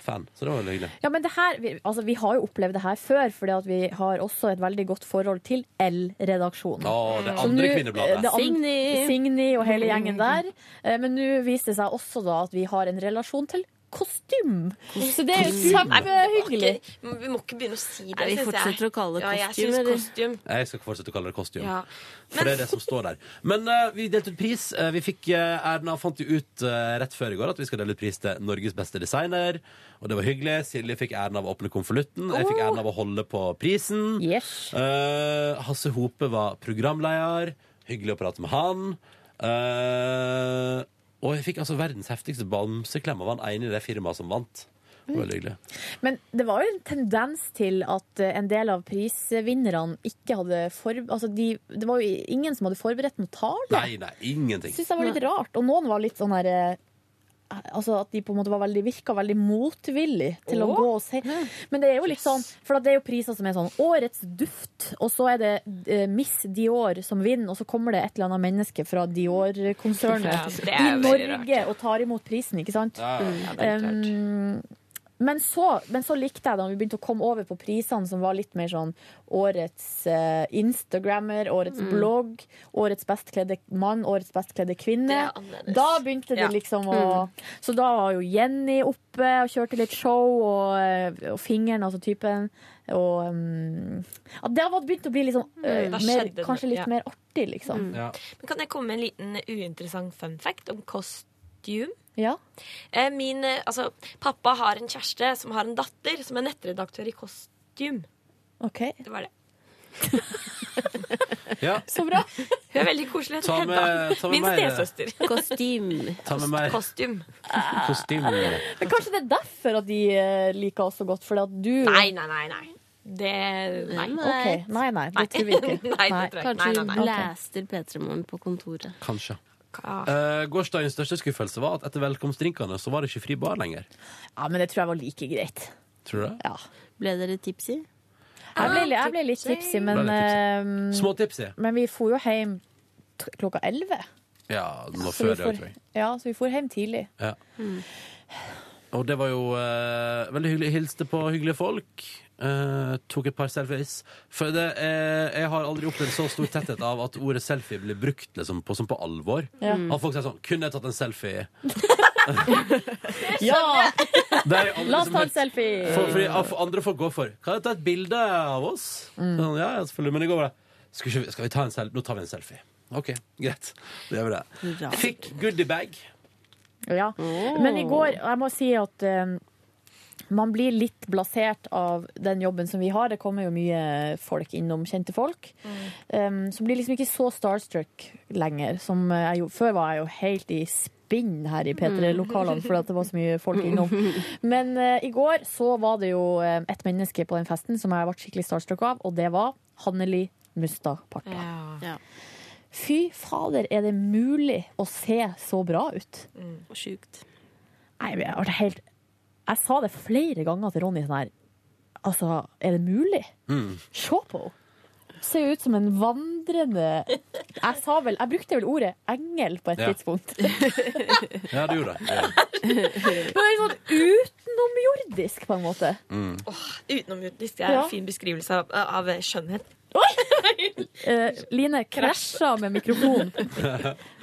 Speaker 2: fan, så det var veldig hyggelig.
Speaker 3: Ja, men det her, vi, altså, vi har jo opplevd det her før, fordi at vi har også et veldig godt forhold til L-redaksjonen.
Speaker 2: Å, det
Speaker 3: Så
Speaker 2: andre
Speaker 3: nå,
Speaker 2: kvinnebladet.
Speaker 3: eh, det an-
Speaker 6: Signy.
Speaker 3: Signy Mm. og hele gjengen der. Eh, Men nå viser det seg også da at vi har en relasjon til kostym. Så det er jo
Speaker 11: Nei, vi må
Speaker 3: kjempehyggelig.
Speaker 11: ikke- Vi må ikke begynne å si det,
Speaker 6: Nei, vi
Speaker 11: synes
Speaker 6: fortsetter å kalle det
Speaker 11: Ja, jeg
Speaker 6: kostyme,
Speaker 11: synes
Speaker 6: eller?
Speaker 11: kostyme.
Speaker 2: Jeg skal fortsette å kalle det kostyme.
Speaker 11: Ja.
Speaker 2: For det er det som står der. Men eh, vi delte ut pris. Eh, vi fikk eh, Erna fant jo ut eh, rett før i går at vi skal dele ut pris til Norges beste designer. Og det var hyggelig. Silje fikk æren av å åpne konvolutten. Jeg fikk æren av å holde på prisen. Eh, Hasse Hope var programleder. Hyggelig å prate med han. Eh, og jeg fikk altså verdens heftigste bamseklem av han ene i det firmaet som vant. Det var Veldig hyggelig.
Speaker 3: Men det var jo en tendens til at eh, en del av prisvinnerne ikke hadde for... Altså, de, det var jo ingen som hadde forberedt noe tale.
Speaker 2: Nei, nei, ingenting.
Speaker 3: Jeg syns det var litt rart. Og noen var litt sånn her eh, Altså at de på en måte var veldig, virka veldig motvillig til å
Speaker 20: Åh.
Speaker 3: gå og si Men det er jo litt sånn, for at det er jo priser som er sånn Årets duft, og så er det eh, Miss Dior som vinner, og så kommer det et eller annet menneske fra
Speaker 20: Ja,
Speaker 3: Dior-konsernet
Speaker 20: det er
Speaker 3: i
Speaker 20: jo veldig
Speaker 3: Norge og tar imot prisen, ikke sant?
Speaker 20: Ja, ja, ja.
Speaker 3: Mm. Um, men så, men så likte jeg da vi begynte å komme over på prisene som var litt mer sånn årets eh, Instagrammer, årets
Speaker 20: Mm.
Speaker 3: blogg, årets bestkledde mann, årets bestkledde kvinne. Da begynte det
Speaker 20: Ja.
Speaker 3: liksom å
Speaker 11: Mm.
Speaker 3: Så da var jo Jenny oppe og kjørte litt show, og, eh, og fingeren, altså typen. Og um, ja, Det hadde begynt å bli litt sånn, eh,
Speaker 11: Mm, da
Speaker 3: mer,
Speaker 11: skjedde det,
Speaker 3: kanskje litt
Speaker 11: ja.
Speaker 3: mer artig, liksom.
Speaker 11: Mm. Men kan jeg komme med en liten uinteressant fun fact om kostyme?
Speaker 3: Ja.
Speaker 11: Eh, Min, eh, altså, pappa har en kjæreste som har en datter som er nettredaktør i kostyme.
Speaker 3: Ok.
Speaker 11: Det var det.
Speaker 2: Ja.
Speaker 3: Så bra.
Speaker 11: Hun er veldig koselig.
Speaker 2: Ta
Speaker 11: Hedda.
Speaker 2: med- ta med
Speaker 11: Min
Speaker 2: mer, eh,
Speaker 11: stesøster.
Speaker 21: Kostyme.
Speaker 2: Ta med mer.
Speaker 11: Kostyme.
Speaker 2: Kostyme.
Speaker 3: Men kanskje det er derfor at de eh, liker oss så godt, fordi at du
Speaker 11: Nei, nei, nei. nei.
Speaker 3: Mm.
Speaker 11: Det Nei.
Speaker 3: Ok, Nei, nei, det tror vi ikke.
Speaker 11: Nei, det tror jeg ikke.
Speaker 21: Kanskje
Speaker 11: Nei, nei,
Speaker 21: hun
Speaker 11: nei.
Speaker 21: blaster P3 Morgen på kontoret.
Speaker 2: Kanskje. Eh, gårsdagens største skuffelse var at etter velkomstdrinkene så var det ikke fri bar lenger.
Speaker 3: Ja, men det tror jeg var like greit.
Speaker 2: Tror du det?
Speaker 3: Ja.
Speaker 21: Ble dere tipsy?
Speaker 3: Jeg ble, jeg ble litt tipsy, men,
Speaker 2: Ble
Speaker 3: eh,
Speaker 2: Småtipsy.
Speaker 3: men vi for jo hjem t- klokka elleve.
Speaker 2: Ja, det var
Speaker 3: Så
Speaker 2: før
Speaker 3: vi
Speaker 2: det, tror
Speaker 3: for-
Speaker 2: jeg.
Speaker 3: Ja, så vi for hjem tidlig.
Speaker 2: Ja. Og det var jo eh, veldig hyggelig. Hilste på hyggelige folk. eh, tok et par selfies. For det, eh, jeg har aldri opplevd så stor tetthet av at ordet selfie blir brukt liksom, på, som på alvor.
Speaker 3: Ja.
Speaker 2: At folk sier sånn 'Kunne jeg tatt en selfie?'
Speaker 3: Ja!
Speaker 2: Det er jo aldri liksom
Speaker 3: La oss
Speaker 2: som
Speaker 3: ta en
Speaker 2: helt-
Speaker 3: selfie!
Speaker 2: For, fordi av- andre folk går for 'Kan jeg ta et bilde av oss?'
Speaker 11: Mm.
Speaker 2: Sånn, ja, ja, selvfølgelig. Men det går bra. Skal, ikke, vi- skal vi ta en selfie? Nå tar vi en selfie. OK, greit. Da gjør vi det. Fikk goodiebag.
Speaker 3: Ja. Men i går, og jeg må si at eh, man blir litt blasert av den jobben som vi har. Det kommer jo mye folk innom, kjente folk. Um, så blir liksom ikke så starstruck lenger. Som jeg jo, før var jeg jo helt i spinn her i P3-lokalene fordi at det var så mye folk innom. Men eh, i går så var det jo eh, et menneske på den festen som jeg ble skikkelig starstruck av, og det var Hanneli Mustad Parta. Fy fader, er det mulig å se så bra ut?
Speaker 21: Sjukt.
Speaker 3: Nei, men jeg ble helt Jeg sa det flere ganger til Ronny sånn her Altså, er det mulig?
Speaker 2: Mm.
Speaker 3: Se på henne! Ser jo ut som en vandrende Jeg sa vel, jeg brukte vel ordet engel på et
Speaker 2: Ja.
Speaker 3: tidspunkt.
Speaker 2: Ja, du gjorde det. Ja.
Speaker 3: Men det er sånn utenomjordisk, på en måte.
Speaker 11: Utenomjordisk er en
Speaker 3: Ja.
Speaker 11: fin beskrivelse av, av skjønnhet.
Speaker 3: Eh, Line krasja med mikrofonen.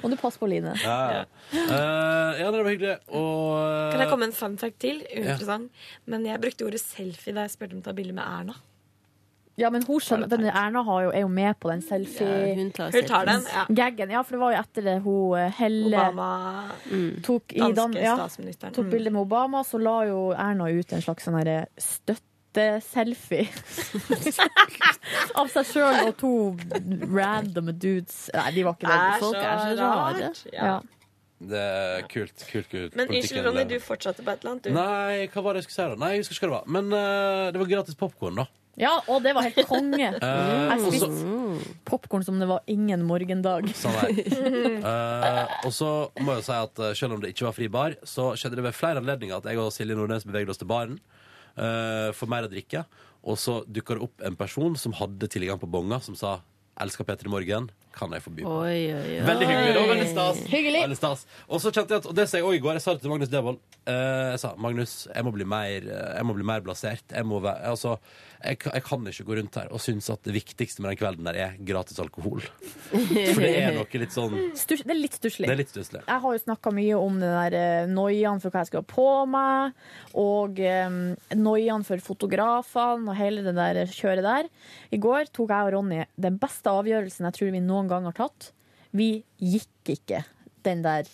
Speaker 3: Må du passe på, Line.
Speaker 2: Ja, ja. Eh, ja, det var hyggelig. Og
Speaker 11: Kan jeg komme med en fun fact til?
Speaker 2: Ja.
Speaker 11: Uinteressant. Men jeg brukte ordet selfie da jeg spurte om å ta bilde med Erna.
Speaker 3: Ja, men hun skjønner, den Erna har jo, er jo med på den selfie...
Speaker 11: Ja, hun tar Hun tar selfies. den, ja.
Speaker 3: Gaggen, ja, for det var jo etter det hun eh, Helle
Speaker 11: Obama,
Speaker 3: tok, i
Speaker 11: danske
Speaker 3: Dan ja,
Speaker 11: statsministeren.
Speaker 3: tok
Speaker 11: Mm.
Speaker 3: bilde med Obama, så la jo Erna ut en slags sånn herre støtteselfie av seg sjøl og to random dudes. Nei, de var ikke det.
Speaker 11: Det er Folk så er så rare. rart, ja.
Speaker 3: Ja.
Speaker 2: eh, Det er kult. kult, kult
Speaker 11: Men
Speaker 2: Politikken
Speaker 11: unnskyld, Ronny,
Speaker 2: lever.
Speaker 11: du fortsatte på et eller annet, du.
Speaker 2: Nei, hva var det jeg skulle si, da? Nei, jeg husker ikke hva det var. Men eh, det var gratis popkorn, da.
Speaker 3: ja, og det var helt konge.
Speaker 2: Eh,
Speaker 3: Jeg
Speaker 2: og så-
Speaker 3: spiste popkorn som det var ingen morgendag.
Speaker 2: Mm. Sånn der. Eh, og så må jeg jo si at eh, selv om det ikke var fri bar, så skjedde det ved flere anledninger at jeg og Silje Nordnes beveget oss til baren eh, for mer å drikke. Og så dukka det opp en person som hadde tilgang på bonga, som sa 'Elsker Peter i morgen. Kan jeg få by på?'
Speaker 21: Oi, oi, oi.
Speaker 2: Veldig hyggelig. Det var veldig stas. Veldig stas. Og så kjente jeg at, og det sa jeg også i går, jeg sa det til Magnus Devold. Eh, jeg sa Magnus, jeg må bli mer, eh, jeg må bli mer blasert. Jeg, må være, altså, jeg, ka- jeg kan ikke gå rundt her og synes at det viktigste med den kvelden der er gratis alkohol. For det er noe litt sånn
Speaker 3: Stus, det er litt stusslig.
Speaker 2: Det er litt stusslig.
Speaker 3: Jeg har jo snakka mye om den der eh, noiaen for hva jeg skal ha på meg, og um, noiaen for fotografene og hele det der kjøret der. I går tok jeg og Ronny den beste avgjørelsen jeg tror vi noen gang har tatt. Vi gikk ikke den der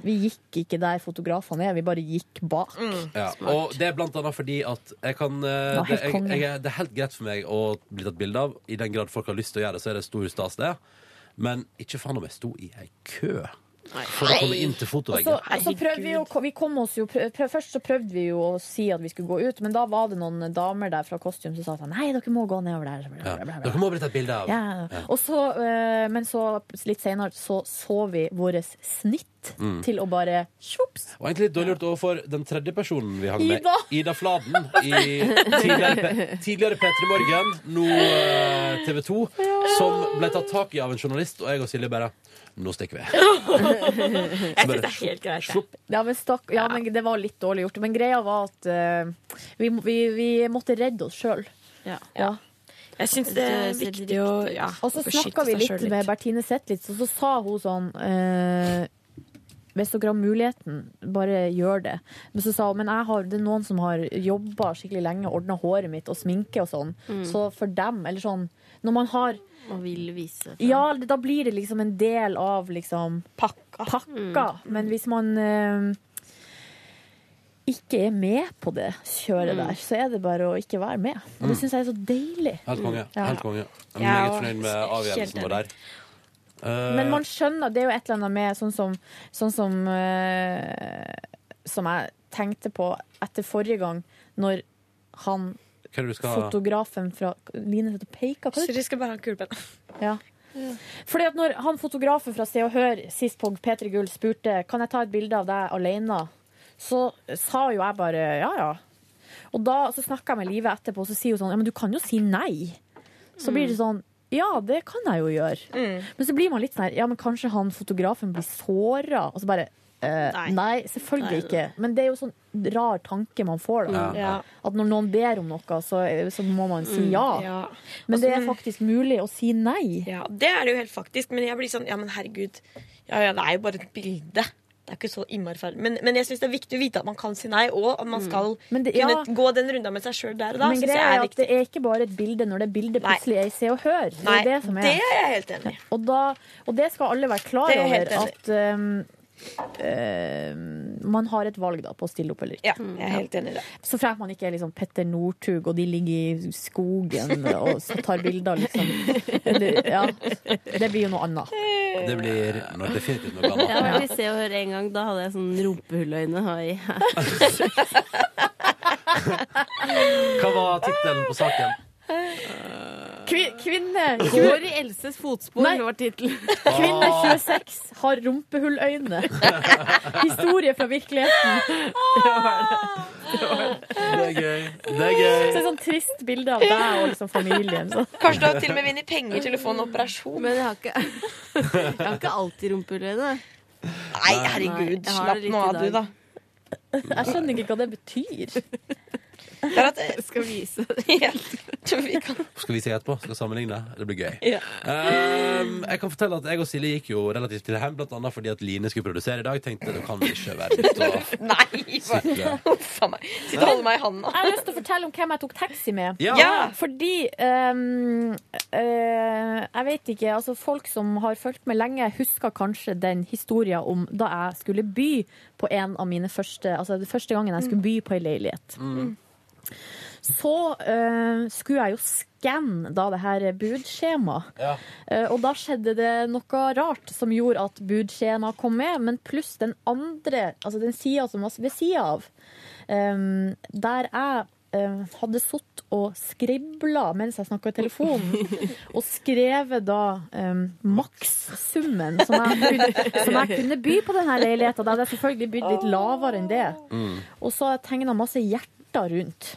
Speaker 3: Vi gikk ikke der fotografene er, vi bare gikk bak.
Speaker 2: Ja, og det er blant annet fordi at jeg kan, eh,
Speaker 3: Nå, helt
Speaker 2: det, jeg,
Speaker 3: konge.
Speaker 2: jeg, er- det er helt greit for meg å bli tatt bilde av. I den grad folk har lyst til å gjøre det, så er det stor stas, det. Men ikke faen om jeg sto i ei kø For å komme inn til fotoveggen.
Speaker 3: Og så- og så prøvde vi jo, vi kom oss jo prøv, prøv, Først så prøvde vi jo å si at vi skulle gå ut, men da var det noen damer der fra Kostium som sa sånn Nei, dere må gå nedover der.
Speaker 2: Ja. Dere må bli tatt bilde av.
Speaker 3: Ja. Og så, eh, men så litt senere så så vi vårt snitt
Speaker 2: Mm.
Speaker 3: til å bare tjops.
Speaker 2: Og egentlig litt dårlig gjort overfor den tredje personen vi hang med.
Speaker 3: Ida.
Speaker 2: Ida Fladen. I tidligere P- tidligere P3 Morgen, nå eh, TV 2. Som ble tatt tak i av en journalist, og jeg og Silje bare Nå stikker vi.
Speaker 3: Jeg
Speaker 2: bare
Speaker 3: helt greit.
Speaker 2: slupp.
Speaker 3: Ja, men, stakk, ja, men det var litt dårlig gjort. Men greia var at eh, vi, må- vi, vi måtte redde oss sjøl. Ja.
Speaker 11: Jeg syns det er viktig å ja,
Speaker 3: Og så
Speaker 11: å beskytte
Speaker 3: snakka vi
Speaker 11: seg
Speaker 3: litt
Speaker 11: selv
Speaker 3: med Bertine Zetlitz, og så sa hun sånn eh, Hvis dere har muligheten, bare gjør det. Men så sa hun men jeg har, det er noen som har jobba skikkelig lenge, ordna håret mitt og sminke og sånn.
Speaker 21: Mm.
Speaker 3: Så for dem, eller sånn Når man har
Speaker 21: Og vil vise
Speaker 3: ja, da blir det liksom en del av liksom pakka. Men hvis man eh, ikke er med på det kjøret
Speaker 21: Mm.
Speaker 3: der, så er det bare å ikke være med. Og det
Speaker 2: Mm.
Speaker 3: syns jeg er så deilig.
Speaker 2: Helt konge.
Speaker 3: Ja.
Speaker 2: Helt konge. Jeg er
Speaker 3: Ja,
Speaker 2: meget
Speaker 3: og-
Speaker 2: fornøyd med avgjørelsen
Speaker 3: Helt
Speaker 2: vår der. Eh,
Speaker 3: Men man skjønner, det er jo et eller annet med sånn som, sånn som, eh, som jeg tenkte på etter forrige gang, når han
Speaker 2: hva er det du skal
Speaker 3: fotografen fra Line sitter og peker på
Speaker 11: Sorry, jeg skal bare ha kulepenn.
Speaker 3: Ja. Fordi at når han fotografen fra Se og Hør sist på P3 Gull spurte Kan jeg ta et bilde av deg alene, så sa jo jeg bare ja, ja. Og da så snakka jeg med Live etterpå, og så sier hun sånn Ja, men du kan jo si nei. Så blir det sånn Ja, det kan jeg jo gjøre. Men så blir man litt sånn her Ja, men kanskje han fotografen blir såra? Og så bare eh, nei.
Speaker 21: Nei,
Speaker 3: selvfølgelig
Speaker 21: nei.
Speaker 3: ikke. Men det er jo sånn rar tanke man får, da.
Speaker 21: Mm. Ja.
Speaker 3: At når noen ber om noe, så, eh, så må man si
Speaker 11: Mm,
Speaker 3: ja.
Speaker 11: ja.
Speaker 3: Men det er
Speaker 11: Mm.
Speaker 3: faktisk mulig å si nei.
Speaker 11: Ja, det er det jo helt faktisk, men jeg blir sånn Ja, men herregud. Ja, ja, det er jo bare et bilde. Det er ikke så innmari farlig. Men, men jeg syns det er viktig å vite at man kan si nei, og at man skal
Speaker 3: Mm. Men det- ja.
Speaker 11: kunne gå den runda med seg sjøl der og da.
Speaker 3: Men
Speaker 11: synes
Speaker 3: greia
Speaker 11: jeg
Speaker 3: er
Speaker 11: er
Speaker 3: at det er ikke bare et bilde når det bildet
Speaker 11: Nei.
Speaker 3: plutselig er i Se og Hør. Det
Speaker 11: Nei,
Speaker 3: er det som er.
Speaker 11: det er jeg helt enig i.
Speaker 3: Og, da, og det skal alle være klar
Speaker 11: Det er jeg helt
Speaker 3: over at um, um, man har et valg da på å stille opp eller ikke.
Speaker 11: Ja, jeg er helt enig i det.
Speaker 3: Så fremt man ikke er liksom Petter Northug, og de ligger i skogen og så tar bilder, liksom. Eller, ja. Det blir jo noe annet.
Speaker 2: Det blir no, definitivt noe
Speaker 21: Jeg har vært
Speaker 2: annet.
Speaker 21: i Se og Hør en gang. Da hadde jeg sånn rumpehulløyne. Oi.
Speaker 2: Hva var tittelen på saken?
Speaker 3: kvinne
Speaker 21: Går i Elses fotspor,
Speaker 3: Nei.
Speaker 21: var tittelen.
Speaker 3: Kvinne 26 har rumpehulløyne. Historie fra virkeligheten.
Speaker 2: Det er gøy. Det er
Speaker 3: Så
Speaker 2: gøy.
Speaker 3: et sånn trist bilde av deg og liksom familien. Så.
Speaker 11: Kanskje du har til og med vunnet penger til å få en operasjon.
Speaker 21: Men jeg har ikke, jeg har ikke alltid rumpehulløyne.
Speaker 11: Nei, herregud.
Speaker 21: jeg har
Speaker 11: slapp
Speaker 21: det litt
Speaker 11: nå
Speaker 21: i
Speaker 11: av, du,
Speaker 21: dag.
Speaker 11: da.
Speaker 3: Jeg skjønner ikke hva det betyr.
Speaker 11: Det er at
Speaker 21: Skal vise
Speaker 2: Skal vi se etterpå? Skal sammenligne? Det blir gøy.
Speaker 11: Ja.
Speaker 2: Ehm, jeg kan fortelle at jeg og Silje gikk jo relativt til hjem, blant annet fordi at Line skulle produsere i dag. Tenkte det kan vi ikke være ute og
Speaker 11: Nei,
Speaker 2: Sikre.
Speaker 11: huff a meg. Sitt og holde meg i handa.
Speaker 3: Jeg har lyst til å fortelle om hvem jeg tok taxi med.
Speaker 2: Ja. Ja.
Speaker 3: Fordi ehm, eh, Jeg vet ikke. Altså, folk som har fulgt med lenge, husker kanskje den historien om da jeg skulle by på en av mine første Altså det første gangen jeg skulle by på ei leilighet. Så eh, skulle jeg jo skanne da det her budskjemaet.
Speaker 2: Ja.
Speaker 3: Eh, Og da skjedde det noe rart som gjorde at budskjema kom med, men pluss den andre, altså den sida som var ved sida av, em, Ehm, der jeg em, hadde sittet og skribla mens jeg snakka i telefonen, og skrevet da em, makssummen som, jeg kunne- som jeg kunne by på denne leiligheta. Da hadde jeg selvfølgelig bydd litt lavere enn det. Og så har jeg tegna masse hjerter rundt.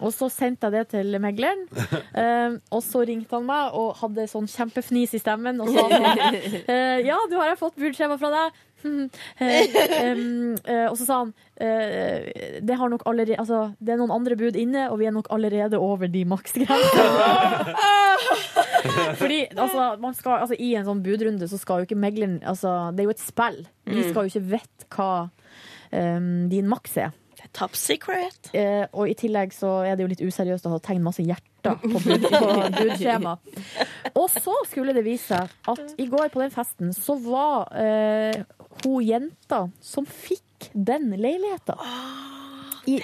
Speaker 3: Og så sendte jeg det til megleren, eh, og så ringte han meg og hadde sånn kjempefnis i stemmen. Og sa sånn eh, Ja, du har jeg fått budskjema fra deg. Hm, eh, em, eh, og så sa han eh, det, har nok allerede, altså, det er noen andre bud inne, og vi er nok allerede over de maksgrensene. Fordi altså, man skal, altså, i en sånn budrunde så skal jo ikke megleren altså, Det er jo et spill. Vi
Speaker 11: Mm.
Speaker 3: skal jo ikke vite hva em, din maks er.
Speaker 11: Top secret.
Speaker 3: Eh, og i tillegg så er det jo litt useriøst å ha tegnet masse hjerter på, bud, på budskjema. Og så skulle det vise seg at i går på den festen så var eh, hun jenta som fikk den leiligheta. I,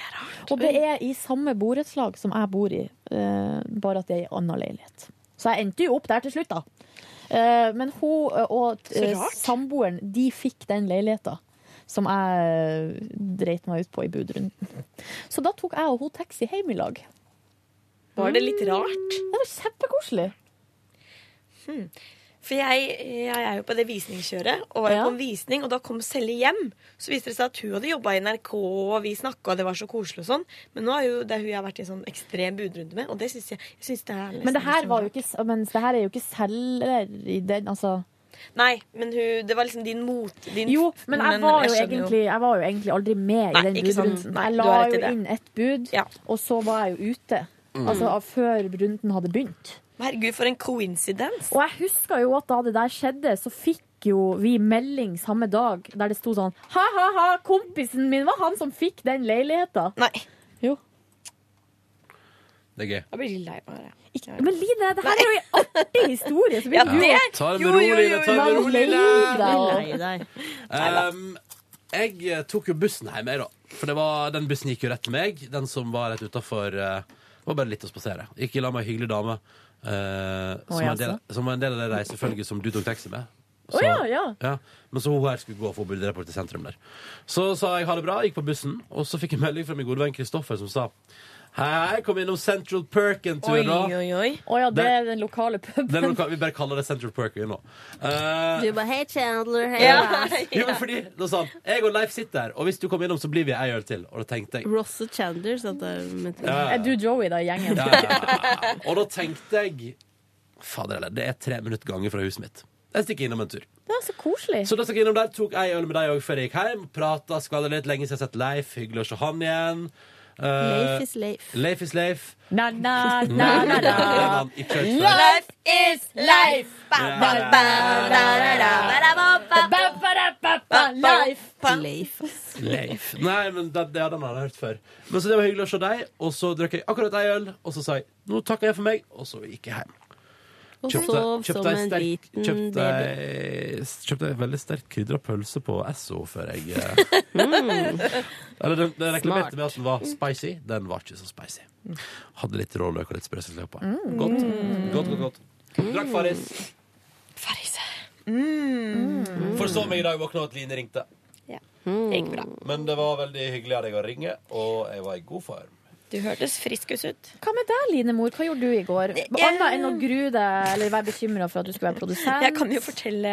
Speaker 3: og det er i samme borettslag som jeg bor i, eh, bare at det er i en annen leilighet. Så jeg endte jo opp der til slutt, da. Eh, Men hun eh, og
Speaker 20: Så
Speaker 3: eh,
Speaker 20: rart.
Speaker 3: samboeren, de fikk den leiligheta. Som jeg dreit meg ut på i budrunden. Så da tok jeg og hun taxi hjem i lag.
Speaker 11: Var det litt rart?
Speaker 3: Det var kjempekoselig.
Speaker 11: Hmm. For jeg, jeg er jo på det visningskjøret, og var jo på en visning, og da kom Selje hjem. Så viste det seg at hun hadde jobba i NRK, og vi snakka, og det var så koselig og sånn. Men nå er jo det er hun jeg har vært i sånn ekstrem budrunde med, og det syns jeg, jeg synes det er sånn
Speaker 3: Men det her, var jo ikke, men det her er jo ikke selger i den, altså.
Speaker 11: Nei, men hun, det var liksom din mot... Din,
Speaker 3: Jo, men jeg var, jo
Speaker 11: skjønner
Speaker 3: egentlig, jeg var jo egentlig aldri med
Speaker 11: Nei,
Speaker 3: i den
Speaker 11: ikke sant.
Speaker 3: budrunden.
Speaker 11: Nei,
Speaker 3: Jeg
Speaker 11: du
Speaker 3: la
Speaker 11: har rett i
Speaker 3: jo
Speaker 11: det.
Speaker 3: inn ett bud, og så var jeg jo ute.
Speaker 11: Mm.
Speaker 3: Altså av- før runden hadde begynt.
Speaker 11: Herregud, for en coincidence.
Speaker 3: Og jeg husker jo at da det der skjedde, så fikk jo vi melding samme dag der det sto sånn Ha, ha, ha, kompisen min var han som fikk den leiligheta.
Speaker 11: Nei.
Speaker 3: Jo.
Speaker 2: Det er gøy.
Speaker 11: Jeg blir litt lei meg.
Speaker 3: Ikke, men Line, det her er jo en artig historie. Så
Speaker 11: Ja,
Speaker 3: blir du
Speaker 2: det- Ta det med ro, Line, ta det med ro, Line.
Speaker 3: Lei
Speaker 2: Lei
Speaker 3: deg.
Speaker 2: Um, jeg eh, tok jo bussen hjem, jeg, da. For det var, den bussen gikk jo rett til meg. Den som var rett utafor. Det var bare litt å spasere. Gikk i lag med ei hyggelig dame eh, som,
Speaker 3: Oi,
Speaker 2: var en del,
Speaker 3: altså.
Speaker 2: som var en del av det reisefølget som du tok taxi med.
Speaker 3: Å ja, ja.
Speaker 2: Ja, Men så hun her skulle gå og få bildereporter til sentrum der. Så sa jeg ha det bra, gikk på bussen, og så fikk jeg melding fra min gode venn Kristoffer som sa Hei, kom innom Central Perk en tur, da.
Speaker 11: oi.
Speaker 3: Å ja, det er den lokale
Speaker 2: Det er
Speaker 3: puben.
Speaker 2: noe- vi bare kaller det Central Perk vi nå. Eh,
Speaker 21: Du bare 'Hei, Chandler'. Hei, Ross.
Speaker 2: jo, men fordi, da sa han Jeg og Leif sitter her, og hvis du kommer innom, så blir vi ei øl til. Og da tenkte jeg
Speaker 21: Ross og Chandler, så det er mitt
Speaker 2: Ja.
Speaker 3: Er du Joey, da, i gjengen?
Speaker 2: Ja, ja, ja. Og da tenkte jeg Fader heller, det er tre minutter gange fra huset mitt. Jeg stikker innom en tur.
Speaker 3: Det er så koselig.
Speaker 2: Så da stakk jeg innom der, tok ei øl med deg òg før jeg gikk hjem. Prata, skvadra litt. Lenge siden jeg har sett Leif. Hyggelig å se han igjen. Eh,
Speaker 21: Leif is Leif.
Speaker 2: Leif is Leif.
Speaker 3: Na, na,
Speaker 2: Nei,
Speaker 3: na, na,
Speaker 2: det
Speaker 3: na.
Speaker 2: var han i church før.
Speaker 3: Life is life! Ba, ba, ba, da, da, da, ba, da, ba, ba, ba, ba, da, ba, ba, Life!
Speaker 21: Leif.
Speaker 2: Leif. Nei, men det, det, den har jeg hørt før. Men så det var hyggelig å se deg, og så drakk jeg akkurat ei øl, og så sa jeg nå takker jeg for meg, og så gikk jeg hjem.
Speaker 21: Og
Speaker 2: Kjøpte-
Speaker 21: sov
Speaker 2: kjøpte
Speaker 21: som
Speaker 2: ei
Speaker 21: en
Speaker 2: sterk-
Speaker 21: liten
Speaker 2: kjøpte
Speaker 21: baby.
Speaker 2: ei- Kjøpte ei veldig sterkt krydra pølse på Esso før jeg eh, Mm. Eller den, den
Speaker 22: Smart.
Speaker 2: reklamerte med at den var spicy. Den var ikke så spicy. Hadde litt rå løk og litt sprøsel på.
Speaker 22: Mm.
Speaker 2: Godt.
Speaker 22: Mm.
Speaker 2: godt, godt, godt. Drakk Farris. Forsov meg i dag, våkna av at Line ringte.
Speaker 11: Det gikk bra.
Speaker 2: Men det var veldig hyggelig av deg å ringe, og jeg var i god form.
Speaker 11: Du hørtes friskus ut.
Speaker 3: Hva med deg, Line Mor? Hva gjorde du i går? Annet enn å grue deg eller være bekymra for at du skulle være produsent?
Speaker 11: Jeg kan jo fortelle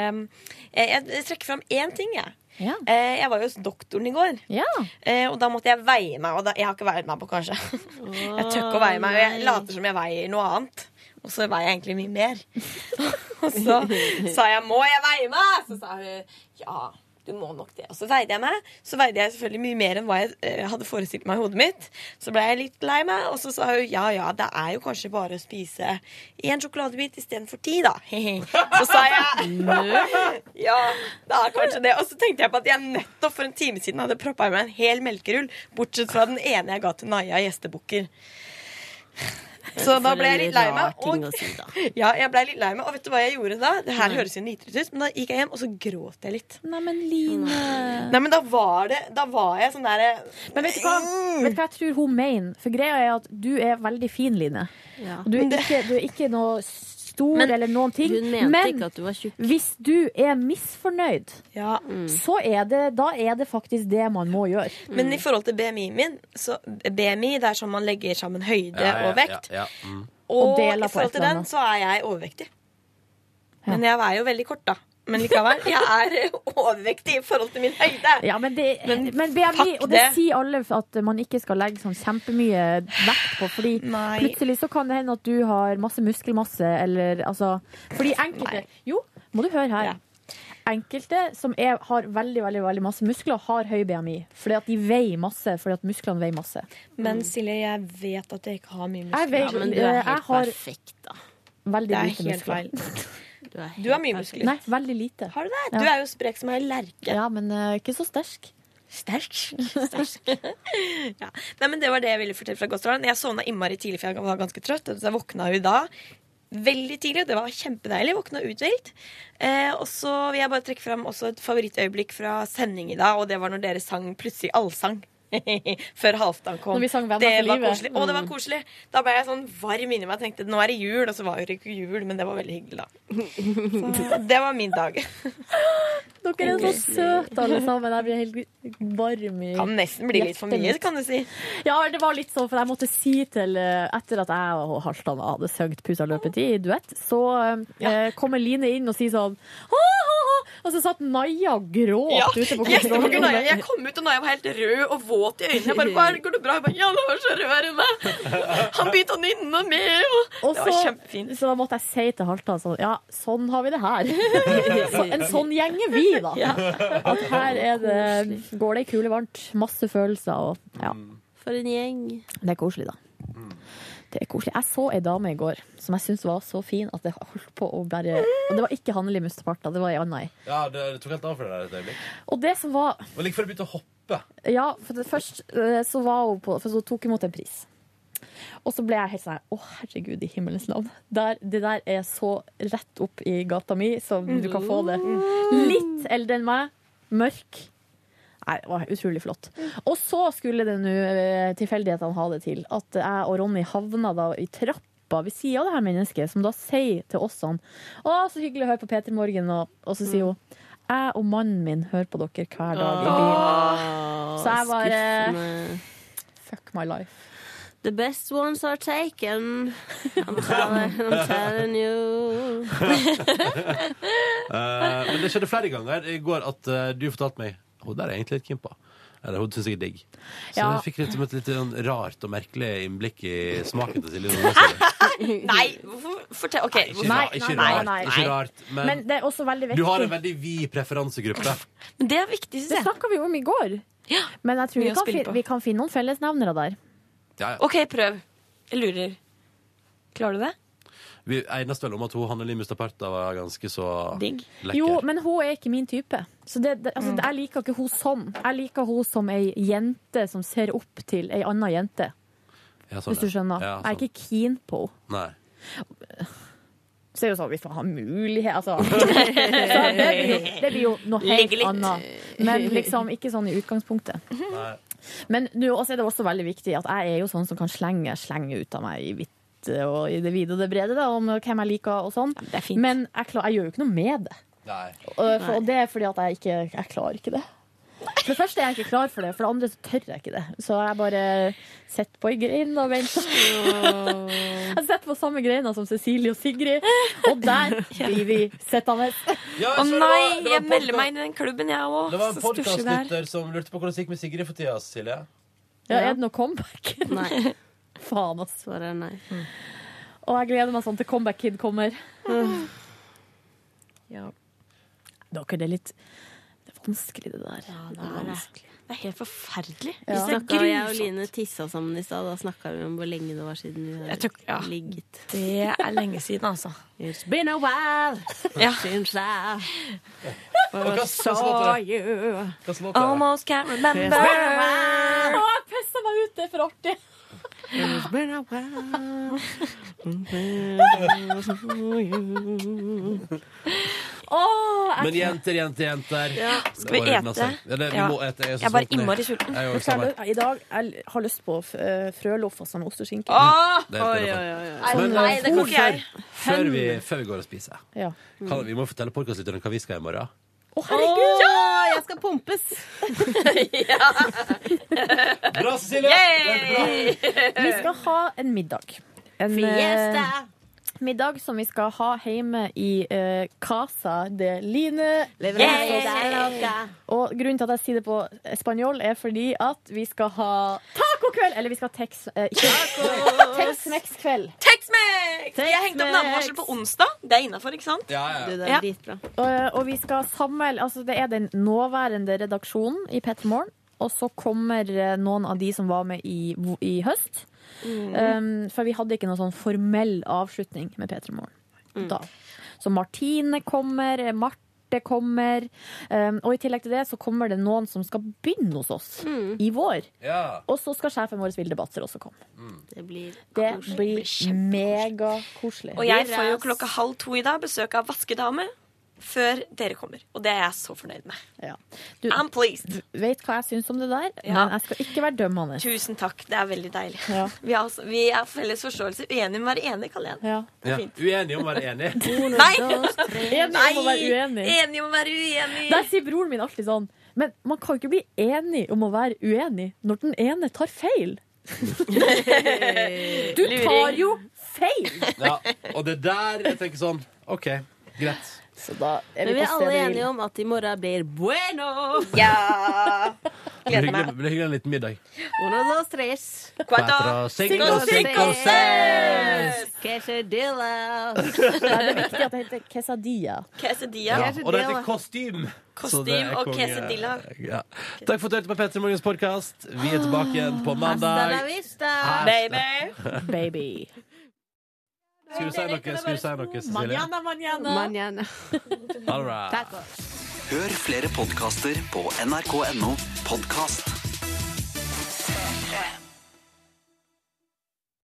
Speaker 11: eh, Jeg trekker fram én ting, jeg.
Speaker 3: Ja.
Speaker 11: Eh, Jeg var jo hos doktoren i går, Eh, og da måtte jeg veie meg. Og da, jeg har ikke veid meg på, kanskje. Jeg tør ikke å veie meg, og jeg later som jeg veier noe annet. Og så veier jeg egentlig mye mer. Og så sa jeg 'må jeg veie meg?' Så sa hun 'ja, du må nok det'. Og så veide jeg meg. Så veide jeg selvfølgelig mye mer enn hva jeg eh, hadde forestilt meg i hodet mitt. Så ble jeg litt lei meg, og så sa hun 'ja ja, det er jo kanskje bare å spise én sjokoladebit istedenfor ti', da. Så sa jeg ja, det er kanskje det. Og så tenkte jeg på at jeg nettopp for en time siden hadde proppa i meg en hel melkerull, bortsett fra den ene jeg ga til Naja gjestebukker. Så da ble jeg litt lei meg. Og, ja, jeg ble litt lei meg. Og vet du hva jeg gjorde da? Det her
Speaker 3: Nei.
Speaker 11: høres jo nitrete ut, men da gikk jeg hjem, og så gråt jeg litt.
Speaker 3: Nei, men Line
Speaker 11: Nei, men da var det Da var jeg sånn derre
Speaker 3: Men vet du hva, vet du hva jeg tror hun mener? For greia er at du er veldig fin, Line. Og Du, er ikke, du er ikke noe stor eller noen ting.
Speaker 21: hun mente
Speaker 3: men
Speaker 21: ikke at du var tjukk.
Speaker 3: hvis du er misfornøyd, så er det, da er det faktisk det man må gjøre.
Speaker 11: Men i forhold til BMI-en min, så BMI det er sånn man legger sammen høyde og vekt.
Speaker 2: Ja,
Speaker 11: Og,
Speaker 3: Mm. Og deler
Speaker 11: i
Speaker 3: på
Speaker 11: forhold
Speaker 3: et
Speaker 11: til
Speaker 3: eller
Speaker 11: den
Speaker 3: annet.
Speaker 11: så er jeg overvektig. Men jeg er jo veldig kort, da. Men likevel. Jeg er overvektig i forhold til min høyde.
Speaker 3: Ja, men, det, men, BMI,
Speaker 11: fuck
Speaker 3: og det
Speaker 11: det.
Speaker 3: sier alle at man ikke skal legge sånn kjempemye vekt på, fordi plutselig så kan det hende at du har masse muskelmasse, eller altså Fordi enkelte Jo, må du høre her. Enkelte som er, har veldig veldig, veldig masse muskler, har høy BMI. Fordi at de veier masse. Fordi at musklene veier masse.
Speaker 11: Men Silje, jeg vet at jeg ikke har mye
Speaker 3: Jeg
Speaker 11: muskler.
Speaker 3: vet- Ja, men du er jeg helt har- perfekt,
Speaker 11: da.
Speaker 3: Veldig
Speaker 11: Det er
Speaker 3: lite
Speaker 11: helt
Speaker 3: muskler.
Speaker 11: feil. Du har mye muskler.
Speaker 3: Nei, veldig lite.
Speaker 11: Har du det?
Speaker 3: Ja.
Speaker 11: Du er jo sprek som ei lerke.
Speaker 3: Ja, men eh, ikke så sterk.
Speaker 11: Sterk? ja. Nei, men det var det jeg ville fortelle fra Gåsdalen. Jeg sovna innmari tidlig, for jeg var ganske trøtt. Så jeg våkna jo da veldig tidlig, og det var kjempedeilig. Våkna uthvilt. Eh, og så vil jeg bare trekke fram også et favorittøyeblikk fra sending i dag, og det var når dere sang plutselig allsang. Før Halvdan kom.
Speaker 3: Når vi sang Venner
Speaker 11: det
Speaker 3: for
Speaker 11: var
Speaker 3: livet.
Speaker 11: koselig. Å, det var
Speaker 3: Mm.
Speaker 11: koselig. Da ble jeg sånn varm inni meg og tenkte nå er det jul, og så var det ikke jul, men det var veldig hyggelig, da. Så det var min dag.
Speaker 3: Dere er så søte alle sammen. Jeg blir helt varm i
Speaker 11: Kan nesten bli litt for
Speaker 3: hjertet
Speaker 11: mye,
Speaker 3: mitt.
Speaker 11: kan du si.
Speaker 3: Ja, det var litt sånn, for jeg måtte si til eh, Etter at jeg og Halvdan hadde sunget 'Pusa løpet i duett, så eh, kommer Line inn og sier sånn «Hå, hå, hå!» Og så satt Naja og gråt
Speaker 11: Ja,
Speaker 3: ute på
Speaker 11: jeg, så ikke Naja.
Speaker 3: kontrollrommet.
Speaker 11: jeg kom ut, og Naja var helt rød og våt i øynene. Jeg bare, bare, går det bra? Jeg bare, ja, det var så rød her inne. Han begynte å nynne med, og
Speaker 3: Og
Speaker 11: det var
Speaker 3: så,
Speaker 11: kjempe...
Speaker 3: så måtte jeg si til Halvdan sånn Ja, sånn har vi det her. så, en sånn gjeng er vi, da.
Speaker 21: Ja.
Speaker 3: At her er det, går det i kule varmt. Masse følelser og ja.
Speaker 21: For en gjeng.
Speaker 3: Det er koselig, da. Det er koselig. Jeg så ei dame i går som jeg syntes var så fin at det holdt på å bare Og det var ikke Hanneli Mustaparta, det var ei anna ei.
Speaker 2: Ja, det, det tok helt av for deg der et øyeblikk.
Speaker 3: Og det som var
Speaker 2: Det var like før du begynte å hoppe.
Speaker 3: Ja, for det, først eh, så var hun på For hun tok hun imot en pris. Og så ble jeg helt sånn Å, herregud, i himmelens navn. Der, det der er så rett opp i gata mi som du kan få det. Litt eldre enn meg. Mørk. Nei, det var utrolig flott. Og så skulle det nå eh, tilfeldighetene ha det til at jeg og Ronny havna da i trappa ved sida av det her mennesket, som da sier til oss sånn Å, så hyggelig å høre på P3 Morgen, og, og så sier hun jeg og mannen min hører på dere hver dag i bilen. Så jeg bare
Speaker 21: Skuffende.
Speaker 3: Fuck my life.
Speaker 21: eh, The best ones are taken. I'm telling, I'm telling you.
Speaker 2: Eh, men det skjedde flere ganger i går at eh, du fortalte meg Hun der er jeg egentlig litt keen på. Eller hun syns jeg er digg. Så
Speaker 3: Ja.
Speaker 2: jeg fikk litt, som et litt sånn rart og merkelig innblikk i smaken til Silje Nordnes.
Speaker 11: Nei, hvorfor? Fortell, ok.
Speaker 2: Ikke, ra ikke rart. Ikke rart men,
Speaker 3: Men det er også veldig
Speaker 2: du har
Speaker 3: viktig.
Speaker 2: en veldig vid preferansegruppe.
Speaker 11: Men det er viktig,
Speaker 3: Det snakka vi jo om i går. Men jeg tror
Speaker 11: Mye
Speaker 3: vi
Speaker 11: å
Speaker 3: kan,
Speaker 11: spille
Speaker 3: fin-
Speaker 11: på.
Speaker 3: vi kan finne noen fellesnevnere der.
Speaker 2: Ja, ja.
Speaker 11: Ok, prøv. Jeg lurer. Klarer du det?
Speaker 2: Vi egnes vel om at hun Hanneli Mustaparta var ganske så lekker.
Speaker 3: Jo, men hun er ikke min type. Så det, det, altså, Jeg liker ikke hun sånn. Jeg liker hun som ei jente som ser opp til ei anna jente.
Speaker 2: Ja, sånn,
Speaker 3: Hvis du
Speaker 2: ja.
Speaker 3: skjønner.
Speaker 2: Ja,
Speaker 3: Jeg er ikke keen på henne.
Speaker 2: Nei.
Speaker 3: Så er det jo sånn, hvis man har mulighet altså. så det, blir jo, det blir jo noe helt
Speaker 11: Ligge litt.
Speaker 3: annet. Men liksom ikke sånn i utgangspunktet.
Speaker 2: Nei.
Speaker 3: Men nå også er det også veldig viktig at jeg er jo sånn som kan slenge, slenge ut av meg i hvitt og i det vide og det brede da, om hvem jeg liker og sånn. Men jeg, klar, jeg gjør jo ikke noe med det.
Speaker 2: Nei.
Speaker 3: Og, for, og det er fordi at jeg ikke jeg klarer ikke det. For det første er jeg ikke klar for det, for det andre så tør jeg ikke det. Så jeg bare sitter på ei grein og venter. Jeg sitter på samme greina som Cecilie og Sigrid, og der blir vi sittende.
Speaker 2: Ja, så
Speaker 11: Å
Speaker 2: Altså, det var-
Speaker 11: nei,
Speaker 2: det var
Speaker 11: jeg
Speaker 2: podca-
Speaker 11: melder meg inn i den klubben, jeg òg.
Speaker 2: Det var en
Speaker 11: Så stusslig det er.
Speaker 2: podkastlytter som lurte på hvordan det gikk med Sigrid for tida, Silje.
Speaker 3: Ja, er det noe comeback?
Speaker 21: Nei.
Speaker 3: Faen, ass. Mm.
Speaker 21: Svaret er nei.
Speaker 3: Og jeg gleder meg sånn til Comeback Kid kommer. Ja. Dere, det er litt det er vanskelig, det der.
Speaker 21: det er vanskelig.
Speaker 11: Det er helt forferdelig.
Speaker 21: Vi
Speaker 3: Ja.
Speaker 21: snakket,
Speaker 3: Det er
Speaker 21: jeg og
Speaker 3: grusomt.
Speaker 21: Line tissa sammen i stad. Da snakka vi om hvor lenge det var siden vi har
Speaker 11: Jeg tror- ja.
Speaker 21: ligget.
Speaker 11: Det er lenge siden, altså.
Speaker 21: It's been a while since I
Speaker 11: hva- hva
Speaker 21: first saw
Speaker 11: låter
Speaker 21: you.
Speaker 11: Almost can't remember.
Speaker 3: Å, jeg pissa meg ut! Det er for artig.
Speaker 21: It's been a while since I saw you.
Speaker 3: Åh, jeg-
Speaker 2: Men jenter, jenter, jenter.
Speaker 3: Ja.
Speaker 2: Det
Speaker 3: Skal vi
Speaker 2: ordner
Speaker 3: ete?
Speaker 2: seg. Ja, det, vi
Speaker 3: Ja.
Speaker 2: må ete. Jeg er så
Speaker 3: Jeg er bare
Speaker 2: sulten, jeg.
Speaker 3: innmari sulten.
Speaker 2: Jeg er jo
Speaker 3: Vet du hva
Speaker 2: sammen.
Speaker 3: jeg har lyst- I dag jeg har lyst på f- eh, frøloff og sånn ost og skinke.
Speaker 2: Åh! Det er helt Oi, enig. oi,
Speaker 3: Nei,
Speaker 2: Men,
Speaker 3: nei,
Speaker 2: eh,
Speaker 3: det kan ikke jeg.
Speaker 2: Før vi, før vi går og spiser,
Speaker 3: Ja.
Speaker 2: kan, vi må fortelle podkastlytterne hva vi skal i morgen.
Speaker 3: Å, herregud!
Speaker 21: Ja, jeg skal pumpes!
Speaker 2: Bra, Cecilie!
Speaker 21: Yay!
Speaker 2: Det er bra.
Speaker 3: Vi skal ha en middag. En
Speaker 21: Fiesta!
Speaker 3: eh, middag som vi skal ha hjemme i eh, Casa de Line.
Speaker 21: Leverandører.
Speaker 3: Og grunnen til at jeg sier det på spanjol, er fordi at vi skal ha tacokveld! Eller vi skal ha tex... eh, ikke- Tex-Mex-kveld.
Speaker 11: Tex-Mex! Jeg hengte opp nabovarsel på onsdag. Det er innafor, ikke sant?
Speaker 2: Ja,
Speaker 21: Du, det er dritbra.
Speaker 3: Eh, Og, og vi skal samle Altså, det er den nåværende redaksjonen i P3 Morgen. Og så kommer eh, noen av de som var med i, i høst. Um, for vi hadde ikke noen sånn formell avslutning med P3 Morgen da. Så Martine kommer, Marte kommer. Um, og i tillegg til det så kommer det noen som skal begynne hos oss i vår.
Speaker 2: Ja.
Speaker 3: Og så skal sjefen vår Vilde Batzer også komme.
Speaker 21: Det blir
Speaker 3: Det blir megakoselig.
Speaker 11: Og jeg får jo klokka halv to i dag besøk av vaskedame. før dere kommer. Og det er jeg så fornøyd med.
Speaker 3: Du
Speaker 11: I'm pleased.
Speaker 3: vet hva jeg syns om det der,
Speaker 11: Ja.
Speaker 3: men jeg skal ikke være dømmende.
Speaker 11: Tusen takk. Det er veldig deilig.
Speaker 3: Ja.
Speaker 11: Vi, er altså, vi er felles forståelse. Uenige om å være enige, kaller jeg det.
Speaker 2: Ja. Uenig om å være enig.
Speaker 3: Enig
Speaker 11: Nei!
Speaker 3: om å være uenig.
Speaker 11: Enig om å være uenig.
Speaker 3: Der sier broren min alltid sånn Men man kan jo ikke bli enig om å være uenig når den ene tar feil. Du tar jo feil!
Speaker 2: Ja, og det der jeg tenker sånn OK, greit.
Speaker 3: Så da
Speaker 21: Men vi er alle enige om at i morgen blir bueno!
Speaker 11: Ja!
Speaker 2: Det blir hyggelig, det blir hyggelig en liten middag.
Speaker 21: Uno, dos, tres.
Speaker 2: Cuatro, Cuatro, cinco, cinco, cinco, seis.
Speaker 21: Quesadilla.
Speaker 3: Nei, det er viktig at det heter quesadilla.
Speaker 11: Quesadilla.
Speaker 2: Ja, og det heter kostyme. Så det er
Speaker 11: Kostyme og
Speaker 2: konge.
Speaker 11: quesadilla.
Speaker 2: Ja. Takk for at du hørte på Petter Morgens podkast. Vi er tilbake igjen
Speaker 11: Ah,
Speaker 2: på mandag.
Speaker 11: altså,
Speaker 2: Hasta-
Speaker 3: Baby.
Speaker 2: Skulle du si noe, skulle du si noe, Cecilie?
Speaker 3: Manana, manana.
Speaker 2: All right.
Speaker 7: Hør flere podkaster på nrk.no podkast.